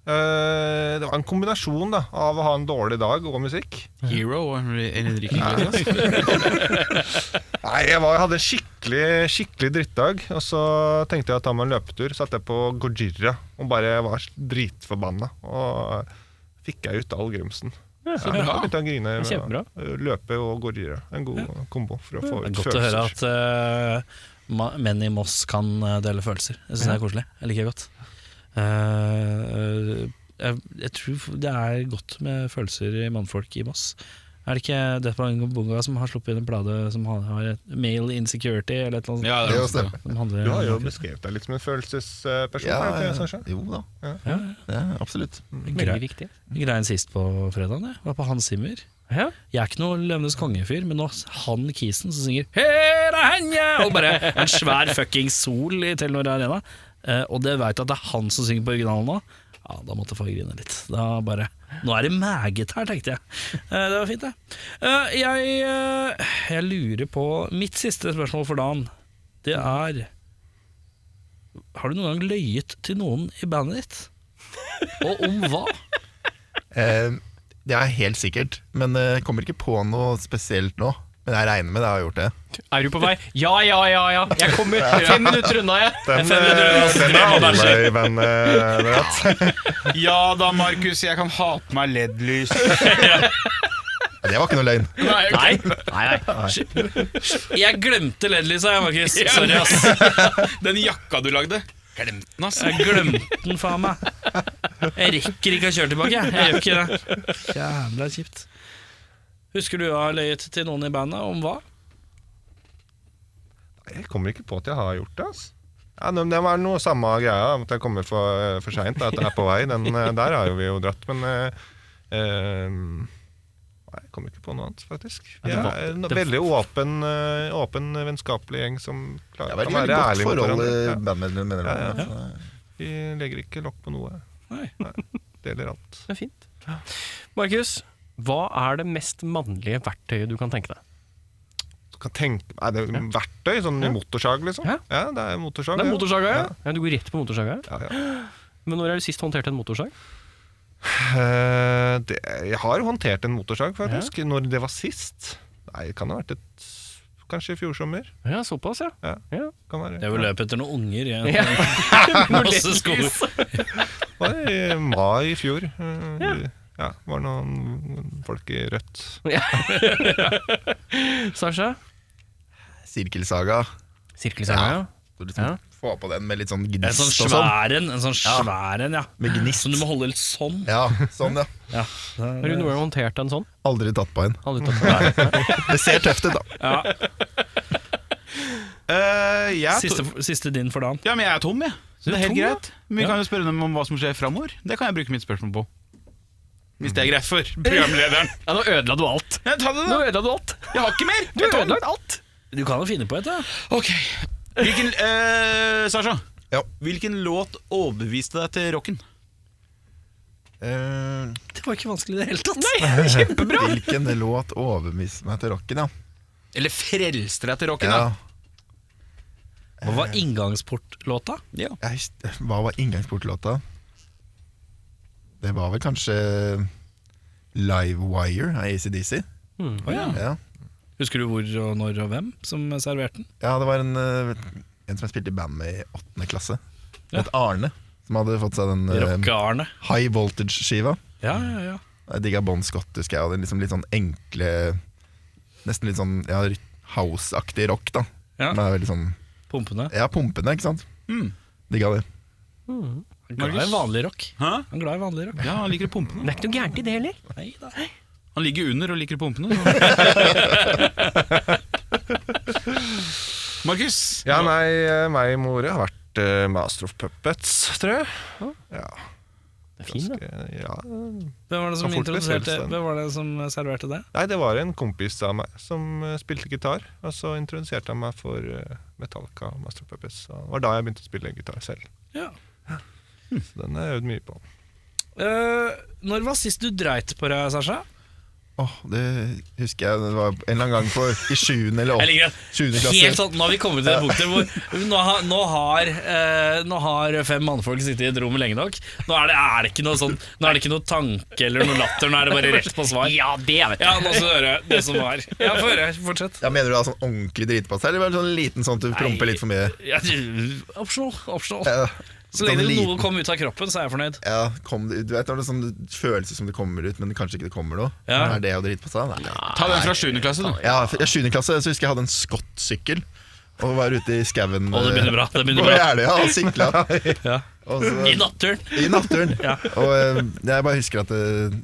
F: Eh, det var en kombinasjon da, av å ha en dårlig dag og musikk.
B: Hero og Henrik altså. Iglesias?
F: Nei, Jeg var, jeg hadde en skikkelig, skikkelig drittdag, og så tenkte jeg å ta meg en løpetur. Satt jeg på Gojira og bare var dritforbanna. Og fikk jeg ut all grumsen.
A: Ja,
F: Så jeg begynte å grine.
A: Det er
F: med
A: kjempebra.
F: å Løpe og Gojira. En god kombo for å få
C: Det er
F: ut
C: godt å høre
F: følelser.
C: at øh, ma- menn i Moss kan øh, dele følelser. Jeg syns det er koselig. Jeg liker det godt. Eh, øh, jeg, jeg tror det er godt med følelser i mannfolk i Moss. Er det ikke Death by Bunga som har sluppet inn en plate som har, har et male insecurity eller et eller annet sånt?
B: Ja,
E: Det
B: det
E: er jo sånn.
B: er
E: stemmer.
C: Som handler
F: Du har jo
C: om-
F: beskrevet deg litt som en følelsesperson.
E: Ja,
F: er det ikke det,
E: ja.
F: Sasha?
E: Jo da,
C: Ja,
E: det er absolutt.
A: Veldig viktig.
C: Greien sist på fredagen, jeg var på Hans Zimmer.
A: Ja.
C: Jeg er ikke noe Løvenes konge-fyr, men nå han kisen som synger «Her er han, ja!» Og bare en svær fucking sol i Telenor Arena. Eh, og det veit jeg at det er han som synger på originalen nå. Ja, da måtte far grine litt. Da bare Nå er det meget her, tenkte jeg. Eh, det var fint, det. Eh, jeg, eh, jeg lurer på Mitt siste spørsmål for dagen, det er Har du noen gang løyet til noen i bandet ditt? Og om hva?
E: Eh, det er helt sikkert, men eh, jeg kommer ikke på noe spesielt nå. Men jeg regner med det, jeg har gjort det.
A: Er du på vei? Ja, ja, ja, ja. Jeg kommer fem minutter unna, jeg.
F: Den, eh, den er alle i
C: [LAUGHS]
F: bandet rett.
B: Ja da, Markus, jeg kan ha på meg LED-lys.
E: Ja, Det var ikke noe løgn.
A: Nei, nei, nei.
C: Jeg glemte LED-lysa, jeg, Markus. Sorry, ass.
B: Den jakka du lagde, glemt den, altså. ass.
C: Jeg glemte den, faen meg. Jeg rekker ikke å kjøre tilbake. jeg. Jeg gjør ikke det. Jævla kjipt. Husker du å ha løyet til noen i bandet? Om hva?
F: Jeg kommer ikke på at jeg har gjort det. ass. Ja, men det var noe samme greia, at jeg kommer for, for seint. At jeg er på vei. Den, eh, der har jo vi jo dratt, men eh, eh, Nei, jeg kommer ikke på noe annet, faktisk. Vi er en veldig åpen, eh, åpen vennskapelig gjeng som
E: Det
F: klarer,
E: var et
F: kan
E: veldig
F: være
E: godt
F: ærlig mot
E: forhold
F: hverandre.
E: eh, bandmedlemmene mellom
F: Ja, ja.
E: hverandre.
F: Ja, vi legger ikke lokk på noe.
C: Nei.
F: Deler alt.
A: Det er fint. Markus, hva er det mest mannlige verktøyet du kan tenke deg?
F: Du kan tenke, er det verktøy? Sånn motorsag, liksom?
A: Ja.
F: Ja, det er motorsag.
A: Det er
F: ja.
A: motorsaga, ja. ja. Du går rett på motorsaga. ja.
F: Ja, ja.
A: Men når er du sist håndterte en motorsag?
F: Eh, det, jeg har håndtert en motorsag, faktisk. Når det var sist? Nei, det kan ha vært et Kanskje i fjor sommer.
A: Ja, såpass, ja.
F: Ja.
A: ja.
F: Kan være.
C: Jeg vil løpe etter noen unger. Jeg.
A: ja. [LAUGHS]
C: [LAUGHS] Masse sko.
F: Var det i mai i fjor. eh, i- Ja, var noen folk i Rødt.
A: Sasha?
E: Sirkelsaga.
A: Sirkelsaga, ja.
E: Så liksom,
A: Ja.
E: Få på den med litt sånn
C: En sånn
E: gnist og sånn.
C: svær en, en sånn svær en, ja.
E: Med gnist.
C: Som du må holde litt sånn.
E: Ja, sånn, ja.
C: Ja.
A: Har du noen gang håndtert en sånn?
E: Aldri tatt på en.
A: Aldri tatt på deg.
E: Det ser tøft ut, da.
B: Eh, jeg, er
C: Siste,
B: to-
C: siste din [LAUGHS] for dagen.
B: ja, men jeg er tom, jeg. Så det er helt
C: tom, ja.
B: greit. Men vi kan jo spørre dem om hva som skjer framover. Det kan jeg bruke mitt spørsmål på. Hvis det er greit for programlederen.
A: Ja, nå ødela du alt.
B: Ja, ta det,
A: Nå
B: da.
A: ødela du alt.
B: Jeg har ikke mer.
A: Du
B: Jeg tar den.
A: ødela alt.
C: Du kan jo finne på et, da.
B: Ok Hvilken, eh, Sasha
E: Ja.
B: Hvilken låt overbeviste deg til rocken?
E: Eh,
C: Det var ikke vanskelig i det hele tatt.
E: Hvilken låt overbeviste meg til rocken, ja?
B: Eller frelste deg til rocken
E: ja.
B: da
C: Hva var inngangsportlåta?
E: Jeg, hus- hva var inngangsportlåta? Det var vel kanskje Live Wire av ACDC.
C: Å ja.
E: Ja.
C: Husker du hvor og når og hvem som serverte den?
E: ja, det var en, eh, en som jeg spilte i band med i åttende klasse.
C: Ja.
E: Et Arne, som hadde fått seg den eh,
C: Rockearne.
E: High Voltage-skiva.
C: Ja, ja, ja.
E: Jeg digga Bon Scott, husker jeg. Og den liksom litt sånn enkle Nesten litt sånn ja, house-aktig rock, da.
C: Ja. Hmm.
E: Med veldig sånn
C: Pumpene.
E: Ja, pumpene, ikke sant?
B: Mm.
E: Digga det.
C: Han er glad i vanlig rock.
B: Hæ?
C: Han er glad i vanlig rock.
B: Ja, han liker pumpene
A: Det er ikke noe gærent i det heller.
C: Nei da.
B: Han ligger under og liker
E: [LAUGHS]
B: pumpene så. Markus
F: Ja, nei, eh, meg og More har vært eh, Master of Puppets, tror jeg. Ja,
A: Det er fint, da.
F: ganske- ja.
C: Hvem var det som
F: Kan fort bli
C: introduserte
F: selvstendig.
C: Hvem var det som eh, serverte det?
F: Nei, det var en kompis av meg som eh, spilte gitar. Og så introduserte han meg for eh, Metallica og Master of Puppets. Og det var da jeg begynte å spille gitar selv.
C: Ja.
F: Så den har jeg øvd mye på.
C: Eh, når var sist du dreit på deg, Sasha?
E: Åh, det husker jeg det var en eller annen gang på, i sjuende
C: Jeg
E: eller åttende
C: liker det. Helt
E: klasse.
C: sånn, Nå har vi kommet til det punktet hvor nå har, nå, har, eh, nå har fem mannfolk sittet i et rom lenge nok. Nå er det, er det ikke noe sånn Nå er det ikke noe tanke eller noe latter, nå er det bare rett på svar.
A: Ja, det vet
C: Ja, nå skal du høre det som var. Ja, få høre. Fortsett.
E: Ja, mener du da sånn ordentlig dritpass eller var det sånn liten sånn at du promper litt for mye?
C: Ja, du- optional. optional.
E: Ja,
C: Så lenge
E: sånn
C: det noe
E: liten-
C: kom ut av kroppen, så er jeg fornøyd.
E: ja, kom, det- du vet når det er sånn følelse som det kommer ut, men kanskje ikke det kommer noe?
C: Ja.
E: Er det å dritpasse? Nei.
B: Ta den fra 7. klasse du
E: Ja, for- I sjuende klasse så husker jeg jeg hadde en skottsykkel og var ute i skauen.
C: Å,
E: eh,
C: det begynner bra. det
E: På
C: begynner bra
E: Jeløya og sykla.
C: [LAUGHS] Ja.
E: Og
C: I
E: så-
C: naturen.
E: I naturen.
C: Ja.
E: Og eh, jeg bare husker at eh,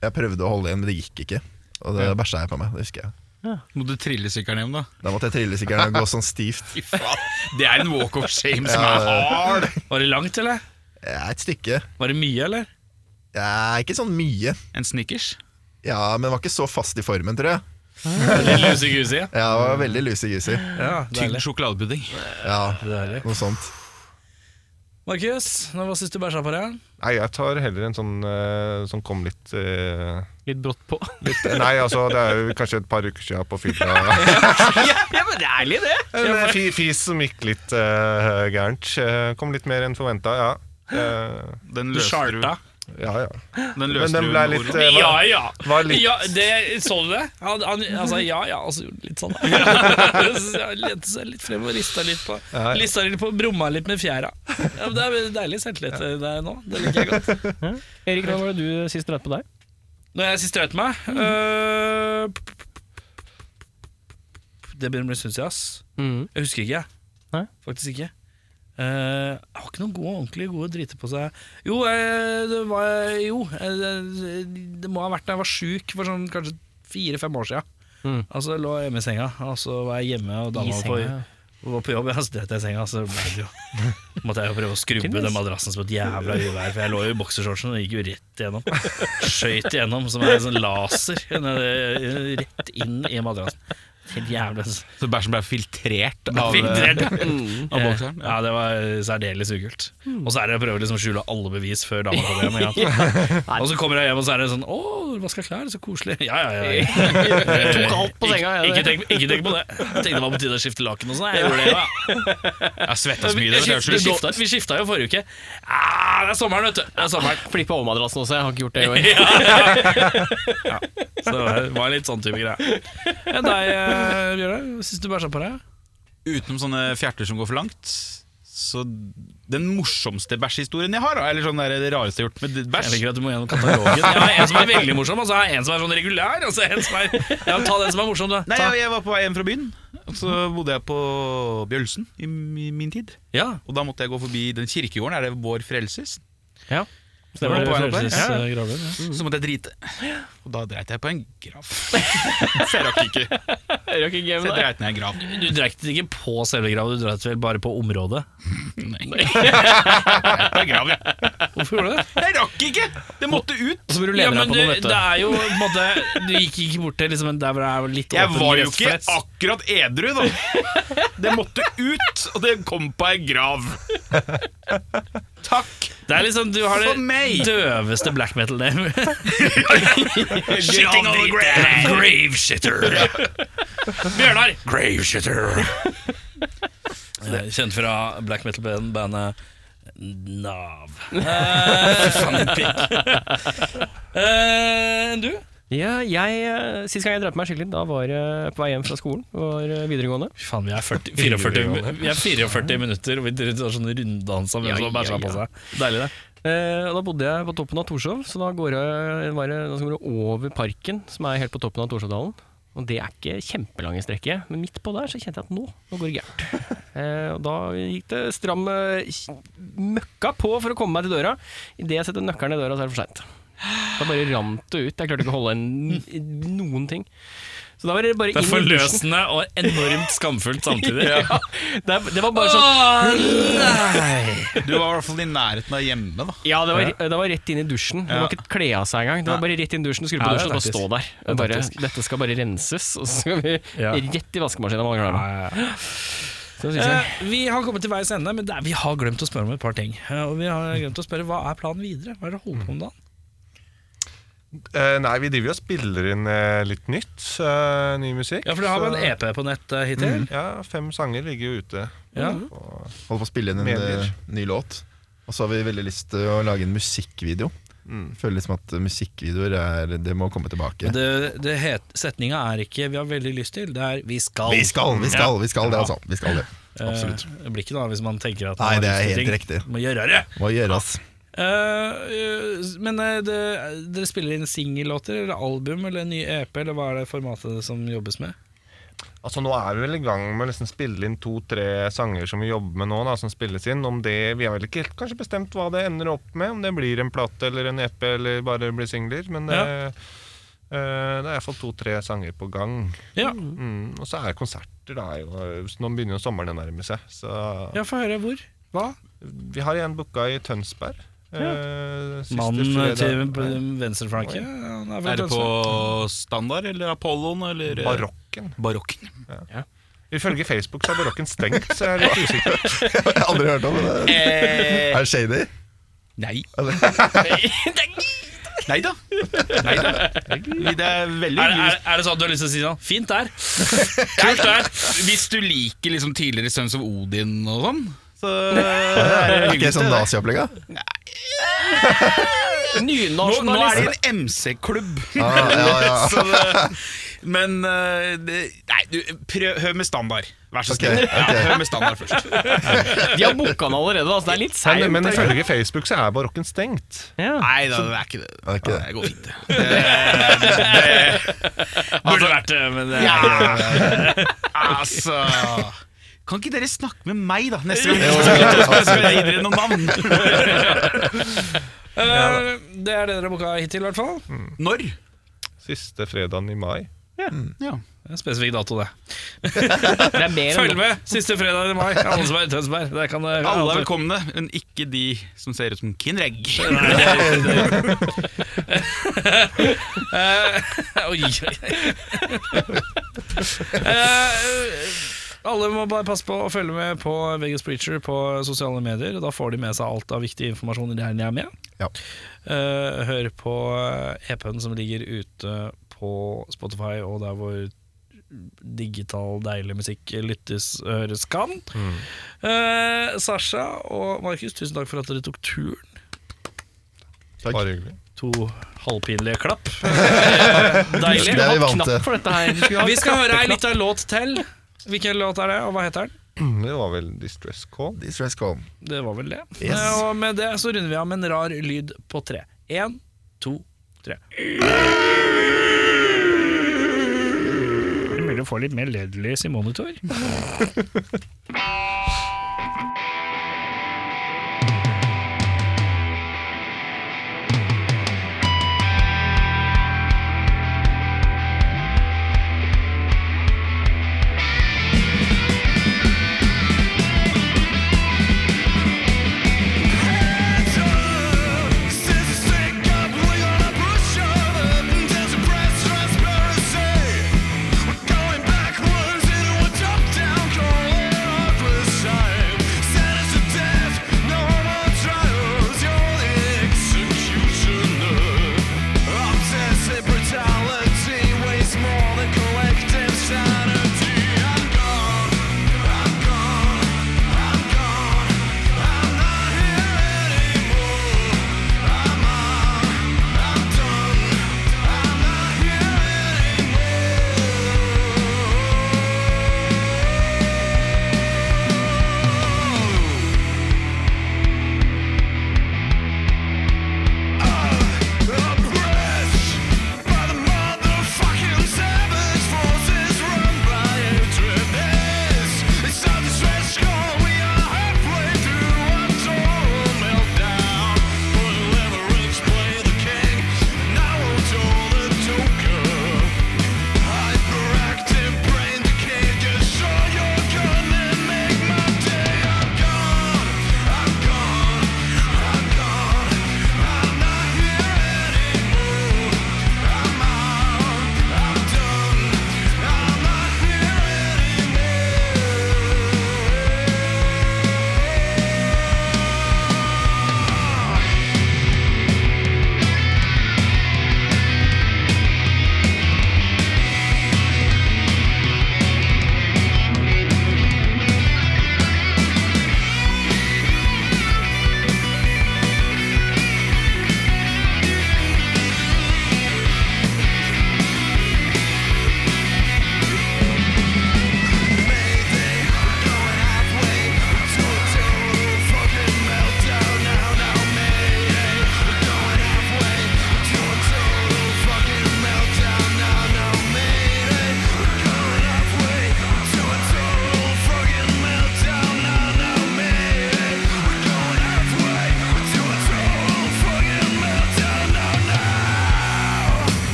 E: jeg prøvde å holde igjen, men det gikk ikke. Og det bæsja jeg på meg. det husker jeg
B: Må du trille sykkelen hjem da
E: Da måtte jeg trille sykkelen og gå sånn stivt.
B: Fy faen Det er en walk of shame som er
E: Ja,
B: hard
C: Var det langt, eller?
E: Ja, et stykke.
C: Var det mye, eller?
E: Ja, ikke sånn mye.
B: En snickers
E: Ja, Men var ikke så fast i formen, tror jeg.
C: Litt luseguse?
E: Ja, jeg var
C: Mm.
E: veldig lusegusig.
C: Ja,
B: Tygg
C: deilig.
B: sjokoladepudding
E: Ja,
C: deilig.
E: noe sånt.
C: Markus, nå, hva syns du bæsja på deg?
F: Nei, jeg tar heller en sånn eh, som kom litt eh,
A: Litt brått på.
F: Litt, nei, altså, det er jo kanskje et par uker siden
C: [LAUGHS]
F: på fylla.
A: ja, ja, men det er ærlig, det!
F: [LAUGHS] En eh, fi- fis som gikk litt eh, gærent. Eh, kom litt mer enn forventa, ja. Eh,
B: Den
C: Du
B: løste du.
C: charta.
F: ja,
C: [GASPS]
F: ja.
B: Den
F: Men
B: løste
F: den
B: du
F: ble
B: med
F: litt,
B: ordet.
F: eh,
C: Ja,
F: var,
C: ja.
F: var litt
C: ja det, så du det? Han, han, han sa ja, ja, og så gjorde han litt sånn. [LAUGHS] Så Han lente seg litt frem og rista litt på
F: Ja.
C: Lista litt på, brumma litt med fjæra. Ja, men det er deilig selvtillit der nå. Det liker jeg godt.
A: Erik, hva var det du sist dreit på deg?
C: Når jeg sist dreit meg øh, p- p- p- Det begynner å bli en stund siden, ass.
A: Mm.
C: Jeg husker ikke, jeg.
A: Nei?
C: Faktisk ikke. Eh, jeg har ikke noen gode, ordentlig gode driter på seg. Jo, eh, det, var, jo eh, det, det må ha vært da jeg var sjuk for sånn kanskje fire-fem år siden.
A: Mm.
C: Altså, jeg lå hjemme i senga, og så var jeg hjemme og dama var på, var på jobb. Ja, så dreit jeg i senga, så ble det jo Måtte jeg jo prøve å skrubbe den madrassen som et jævla uvær, for jeg lå jo i boksershortsen og gikk jo rett igjennom. Skøyt igjennom som en sånn laser nede- rett inn i madrassen. Helt jævla
B: Så bæsjen ble filtrert Mm. av eh,
C: Filtrert.
B: av bokseren,
C: Eh, ja. det var særdeles ukult.
A: Hmm.
C: Og så er det å prøve liksom å skjule alle bevis før dama kommer hjem.
A: [LAUGHS]
C: ikke sant? Og så kommer jeg hjem, og så er det sånn Å, du vaska klær, så koselig. Ja, ja, ja. Jeg
A: [LAUGHS] tok alt på senga, jeg,
C: Ikke,
A: det.
C: tenk, ikke tenk på det. Tenkte det var på tide å skifte laken og sånn. Jeg gjorde det,
A: [LAUGHS]
C: ja.
B: Jeg svetta så mye.
C: Vi
B: Det, jeg
C: skifta-
B: skulle gå-
C: Vi skifta jo forrige uke. Ah, det er sommeren, vet du. Det er sommeren.
A: Flippa over madrassen også, jeg har ikke gjort det [LAUGHS] i år.
C: Så det var litt sånn type greie. Ja, deg, eh, Bjørnar, syns du bæsja på deg?
B: utenom sånne fjerter som går for langt. Så den morsomste bæsjhistorien jeg har, da, eller sånn der, det rareste jeg har gjort med
C: Jeg
B: bæsj
C: liker at du må gjennom katalogen. Jeg har en som er veldig morsom, og så har jeg en som er sånn regulær. Og så en som er, ja, ta den som er morsom, du.
B: Nei,
C: Ta.
B: jeg, jeg var på vei hjem fra byen, og så bodde jeg på Bjølsen i mi- min tid.
C: Ja,
B: Og da måtte jeg gå forbi den kirkegården, er det Vår Frelses?
A: Ja.
B: var
A: Stemmer det.
B: på vei opp der.
C: Frelses, eh, gravlund, ja.
B: Så måtte jeg drite. Og da dreit jeg på en [LAUGHS] grav. Så jeg rakk ikke. Så jeg dreit ned en grav.
C: Du dreit ikke på selve grava, du dreit vel bare på området?
B: [LAUGHS] Nei. Jeg dreit på en grav, jeg.
C: Hvorfor gjorde du det?
B: Jeg rakk ikke! Det måtte ut!
A: Så burde du
C: Ja,
A: lene
C: men
A: deg på
C: du,
A: noen, vet
C: det
A: du.
C: er jo på en måte Du gikk ikke bort til liksom, en der hvor det er litt
B: Jeg
C: åpen
B: var jo ikke
C: gressfless.
B: akkurat edru, da. Det måtte ut, og det kom på ei grav. Takk.
C: Det er liksom, Du har
B: For
C: det
B: meg.
C: døveste black metal-name.
B: Shitting on the grave.
C: Grave shitter. [LAUGHS] Bjørnar.
B: Grave
C: [LAUGHS]
B: shitter.
C: Eh, Kjent fra black metal-bandet Nav. Eh, eh, du?
A: Ja, jeg, eh, Sist gang jeg dreit meg skikkelig, da var jeg på vei hjem fra skolen. Var eh, videregående.
C: Fy Faen, vi er 40, 44, mi- vi er 44 minutter, og vi tar sånn runddans om
A: Ja,
C: hvem som har
A: ja,
C: bæsja på
A: ja.
C: seg. Deilig, det.
A: Eh, og da bodde jeg på toppen av Torshov, så da går jeg, var jeg, da skal jeg gå over parken, som er helt på toppen av Torshovdalen. Og det er ikke kjempelange strekket, men midt på der så kjente jeg at nå, nå går det gærent. Eh, og da gikk det stram eh, kj- møkka på for å komme meg til døra. Idet jeg setter nøkkelen i døra, så er det for seint. Da bare rant det ut. Jeg klarte ikke å holde en, noen ting. Så da var det bare
C: Det er
A: inn i dusjen.
C: forløsende og enormt skamfullt [LAUGHS] samtidig.
A: Ja, det, er- det var bare sånn
B: Du var i hvert fall i nærheten av hjemme, da.
A: Ja, det var, det var rett inn i dusjen. Det var ikke kle av seg engang. Det var bare rett inn i dusjen, skru på
C: Ja, det er
A: dusjen og bare stå der. Bare, dette skal bare renses, og så skal vi
C: Ja.
A: rett i vaskemaskinen. Man klarer det. Så synes jeg.
C: Eh, vi har kommet til veis ende, men det er, vi har glemt å spørre om et par ting. Eh, Og vi har glemt å spørre, Hva er planen videre? Hva er det du holder på med da?
F: Eh, nei, vi driver jo og spiller inn eh, litt nytt. eh, ny musikk.
C: Ja, for du har vel en EP på nett eh, hittil?
F: Ja, fem sanger ligger jo ute.
C: Ja.
E: Holder på å spille inn en
F: Medier.
E: eh, ny låt. Og så har vi veldig lyst til å lage en musikkvideo. Føler liksom at eh, musikkvideoer er, det må komme tilbake.
C: Men Det, det het, setninga er ikke 'vi har veldig lyst til', det er 'vi skal'.
E: vi skal, vi skal, vi skal det, altså. Vi skal det.
C: Eh,
E: Absolutt.
C: Det blir ikke noe av hvis man tenker at
E: Nei,
C: man
E: det
C: har lyst
E: er
C: til
E: helt
C: ting.
E: riktig.
C: Må gjøre det!
E: Må gjøres.
C: Eh, eh, men eh, det, dere spiller inn singellåter eller album eller en ny EP, eller hva er det formatet som jobbes med?
F: Altså Nå er vi vel i gang med å liksom spille inn to-tre sanger som vi jobber med nå. da, som spilles inn Om det, Vi har vel ikke helt kanskje bestemt hva det ender opp med, om det blir en plate eller en EP eller bare blir singler. Men det, eh, det er iallfall to-tre sanger på gang.
C: Ja,
F: Mm, og så er konserter, da. er jo- så Nå begynner jo sommeren å nærme seg. Så
C: ja få høre. Hvor? Hva?
F: Vi har en booka i Tønsberg. eh, siste
C: Mannen
F: fredag.
C: til venstreflanke? Han er fra
B: Er det
C: Tønsberg.
B: på standard eller Apolloen eller eh,
F: Barokken.
B: Barokken.
F: Ifølge Facebook så er barokken stengt, så
C: [LAUGHS]
F: jeg er litt usikker.
E: [LAUGHS] Jeg har aldri hørt om det. Er det shady?
B: Nei.
C: er,
B: Nei da. Nei da. Det er veldig
C: det- er,
B: hyggelig.
C: det- er det sånn at du har lyst til å si sånn Fint der. Kult der.
B: Hvis du liker liksom tidligere Sons of Odin og sånn, så er det
E: Er ikke
B: hyggelig.
E: det sånn
B: det.
E: naziopplegg, da?
B: Nå, nå er
A: Nynasjonalist.
B: det en MC-klubb.
E: Ah, [LAUGHS] ja, ja.
B: Så det- Men eh, det, Nei, du, prøv, hør med standard. Vær så
E: Ok,
B: snill.
E: ok.
B: Ja, hør med standard først.
A: De har booka den allerede, da, så det er litt seigt.
F: Men, men ifølge Facebook så er barokken stengt.
A: Ja.
B: Nei da, det er ikke det.
E: er ikke det.
B: går fint. det.
C: Burde vært det, men det
B: Ja. altså Kan ikke dere snakke med meg, da, neste gang? Så skal jeg gi dere noen navn.
C: Eh, Det er det dere har booka hittil, i hvert fall.
B: Når?
F: Siste fredagen i mai.
C: Det er en spesifikk dato, det.
A: Det er mer
C: Følg
A: enn
C: med siste fredag i mai. Alle som er i Tønsberg. Det kan eh,
B: Alle er velkomne, men ikke de som ser ut som Kinreg.
C: Oi, oi, oi. Eh, alle må bare passe på å følge med på Vegas Preacher på sosiale medier. Da får de med seg alt av viktig informasjon i det her de er med.
E: Ja.
C: Eh, hør på eh, EP-en som ligger ute på Spotify og der hvor digital, deilig musikk lyttes, høres kan. Eh, Sasha og Markus, tusen takk for at dere tok turen.
F: Bare hyggelig.
C: To halvpinlige klapp.
A: deilig. Du
E: Det er vi
A: skulle ha
E: vant til.
A: knapp for dette her. Du skulle ha
C: Vi skal høre ei
A: knappeknapp.
C: lita låt til. Hvilken låt er det, og hva heter den?
F: Det var vel Distress Call.
E: Distress call.
C: Det var vel det.
E: Yes.
C: Eh, Og med det så runder vi av med en rar lyd på tre. Én, to, tre. Det er mulig å få litt mer LED-lys i monitor.